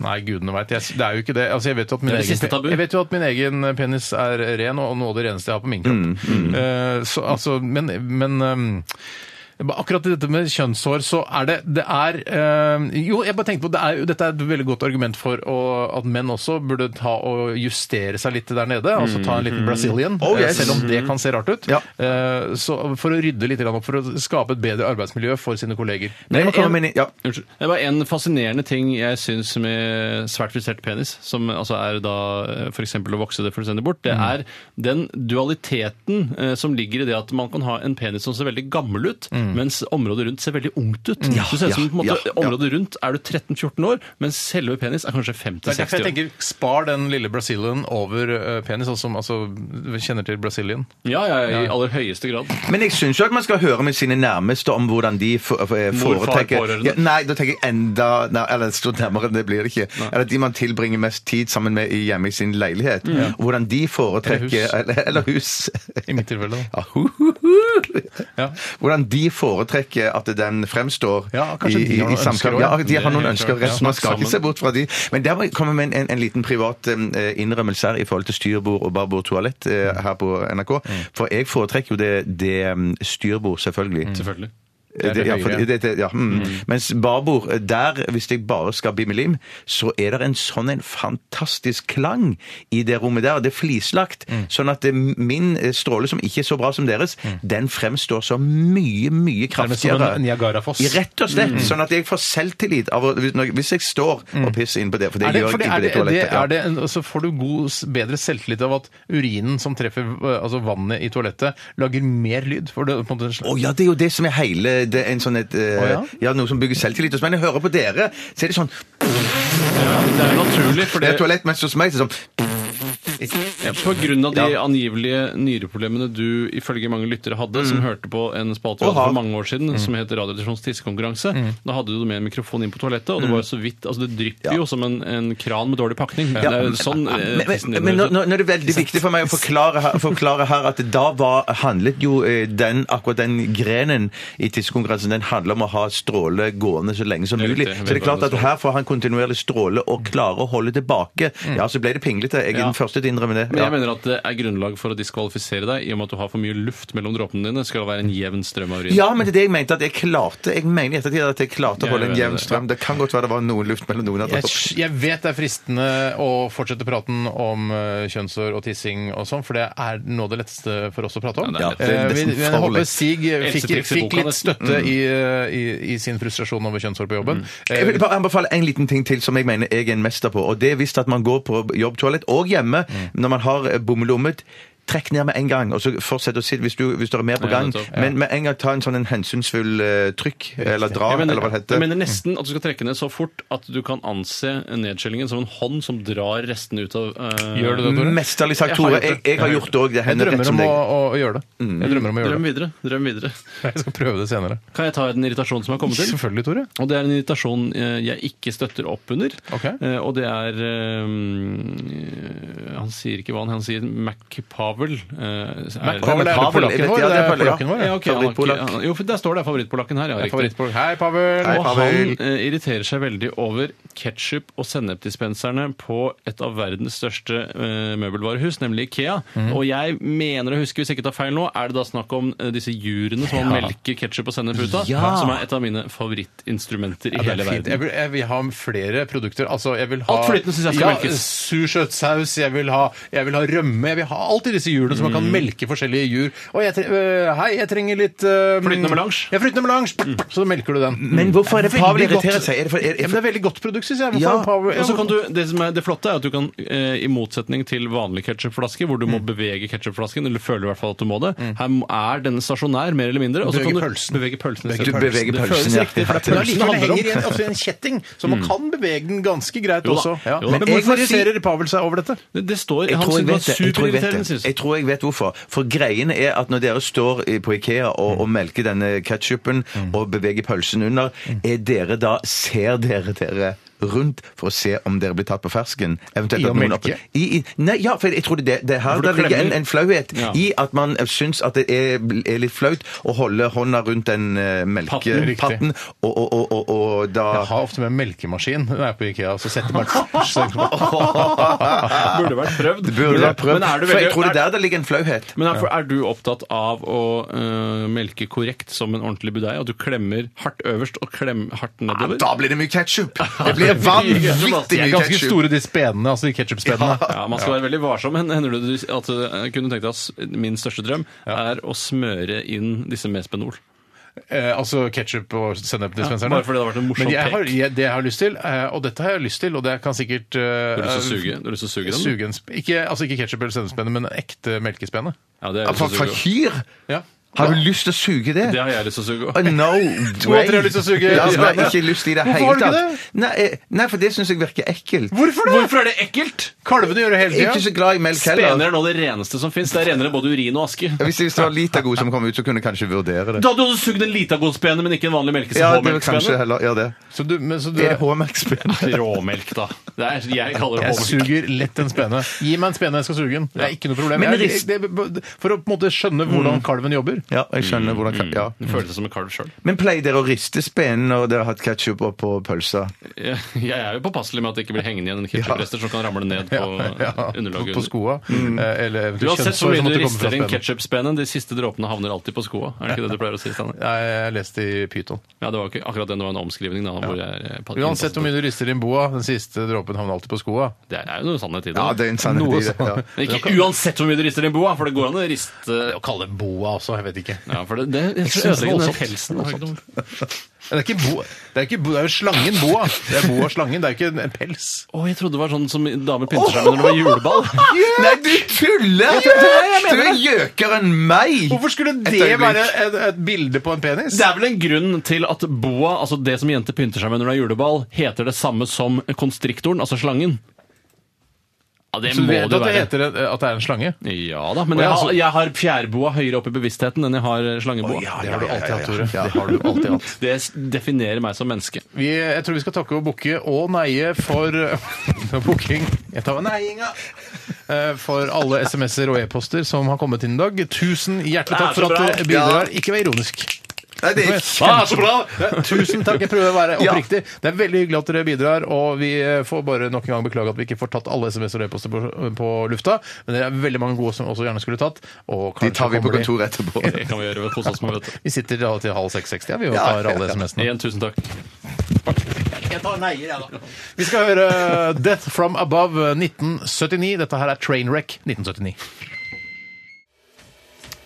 S7: Nei, gudene veit. Jeg- Det er jo ikke det. Altså, jeg, vet jo at min
S8: Det er det
S7: egen,
S8: siste tabu.
S7: pe- jeg vet jo at min egen eh, penis er ren, og noe av det reneste jeg har på min
S8: Mm,
S7: kropp. Eh, så, altså, men, men ehm, ba- Akkurat i dette med kjønnshår, så er det Det er ehm, Jo, jeg bare tenkte på det er, jo- Dette er et veldig godt argument for å, at menn også burde ta og justere seg litt der nede. Altså ta
S8: Mm.
S7: en liten Brazilian,
S3: Oh,
S7: eh,
S3: yes.
S7: selv om det kan se rart ut.
S3: Ja.
S7: Eh, så, for å rydde litt grann opp, for å skape et bedre arbeidsmiljø for sine kolleger.
S3: Nei,
S8: Men
S3: jeg
S8: en-
S3: mener- ja.
S8: Unnskyld. Det var en fascinerende ting jeg syns med svært frisert penis, som altså er da f.eks. å vokse det fullstendig bort, det er den dualiteten eh, som ligger i det at man kan ha en penis som ser veldig gammel ut, mens området rundt ser veldig ungt ut. du ser ut som
S3: ja,
S8: på en måte,
S3: ja, ja.
S8: området rundt er du 13-14 år, mens selve penis er kanskje
S7: Det er derfor
S8: 50-60
S7: jeg
S8: år.
S7: tenker spar den lille Brazilian over eh, penis, altså, som altså, vi kjenner til Brazilian.
S8: Ja, ja, i aller høyeste grad.
S3: Men jeg syns jo at man skal høre med sine nærmeste om hvordan de for- for- foretrekker
S8: pårørende?
S3: Ja, Nei, da tenker jeg enda nei, Eller så nærmere enn det blir det ikke. Eller de man tilbringer mest tid sammen med i- hjemme i sin leilighet. Og Hvordan de foretrekker Eller hus. Eller, hus.
S7: I mitt tilfelle. da.
S3: Ja, hu, hu, hu.
S7: Ja.
S3: Hvordan de foretrekker at den fremstår
S7: Ja, kanskje
S3: i,
S7: de har
S3: i, i
S7: noen ønsker
S3: samtalen.
S7: også, ja.
S3: Ja, de har
S8: Det
S3: noen
S8: er
S3: ønsker.
S8: klart, ja.
S3: Resten man skal
S8: Snakke
S3: ikke se bort fra de. Men der må jeg komme med en, en, en liten privat eh, innrømmelse her i forhold til styrbord og babord toalett eh,
S7: Mm.
S3: her på NRK. For jeg foretrekker jo det, det mm, styrbord, selvfølgelig. Eh,
S8: Selvfølgelig.
S7: er Mm. det
S3: Det- ja,
S7: høyre.
S3: for- det- det- ja, mm. Mens barbord, eh, der, hvis jeg bare skal bimmelim, så er det en sånn en fantastisk klang i det rommet der. og Det er flislagt.
S7: Mm.
S3: Sånn at det, min eh, stråle, som ikke er så bra som deres, den fremstår så mye, mye
S7: Nærmest som
S3: kraftigere.
S7: en Niagarafoss.
S3: Rett og slett.
S7: Mm.
S3: Sånn at jeg får selvtillit av å, hvis- når- hvis jeg står og pisser inn på det. For det,
S7: Er det,
S3: gjør
S7: for
S3: jeg
S7: det,
S3: ikke
S7: er
S3: på det
S7: det, det,
S3: toalettet. ja.
S7: er det en, så får du god, s- bedre selvtillit av at urinen som treffer eh, altså vannet i toalettet, lager mer lyd. For det, er på en måte en slags-
S3: Å ja, det er jo det som er hele det er en sånn et, eh,
S7: Å ja?
S3: ja? Noe som bygger selvtillit. hos meg. Men når jeg hører på dere, så er det sånn
S8: Det er jo naturlig, for
S3: Det
S8: det
S3: er toalett, mens hos meg så er det sånn
S8: på grunn av de
S3: Ja.
S8: angivelige nyreproblemene du ifølge mange lyttere
S3: Mm.
S8: hadde, som hørte på en spalte vi hadde
S3: Oha.
S8: for mange år
S3: Mm.
S8: siden, som het Radioresepsjonens tissekonkurranse. Da hadde du med en mikrofon inn på toalettet,
S3: Mm.
S8: og det var jo så vidt Altså, det drypper jo som en, en kran med dårlig pakning. Det er jo sånn eh,
S3: Men,
S8: tissen
S3: men,
S8: din
S3: men nå,
S8: høres ut.
S3: nå nå er det veldig viktig for meg å forklare her, forklare her at da var, handlet jo eh, den, akkurat den grenen i tissekonkurransen den handler om å ha stråle gående så lenge som
S8: Det er
S3: mulig.
S8: riktig.
S3: Så det er klart at
S8: Vedvarende
S3: her får han kontinuerlig stråle og klare å holde tilbake. Ja, så ble det pinglete. Jeg
S8: Mm.
S3: er
S8: Ja.
S3: den første til å innrømme det.
S8: Men jeg
S3: Ja.
S8: mener at det er grunnlag for å diskvalifisere deg i og med at du har for mye luft mellom dråpene dine. Det skal være en jevn strøm av urin.
S3: Ja, men det er det jeg mente at jeg klarte. Jeg mener i ettertid at jeg klarte
S8: Jeg
S3: å holde en
S8: mener
S3: jevn
S8: det.
S3: strøm. Det kan godt være det var noe luft mellom noen. av
S7: Jeg,
S3: dere.
S7: jeg vet det er fristende å fortsette praten om eh, kjønnshår og tissing og sånn, for det er noe av det letteste for oss å prate om.
S8: Ja, det
S3: er lett.
S7: Eh,
S3: Det er
S7: vi,
S3: nesten
S7: vi
S3: for
S7: håper
S3: lett. Mm.
S7: Stig eh, fikk,
S8: Elsetriks i
S7: fikk
S8: boka,
S7: litt
S8: nesten. Mm.
S7: støtte i, eh, i, i sin frustrasjon over kjønnshår på jobben. Eh,
S3: Jeg vil bare anbefale en liten ting til som jeg mener jeg er en mester på. Og det er visst at man går på jobbtoalett og hjemme når man har bomlommet. Trekk ned med en gang, og så fortsett å sitte hvis, du, hvis det er mer på
S8: Ja,
S3: gang.
S8: nettopp.
S3: Men med en gang ta en sånn en hensynsfull eh, trykk, eller dra,
S8: Jeg mener,
S3: eller hva det
S8: jeg
S3: heter.
S8: mener nesten at du skal trekke ned så fort at du kan anse nedskjellingen som en hånd som drar restene ut av eh,
S7: Gjør du det, Tore?
S3: Mesterlig sagt,
S8: Jeg har
S3: Tore.
S8: gjort det.
S3: Jeg, jeg har gjort det òg. Det
S7: jeg
S3: hender rett
S7: drømmer
S3: som
S7: om å,
S3: deg.
S7: å, å gjøre det.
S8: Mm.
S7: Jeg drømmer om å gjøre
S8: Drøm
S7: det.
S8: videre. Drøm videre.
S7: Jeg skal prøve det senere.
S8: Kan jeg ta en irritasjon som har kommet til?
S7: Selvfølgelig, Tore.
S8: Og det er en irritasjon eh, jeg ikke støtter opp under.
S7: Ok.
S8: Eh, Og det er eh, Han sier ikke hva han, han sier MacPavel. eh,
S7: Pavel er
S3: Pavel,
S7: polakken
S3: jeg vet,
S7: vår.
S3: ja,
S7: Det
S3: det er
S7: er
S3: Pavel, ja.
S7: polakken vår.
S8: Ja, ok, han
S7: ja.
S8: har ikke-
S3: Favorittpolakk.
S8: han- Jo, for der står det er favorittpolakken her. Ja, riktig.
S7: Favorittpolakk. Hei, Pavel!
S3: Hei,
S8: Og han
S3: Pavel.
S8: eh, irriterer seg veldig over ketsjup- og sennepdispenserne på et av verdens største eh, møbelvarehus, nemlig Ikea.
S7: Mhm.
S8: Og jeg mener å huske, hvis jeg ikke tar feil nå, er det da snakk om eh, disse jurene som man melker ketsjup og sennep ut av,
S3: Ja.
S8: som er et av mine favorittinstrumenter i
S7: Ja,
S8: hele
S7: det er
S8: verden.
S7: fint. Jeg vil, jeg vil ha flere produkter. Altså, jeg vil ha
S8: Alt flytende synes jeg skal
S7: ja,
S8: melkes.
S7: Sursøtsaus, jeg, vil ha- jeg vil ha rømme, jeg vil ha alt i disse hjulene som man
S8: Mm.
S7: kan melke forskjellige jur. Og jeg tre øh, hei, jeg trenger litt øh,
S8: Flytende Mm. melange.
S7: Ja, flytende melange. Så melker du den.
S3: Men hvorfor er det
S7: Veldig
S3: Pavel
S7: godt.
S3: irriterer seg? Er det for, er,
S7: Ja,
S3: er
S7: men det
S3: for,
S7: er veldig godt produkt, syns jeg. Hvorfor
S3: Ja,
S7: er det Pavel-
S8: Og så kan du, det, som er, det flotte er at du kan, eh, i motsetning til vanlige ketsjupflasker, hvor du
S7: Mm.
S8: må bevege ketsjupflasken, eller føler i hvert fall at du må det, her må- er denne stasjonær, mer eller mindre. Og så
S7: Bevege
S8: kan du
S7: pølsen.
S8: bevege pølsen.
S3: du
S8: isteden.
S3: beveger
S8: Det
S3: pølsen,
S8: føles
S3: ja.
S8: riktig, for det
S7: Men
S8: er pølsen det
S7: allikevel
S8: handler
S7: henger i en,
S8: om.
S7: altså i en kjetting, så man kan bevege den ganske greit
S8: Jo da.
S7: også.
S8: Jo
S7: Ja.
S8: da. Men
S7: Men, men hvorfor
S3: jeg vil si-
S7: irriterer Pavel seg over dette?
S8: Det, det står
S3: jeg
S8: Han
S3: tror
S8: synes
S3: jeg, vet det.
S8: det var
S3: jeg tror jeg vet
S8: superirriterende,
S3: det.
S8: synes
S3: Jeg tror jeg vet hvorfor. For greien er at når dere står i- på Ikea og,
S8: Mm.
S3: og melker denne ketchupen og beveger pølsen under,
S8: Mm.
S3: er dere da Ser dere dere rundt for å se om dere blir tatt på fersken? Eventuelt
S7: I
S3: at
S7: å
S3: noen
S7: melke?
S3: oppe- I, i, nei, ja, for jeg tror det, det er her
S8: For du
S3: det ligger en,
S8: klemmer.
S3: en flauhet
S8: Ja.
S3: i at man syns at det er, er litt flaut å holde hånda rundt den eh,
S8: Patten,
S7: riktig.
S3: melkepatten, og, og, og, og, og da
S7: Jeg har ofte med melkemaskin når jeg er på Ikea. Så setter man
S8: Burde vært prøvd.
S3: Det burde
S8: Men-
S3: vært prøvd.
S8: men er du
S3: For jeg
S8: veldig-
S3: tror
S8: er-
S3: det er der det ligger en flauhet.
S8: Men er, er du opptatt av å øh, melke korrekt som en ordentlig budei? At du klemmer hardt øverst og klemmer hardt nedover?
S3: Da blir det mye ketsjup! Det blir vanvittig mye
S7: Det er altså. ganske
S3: ketsjup!
S7: store de spenene, altså de ketsjupspenene.
S8: Ja, Man skal være veldig varsom. Hen- Hender det du- at øh, kunne tenkt deg at s- min største drøm er å smøre inn disse med spenol?
S7: Eh, altså ketsjup og
S8: Ja,
S7: sennepdispenserne.
S8: bare fordi det har vært en morsom
S7: Men jeg har,
S8: pek.
S7: jeg, det jeg har lyst til, eh, og dette har jeg lyst til, og det kan sikkert eh,
S8: Du har lyst til å suge, du har lyst til å suge dem?
S7: Suge en sp- ikke, altså ikke ketsjup eller sennepspenne, men ekte melkespenne.
S8: Ja, det, har jeg
S3: Fra,
S8: lyst til
S3: fra
S8: å suge.
S3: kyr?
S7: Ja.
S3: Har du lyst til å suge det?
S8: det har jeg lyst til å suge
S3: Oh,
S8: òg.
S3: no
S7: To av tre har
S3: way!
S7: lyst til å suge.
S3: Ja, jeg har ikke lyst i det
S7: Hvorfor
S3: hele
S7: har du ikke
S3: tatt. Nei, eh, nei, for det syns jeg virker ekkelt.
S7: Hvorfor det?
S8: Hvorfor er det ekkelt?
S7: Kalvene gjør det hele
S3: Jeg er ikke
S7: tida.
S3: så glad i melk
S8: Spener
S3: heller.
S8: er nå det reneste som fins. Det er renere enn både urin og aske.
S3: Hvis det hvis det var Litago som kom ut, så kunne jeg kanskje vurdere det.
S8: Da hadde du også sugd en Litago-spene, men ikke en vanlig melkes-
S3: Ja,
S8: og
S3: det vil kanskje
S8: HMX-spene.
S3: heller, ja, det.
S7: Så du, men, så du,
S3: Er det HMX-spene?
S8: Råmelk, da. Det er, jeg kaller det
S7: jeg
S8: råmelk.
S7: suger lett en spene. Gi meg en spene, jeg skal suge den. Det er ikke noe problem.
S3: Men
S7: Jeg,
S3: rist-
S7: det, for å på en måte
S8: Mm.
S7: skjønne hvordan kalven jobber.
S3: Ja, jeg skjønner hvordan ja.
S8: Det føles som en kalv sjøl.
S3: Men pleier dere å riste spenen når dere har hatt ketsjup oppå pølsa?
S8: Jeg jeg er jo påpasselig med at det ikke blir hengende igjen en ketsjuprester som kan ramle ned på underlaget.
S7: På skoa. eh,
S8: Du
S7: Eller eventuelt
S8: har sett så mye
S7: som
S8: du
S7: måtte komme fra
S8: rister inn
S7: spenen.
S8: ketsjupspenen. De siste dråpene havner alltid på skoa. Er det ikke det du pleier å si, Steinar?
S7: Nei, jeg leste i Pyton.
S8: Ja, det var ikke akkurat den, det var en omskrivning. Da, hvor jeg, eh,
S7: Uansett hvor mye du rister inn boa, den siste dråpen havner alltid på skoa.
S8: Det er jo noe sannhet i det.
S3: Ja, det er en sannhet i det. Ja.
S8: Men ikke uansett hvor mye du rister din boa, for det går an å riste
S7: Å kalle det boa også, jeg vet ikke.
S8: Ja, for det, det, det
S7: Jeg synes det var
S8: ødelegger den
S7: voldsomt.
S8: pelsen. Å
S7: Det er ikke bo, det er, ikke bo, det er jo slangen boa. Det er boa slangen, det er ikke en- en pels.
S8: jeg trodde det var sånn som damer pynter seg med når det var juleball.
S3: Nei, du tuller! Du er gjøkere enn meg!
S7: Hvorfor skulle
S3: Et
S7: det
S3: øyeblikk.
S7: være et, et bilde på en penis?
S8: Det er vel en grunn til at boa, altså det som jenter pynter seg med når det er juleball, heter det samme som konstriktoren, altså slangen. Ja, det
S7: Så du
S8: må
S7: vet at
S8: det
S7: det,
S8: være.
S7: heter en, at det er en slange?
S8: Ja da, men
S7: Å, ja,
S8: jeg,
S7: altså-
S8: har- jeg har fjærboa høyere opp i bevisstheten enn jeg har slangeboa.
S7: Det har du alltid hatt, Tore.
S3: Ja, det har du alltid hatt.
S8: Det s- definerer meg som menneske.
S7: Vi, jeg tror vi skal takke og bukke og neie for for booking. Jeg tar neiinga! Eh, For alle SMS-er og e-poster som har kommet inn i dag. Tusen hjertelig takk for at dere bidrar. Ikke vær ironisk.
S3: Nei, det er
S7: Ah, så bra! Tusen takk. Jeg prøver å være oppriktig. Det er veldig hyggelig at dere bidrar, og vi eh, får bare nok en gang beklage at vi ikke får tatt alle SMS-er og e-poster på, på lufta, men det er veldig mange gode som også gjerne skulle tatt. Og
S3: De tar vi
S7: kanskje
S3: på
S7: kommer de-
S3: kontoret etterpå.
S8: Det kan vi gjøre ved kose oss med, vet du.
S7: Vi sitter da til halv seks-seks, ja, vi og
S3: Ja,
S7: tar alle
S3: ja, ja.
S7: SMS-ene.
S8: Igjen, tusen takk.
S7: Vi skal høre eh, Death From Above 1979. Dette her er Trainwreck 1979.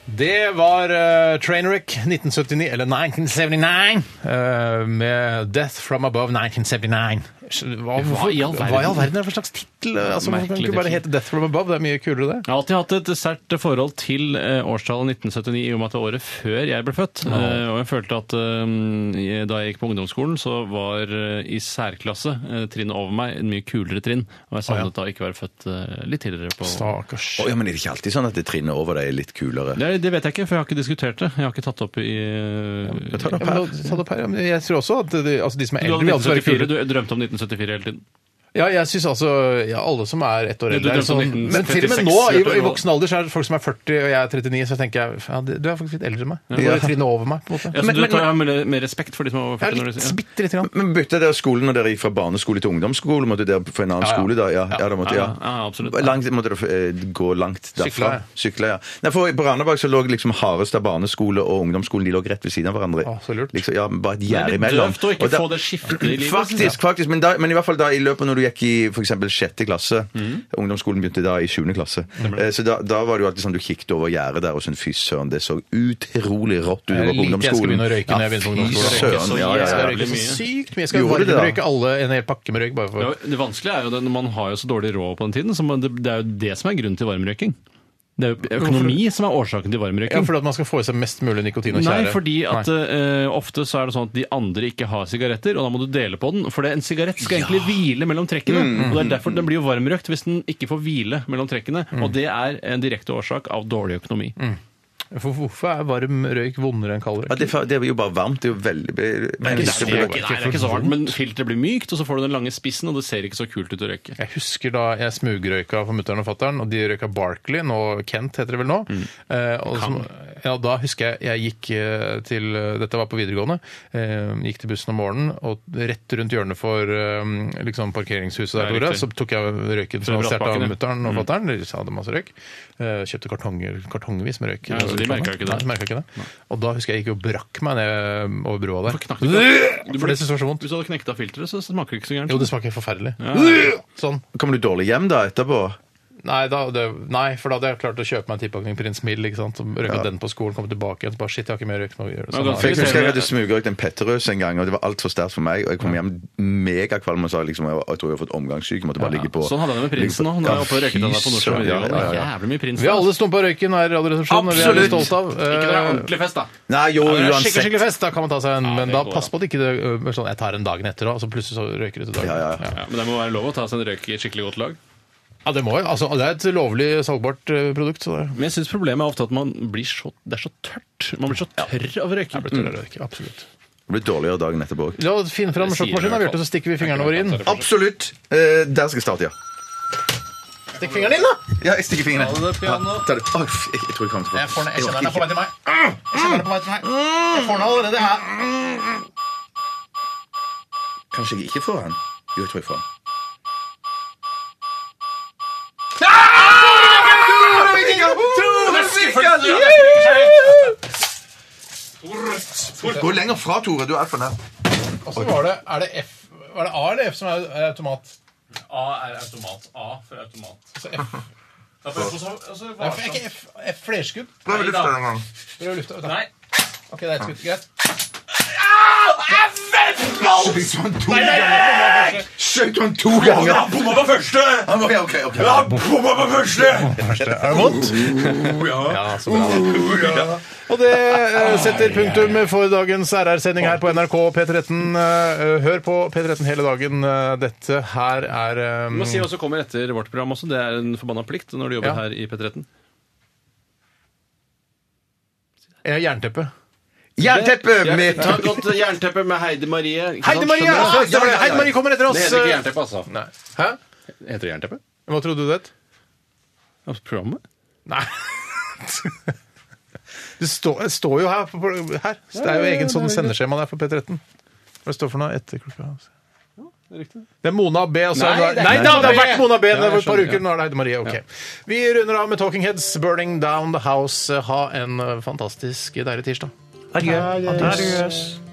S7: Det var eh, Trainwreck 1979, eller 1979, eh, med Death From Above 1979. Hva,
S8: Hva i all verden?
S7: Hva i all verden er det for slags tittel? Altså, hvorfor kan det
S8: Merkelig
S7: ikke bare
S8: tittel.
S7: hete Death From Above? Det er mye kulere, det.
S8: Jeg har alltid hatt et sært forhold til eh, årstallet 1979 i og med at det er året før jeg ble født. Eh, og jeg følte at eh, jeg- da jeg gikk på ungdomsskolen, så var eh, i særklasse eh, trinnet over meg en mye kulere trinn. Og jeg savnet da ikke være født eh, litt tidligere på
S7: Stakkars.
S3: Å, ja, men er det ikke alltid sånn at det trinnet over deg er litt kulere?
S8: Nei, det vet jeg ikke, for jeg har ikke diskutert det. Jeg har ikke tatt det opp i eh,
S7: Ja, men nå- ta det opp her, ja, men Jeg tror også at de, altså de som er
S8: Du,
S7: eldre,
S8: hadde
S7: vil alltid være
S8: 1974,
S7: kulere.
S8: du drømte om 1974 hele tiden.
S7: Ja, jeg syns altså ja, alle som er ett år
S8: Ja, du
S7: eldre er
S8: drømte om
S7: sånn,
S8: 1936,
S7: Men til og med nå, i,
S8: hørte du
S7: i
S8: nå?
S7: voksen alder, så er det folk som er 40, og jeg er 39, så tenker jeg ja, det- du er faktisk litt eldre enn meg. Du er trinnet over meg, på en måte.
S8: Ja, så
S3: Men-
S8: Altså, du
S3: men-
S8: tar mer, mer respekt for de som er over 40?
S7: Jeg er
S8: når du
S7: litt,
S8: sier-
S7: bitte lite grann.
S3: Men bytta dere skole når dere gikk fra barneskole til ungdomsskole? Måtte dere på en annen
S7: Ja, ja.
S3: skole da? Ja, ja, da måtte, ja.
S8: Ja, ja, absolutt.
S3: Langt, måtte dere eh, gå langt
S7: Sykla,
S3: derfra?
S7: ja.
S3: Sykla, ja. Nei, for På Randaberg så lå liksom Harestad barneskole og ungdomsskolen de lå rett ved siden av hverandre.
S7: Å, så lurt.
S3: Liksom, ja, bare et
S8: Det er
S3: gjerde
S8: litt
S3: imellom.
S8: døvt å ikke
S3: Og da-
S8: få det skiftet i livet, synes
S3: Faktisk, faktisk. Men, da, men i hvert fall da i løpet når du gikk i f.eks. sjette klasse Ungdomsskolen begynte da i sjuende klasse. Eh, Så da, da var det jo alltid sånn du kikket over gjerdet der og sånn fy søren, det så utrolig rått ut
S7: Jeg
S3: over
S7: er litt jeg
S3: på
S7: skal
S3: ungdomsskolen.
S7: begynne å røyke når jeg begynner på
S3: fy
S8: Røyke
S7: ungdomsskolen.
S8: så
S3: søren. Ja, ja,
S7: Jeg skal
S3: ja.
S7: røyke så sykt mye. Jeg skal
S3: Gjorde du det, da?
S7: varmerøyke alle en hel pakke med røyk bare
S8: Ja,
S7: for
S8: Det vanskelige er jo det når man har jo så dårlig råd på den tiden. Så man, det, det er jo det som er grunnen til varmrøyking. Det er jo økonomi som er årsaken til
S7: ja,
S8: varmrøyking.
S7: for at man skal få i seg mest mulig nikotin og tjære.
S8: Nei, fordi at
S7: Nei.
S8: eh, ofte så er det sånn at de andre ikke har sigaretter, og da må du dele på den. For det, en sigarett skal egentlig hvile mellom trekkene,
S7: Mm,
S8: og det er derfor den blir jo varmrøkt hvis den ikke får hvile mellom trekkene.
S7: Mm.
S8: Og det er en direkte årsak av dårlig økonomi.
S7: For Hvorfor er varm røyk vondere enn kald
S3: Ja,
S7: røyk?
S3: det, er fa- det er jo bare varmt. Det er jo veldig men,
S8: Det,
S7: ikke
S8: er
S7: så-
S8: ikke,
S7: det er
S8: nei, det er ikke så varmt, men filteret blir mykt, og så får du den lange spissen, og det ser ikke så kult ut å røyke.
S7: Jeg husker da jeg smugrøyka for mutter'n og fatter'n, og de røyka Barkley, nå Kent heter det vel nå.
S8: Mm.
S7: Eh, og som, ja, da husker jeg jeg gikk eh, til Dette var på videregående. Eh, gikk til bussen om morgenen, og rett rundt hjørnet for eh, liksom parkeringshuset
S8: Ja,
S7: der, Tore,
S8: riktig.
S7: så tok jeg røyken som
S8: Fra
S7: var stjålet av
S8: brattbakkene.
S7: mutter'n
S8: Mm.
S7: og fatter'n. De hadde masse røyk. Eh, kjøpte kartonger, kartongvis med røyk.
S8: Ja, så de merket ikke det.
S7: Nei, de merket ikke det. Og da husker jeg jeg gikk og brakk meg ned over brua der.
S8: knakk du ikke?
S7: For det syntes jeg var så vondt.
S8: Hvis du hadde knekt av filteret, så smaker det ikke så gærent.
S7: Jo, det smaker forferdelig. Sånn.
S3: Kommer du dårlig hjem da etterpå?
S7: Nei, da, det, nei, for da hadde jeg klart å kjøpe meg en tipakning Prins Mild. ikke sant? Så Røyka den på skolen, kom tilbake igjen. så bare, Shit, jeg har ikke mer røyk nå. gjør det
S8: Ja,
S7: sånn.
S8: ganske
S3: For
S8: Skal vi
S3: jeg
S8: se
S3: husker jeg
S8: om
S3: hadde
S8: jeg-
S3: smugrøykt en Petterøes en gang, og det var altfor sterkt for meg. Og jeg kom hjem megakvalm og sa liksom jeg, jeg tror jeg har fått omgangssyke. Måtte bare ligge på
S8: Sånn hadde jeg det med prinsen òg.
S3: ligge på-
S8: Nå er jeg oppe og røyket av deg
S3: fy
S8: på Nordstrand
S3: søren, ja,
S8: videregående.
S3: ja, ja.
S8: Jævlig mye prins.
S7: vi har alle stumpa røyken her i Radioresepsjonen, og vi er
S3: Absolutt.
S7: veldig stolte av.
S8: Ikke når det er
S7: Eh,
S8: ordentlig fest, da.
S3: Nei,
S7: ja, det er
S3: jo,
S7: skikkelig,
S3: uansett.
S7: skikkelig fest, da kan man ta seg en, men
S8: det
S7: da
S8: går, da.
S7: pass på at ikke det ø, blir sånn, jeg tar en dagen etter, da, og så plutselig så røyker du til dagen.
S3: Ja, ja, ja.
S8: Ja, men det må være lov å ta seg en røyk i et skikkelig godt lag.
S7: Ja, det må jo. Altså, det er et lovlig salgbart ø, produkt. så det...
S8: Men jeg syns problemet er ofte at man blir så, det er så tørt. Man blir så tørr av røyking.
S7: Jeg blir tørr av røyk, absolutt.
S3: Det Blir dårligere dagen etterpå òg.
S7: La oss finne fram
S8: Det sier jeg i
S7: sjokkmaskinen,
S8: hvert
S7: Bjarte,
S8: fall.
S7: så stikker vi fingrene våre inn.
S3: Absolutt! Eh, der skal jeg starte, ja.
S7: Stikk fingeren inn, da!
S3: Ja, jeg stikker fingrene.
S8: Ha det, piano.
S3: Ta det. Å, f- jeg, jeg tror jeg kommer til å
S7: Jeg, får den, jeg kjenner den er på vei til meg. Jeg kjenner den er på vei til meg. Jeg får den allerede her.
S3: Kanskje jeg ikke får han. Jo, jeg tror jeg får han. Gå lenger fra, Tore. Du er for nær.
S7: Og så var det, er det F, var det A eller F som er automat?
S8: A er automat. A for automat.
S7: Så F. Nei, for- ikke F- F- Flerskudd?
S9: Prøv å lufte en gang.
S7: Prøv å lufte. Nei. Ok, det er et skudd. Greit.
S9: Skjøt han to ganger? Skjøt han to ganger? Han bomma på første! Han okay, okay, okay. Han bomma på første!
S7: Er det vondt?
S9: Ja.
S7: Ja, så bra. Og det eh, setter punktum for dagens RR-sending her på NRK P13. Eh, Hør på P13 hele dagen. Eh, Dette her er eh,
S8: Vi må si hva som kommer etter vårt program også. Det er en forbanna plikt når du jobber
S7: Ja.
S8: her i P13.
S7: eh, jernteppe.
S3: Jernteppe med
S8: Ta et godt jernteppe med Heide Marie. ikke sant?
S7: Heide Marie!
S8: Skjønner du?
S7: Ja, det var det. Heide Marie kommer etter oss.
S8: Det heter ikke jernteppe, altså.
S7: Nei. Hæ?
S8: Heter det jernteppe?
S7: Hva trodde du det het?
S8: Ja, programmet?
S7: Nei. Det står, det står jo her, på- på- her. Så Det er jo egen sånn sendeskjema der for P13. Hva står det for noe etter klokka? Det er Mona B. Og så
S8: Nei,
S7: er
S8: det er
S7: Nei
S8: ikke
S7: da, det har
S8: Mona B.
S7: vært Mona B.
S8: Ja,
S7: det var
S8: jeg
S7: et par
S8: skjønner,
S7: uker. Nå er det Heide Marie. ok. Vi runder av med Talking Heads, 'Burning Down The House'. Ha en eh, fantastisk deilig tirsdag. Adiøs.